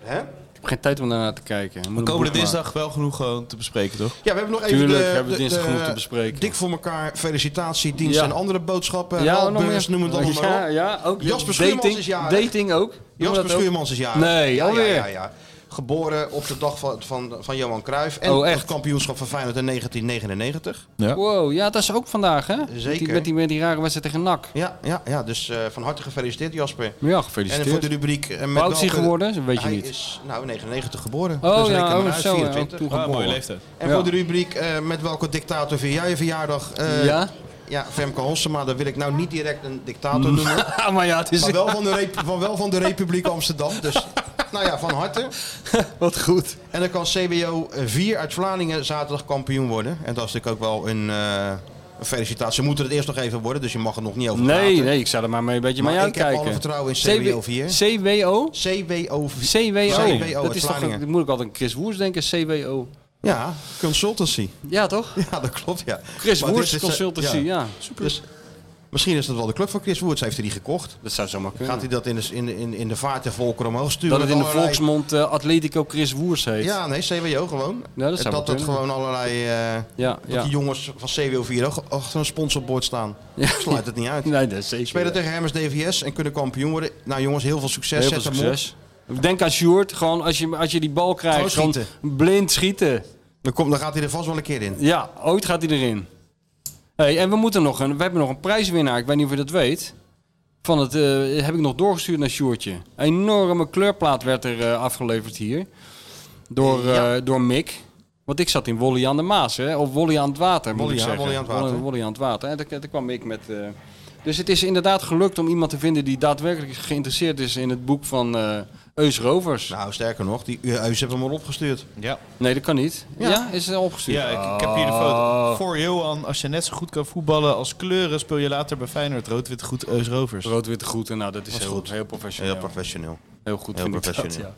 Speaker 5: Hè?
Speaker 6: Ik heb geen tijd om daarna te kijken.
Speaker 1: We komen de dinsdag wel genoeg gewoon te bespreken, toch?
Speaker 5: Ja, we hebben nog even
Speaker 6: Tuurlijk,
Speaker 5: de,
Speaker 6: we hebben
Speaker 5: de-
Speaker 6: dinsdag
Speaker 5: de-
Speaker 6: genoeg te bespreken.
Speaker 5: Dik voor elkaar, felicitatie, dienst
Speaker 6: Ja.
Speaker 5: en andere boodschappen.
Speaker 6: Ja,
Speaker 5: Ja,
Speaker 6: nog
Speaker 5: Helpbeurs,
Speaker 6: meer.
Speaker 5: noem het allemaal
Speaker 6: Ja,
Speaker 5: maar op.
Speaker 6: ja, ook
Speaker 5: Jasper
Speaker 6: dating-
Speaker 5: Schuurmans is jarig.
Speaker 6: dating ook. Doen we
Speaker 5: Jasper
Speaker 6: dat ook?
Speaker 5: Schuurmans is jarig.
Speaker 6: Nee,
Speaker 5: ja,
Speaker 6: alweer.
Speaker 5: Ja, ja, ja. Geboren op de dag van, van, van Johan Cruijff. En
Speaker 6: Oh, echt?
Speaker 5: het kampioenschap van Feyenoord in 1999.
Speaker 6: Wow, ja, dat is ook vandaag, hè? Met die,
Speaker 5: Zeker.
Speaker 6: met die, met die rare wedstrijd tegen NAC.
Speaker 5: Ja, ja, ja dus eh, van harte gefeliciteerd Jasper.
Speaker 6: Ja, gefeliciteerd.
Speaker 5: En voor de rubriek... eh, met
Speaker 6: Hoe oud is hij
Speaker 5: welke-
Speaker 6: geworden? Dat weet je
Speaker 5: hij
Speaker 6: niet.
Speaker 5: is nou in 99 geboren.
Speaker 6: Oh,
Speaker 5: dus
Speaker 6: ja,
Speaker 5: reken
Speaker 6: oh,
Speaker 5: maar uit,
Speaker 6: zo, ja, ook
Speaker 5: 24.
Speaker 6: toen Ah, geboren. mooie leeftijd.
Speaker 5: En
Speaker 6: Ja.
Speaker 5: voor de rubriek eh, met welke dictator vier jij je verjaardag? Eh,
Speaker 6: Ja?
Speaker 5: Ja, Femke Hossema. Daar wil ik nou niet direct een dictator noemen.
Speaker 6: maar ja, het is...
Speaker 5: Maar wel van, de rep- van wel van de Republiek Amsterdam. Dus nou ja, van harte.
Speaker 6: Wat goed.
Speaker 5: En dan kan CBO 4 uit Vlaardingen zaterdag kampioen worden. En dat is natuurlijk ook wel een, eh, een felicitatie. Ze moeten het eerst nog even worden, dus je mag er nog niet over
Speaker 6: Nee,
Speaker 5: praten.
Speaker 6: nee, ik zou er maar mee een beetje
Speaker 5: Maar
Speaker 6: mee
Speaker 5: ik heb
Speaker 6: uitkijken.
Speaker 5: alle vertrouwen in CWO vier.
Speaker 6: CWO?
Speaker 5: CWO.
Speaker 6: CWO.
Speaker 5: CWO
Speaker 6: Dat is toch,
Speaker 5: Vlaardingen.
Speaker 6: dan moet ik altijd aan Chris Woers denken, CWO.
Speaker 5: Ja, consultancy.
Speaker 6: Ja, toch?
Speaker 5: Ja, dat klopt, ja.
Speaker 6: Chris
Speaker 5: Maar dit
Speaker 6: Woers
Speaker 5: is, eh,
Speaker 6: Consultancy, ja. Super.
Speaker 5: Dus misschien is dat wel de club van Chris Woerts. Heeft hij die gekocht?
Speaker 6: Dat zou zomaar kunnen.
Speaker 5: Gaat hij dat in de, in, de- in, in de vaart en volkeren omhoog sturen?
Speaker 6: dat het in de
Speaker 5: Allerlei-
Speaker 6: volksmond eh, Atletico Chris Woers heet.
Speaker 5: Ja, nee, CWO gewoon.
Speaker 6: Ja, dat zou
Speaker 5: En
Speaker 6: wel
Speaker 5: dat het
Speaker 6: kunnen.
Speaker 5: gewoon allerlei... eh,
Speaker 6: ja,
Speaker 5: dat
Speaker 6: ja.
Speaker 5: die jongens van CWO 4 ook achter een sponsorbord staan. Sluit het niet uit.
Speaker 6: Nee, dat is zeker.
Speaker 5: Spelen tegen Hermes DVS en kunnen kampioen worden. Nou jongens, heel veel succes.
Speaker 6: Heel
Speaker 5: Zet
Speaker 6: veel
Speaker 5: hem op.
Speaker 6: succes. Denk aan Sjoerd, gewoon als je, als je die bal krijgt,
Speaker 5: Gewoon
Speaker 6: gewoon blind schieten.
Speaker 5: Dan, komt, dan gaat hij er vast wel een keer in.
Speaker 6: Ja, ooit gaat hij erin. Hey, en we, moeten nog een, we hebben nog een prijswinnaar, ik weet niet of je dat weet. Van het, eh, heb ik nog doorgestuurd naar Sjoertje. Een enorme kleurplaat werd er eh, afgeleverd hier. Door, eh, door Mick. Want ik zat in Wolly aan de Maas, hè? of Wolly aan het water moet
Speaker 5: Wolly
Speaker 6: ik
Speaker 5: aan-
Speaker 6: zeggen.
Speaker 5: Wolly aan het water.
Speaker 6: Wolly- Wolly aan het water. En daar, daar kwam ik met... eh, Dus het is inderdaad gelukt om iemand te vinden die daadwerkelijk geïnteresseerd is in het boek van eh Eus Rovers.
Speaker 5: Nou, sterker nog, die Eus heeft hem al opgestuurd.
Speaker 1: Ja.
Speaker 6: Nee, dat kan niet. Ja,
Speaker 1: Ja.
Speaker 6: is het al opgestuurd? Ah,
Speaker 1: Ja, ik, ik heb hier de foto.
Speaker 5: Oh.
Speaker 1: Voor Johan, als je net zo goed kan voetballen als kleuren, speel je later bij Feyenoord rood-wit goed Eus Rovers.
Speaker 6: Rood-wit goed, en nou, dat is
Speaker 5: Was
Speaker 6: heel,
Speaker 5: goed.
Speaker 6: heel professioneel.
Speaker 5: Heel professioneel.
Speaker 6: Heel goed
Speaker 5: Heel
Speaker 6: vind ik dat,
Speaker 5: professioneel.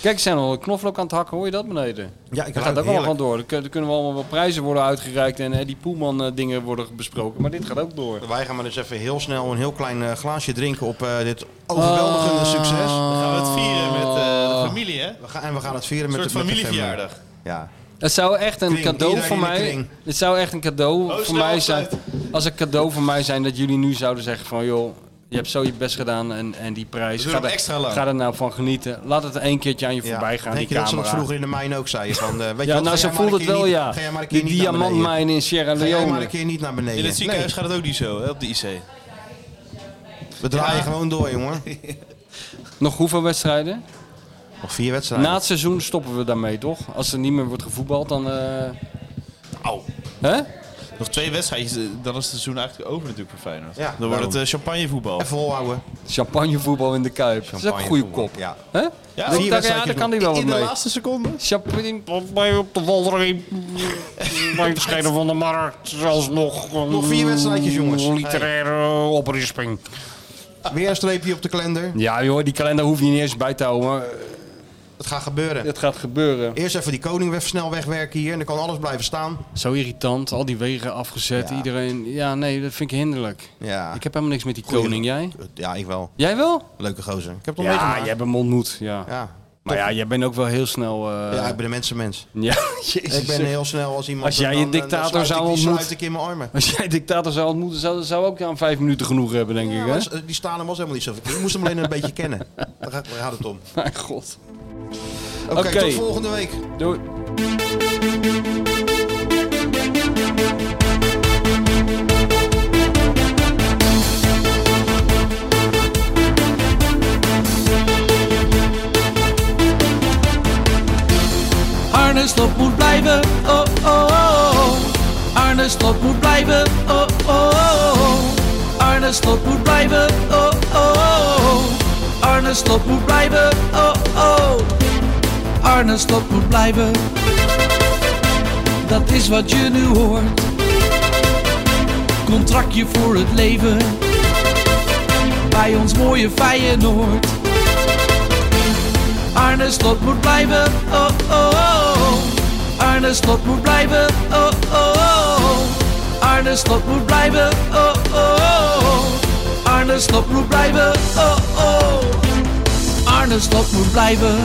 Speaker 6: Kijk, ze zijn al een knoflook aan het hakken, hoor je dat beneden?
Speaker 5: Ja, ik
Speaker 6: dat
Speaker 5: ruik
Speaker 6: gaat ook
Speaker 5: heerlijk.
Speaker 6: allemaal door. Er kun- er kunnen wel allemaal wel prijzen worden uitgereikt en eh, die Poelman eh, dingen worden besproken, maar dit gaat ook door.
Speaker 5: Wij gaan maar eens even heel snel een heel klein eh, glaasje drinken op eh, dit overweldigende
Speaker 6: Oh.
Speaker 5: succes.
Speaker 1: Dan gaan we het vieren met eh, de familie, hè?
Speaker 5: We gaan, en we gaan het vieren
Speaker 1: Een
Speaker 5: met
Speaker 1: soort
Speaker 5: Oh. de- met de family.
Speaker 1: familieverjaardag.
Speaker 5: Ja.
Speaker 6: Het zou echt een
Speaker 5: Kring,
Speaker 6: cadeau
Speaker 5: iedereen
Speaker 6: voor
Speaker 5: in de
Speaker 6: mij.
Speaker 5: kring. Oh,
Speaker 6: Het zou echt een cadeau voor
Speaker 1: snel
Speaker 6: mij zijn.
Speaker 1: afsluiten.
Speaker 6: Als een cadeau voor mij zijn dat jullie nu zouden zeggen van joh, je hebt zo je best gedaan en, en die
Speaker 5: We
Speaker 6: prijs.
Speaker 5: doen
Speaker 6: Ga
Speaker 5: hem
Speaker 6: er,
Speaker 5: extra lang.
Speaker 6: ga er nou van genieten. Laat het één keertje aan je
Speaker 5: Ja.
Speaker 6: voorbij gaan. die
Speaker 5: Denk je dat ze
Speaker 6: camera.
Speaker 5: dat vroeger in de mijn ook zeiden? Van, eh, weet je
Speaker 6: ja,
Speaker 5: wat,
Speaker 6: nou
Speaker 5: ga
Speaker 6: zo
Speaker 5: jij maar
Speaker 6: voelt
Speaker 5: een
Speaker 6: het
Speaker 5: keer
Speaker 6: wel,
Speaker 5: niet-
Speaker 6: ja.
Speaker 5: Ga jij maar een keer
Speaker 6: Die
Speaker 5: niet naar beneden.
Speaker 6: diamantmijn in Sierra
Speaker 5: Ga jij maar
Speaker 6: Leone.
Speaker 5: een keer niet naar beneden.
Speaker 1: In het ziekenhuis
Speaker 5: Nee.
Speaker 1: gaat het ook niet zo, hè, op de IC.
Speaker 5: We draaien gewoon door, jongen.
Speaker 6: Nog hoeveel wedstrijden?
Speaker 5: Nog vier wedstrijden.
Speaker 6: Na het seizoen stoppen we daarmee, toch? Als er niet meer wordt gevoetbald, dan... eh,
Speaker 1: Au.
Speaker 6: Hè?
Speaker 1: Nog twee wedstrijdjes, eh, dan is het seizoen eigenlijk over natuurlijk voor Feyenoord.
Speaker 5: Ja,
Speaker 1: dan wordt het
Speaker 5: daarom.
Speaker 1: eh, champagnevoetbal.
Speaker 5: Even volhouden.
Speaker 6: Champagnevoetbal in de Kuip. dat is ook een goede kop.
Speaker 5: Ja.
Speaker 6: Hè?
Speaker 1: Ja,
Speaker 6: dat,
Speaker 1: vier
Speaker 6: dat, ja,
Speaker 1: wedstrijdjes
Speaker 6: daar kan hij
Speaker 1: nog. In
Speaker 6: wel wat
Speaker 1: de
Speaker 6: mee.
Speaker 1: laatste seconde?
Speaker 6: Champagne op mij op de Walderheen. Mijn verschenen van de markt. Zelfs nog...
Speaker 5: Nog vier wedstrijdjes, jongens.
Speaker 6: Mm, Literaire hey. oprisping.
Speaker 5: Weer een streepje op de kalender.
Speaker 6: Ja, joh, die kalender hoeft je niet eens bij te houden. Maar
Speaker 5: Het gaat gebeuren.
Speaker 6: het gaat gebeuren.
Speaker 5: Eerst even die koning weer snel wegwerken hier. En dan kan alles blijven staan.
Speaker 6: Zo irritant. Al die wegen afgezet.
Speaker 5: Ja.
Speaker 6: Iedereen... Ja, nee, dat vind ik hinderlijk.
Speaker 5: Ja,
Speaker 6: Ik heb helemaal niks met die
Speaker 5: Goeie-
Speaker 6: koning. Jij?
Speaker 5: ja ik wel.
Speaker 6: Jij wel?
Speaker 5: Leuke gozer. Ik heb het al
Speaker 6: Ja,
Speaker 5: meegemaakt.
Speaker 6: jij hebt hem ontmoet. Ja.
Speaker 5: Ja.
Speaker 6: Maar ja, jij bent ook wel heel snel... eh,
Speaker 5: ja, ik ben een mensenmens.
Speaker 6: Ja, jezus.
Speaker 5: Ik ben heel snel als iemand...
Speaker 6: Als jij
Speaker 5: dan-
Speaker 6: een
Speaker 5: dan
Speaker 6: dictator
Speaker 5: sluit ik-
Speaker 6: zou
Speaker 5: die
Speaker 6: ontmoeten-
Speaker 5: sluit ik in mijn armen.
Speaker 6: Als jij dictator zou ontmoeten, zou, zou ook aan vijf minuten genoeg hebben, denk
Speaker 5: Ja,
Speaker 6: ik. Hè?
Speaker 5: maar die Stalin was helemaal niet zo verkeerd. Ik moest hem alleen een beetje kennen. Daar gaat, daar gaat het om.
Speaker 6: Mijn god.
Speaker 5: Oké,
Speaker 6: Oké.
Speaker 5: tot volgende week.
Speaker 6: Doei.
Speaker 4: Arne Slot moet blijven, oh oh, oh oh. Arne Slot moet blijven, oh oh, oh oh. Arne Slot moet blijven, oh oh, oh oh. Arne Slot moet blijven, oh oh. Arne Slot moet blijven. Dat is wat je nu hoort. contractje voor het leven. Bij ons mooie Feyenoord. Arne Slot moet blijven, oh oh oh. Arne Slot moet blijven, oh oh oh. Arne Slot moet blijven, oh oh oh. Arne Slot moet blijven, oh oh. Arne Slot moet blijven.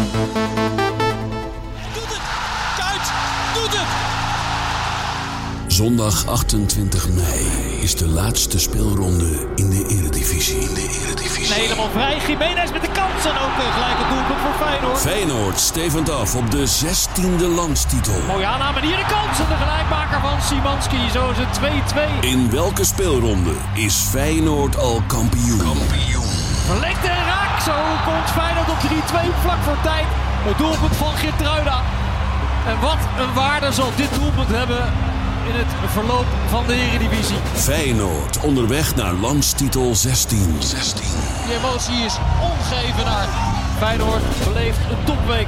Speaker 3: Zondag 28 mei is de laatste speelronde in de Eredivisie. In de Eredivisie.
Speaker 2: Helemaal vrij. Jiménez met de kans en ook eh, gelijk het doelpunt voor Feyenoord.
Speaker 3: Feyenoord stevend af op de 16e landstitel.
Speaker 2: Mooie aanname, hier de kans en de gelijkmaker van Simanski. Zo is het 2-2.
Speaker 3: In welke speelronde is Feyenoord al kampioen?
Speaker 2: Verlengd en raak. Zo komt Feyenoord op 3-2 vlak voor tijd. Het doelpunt van Geertruida. En wat een waarde zal dit doelpunt hebben in het verloop van de Eredivisie.
Speaker 3: Feyenoord onderweg naar landstitel 16. 16.
Speaker 2: Die emotie is ongeëvenaard. Feyenoord beleeft een topweek.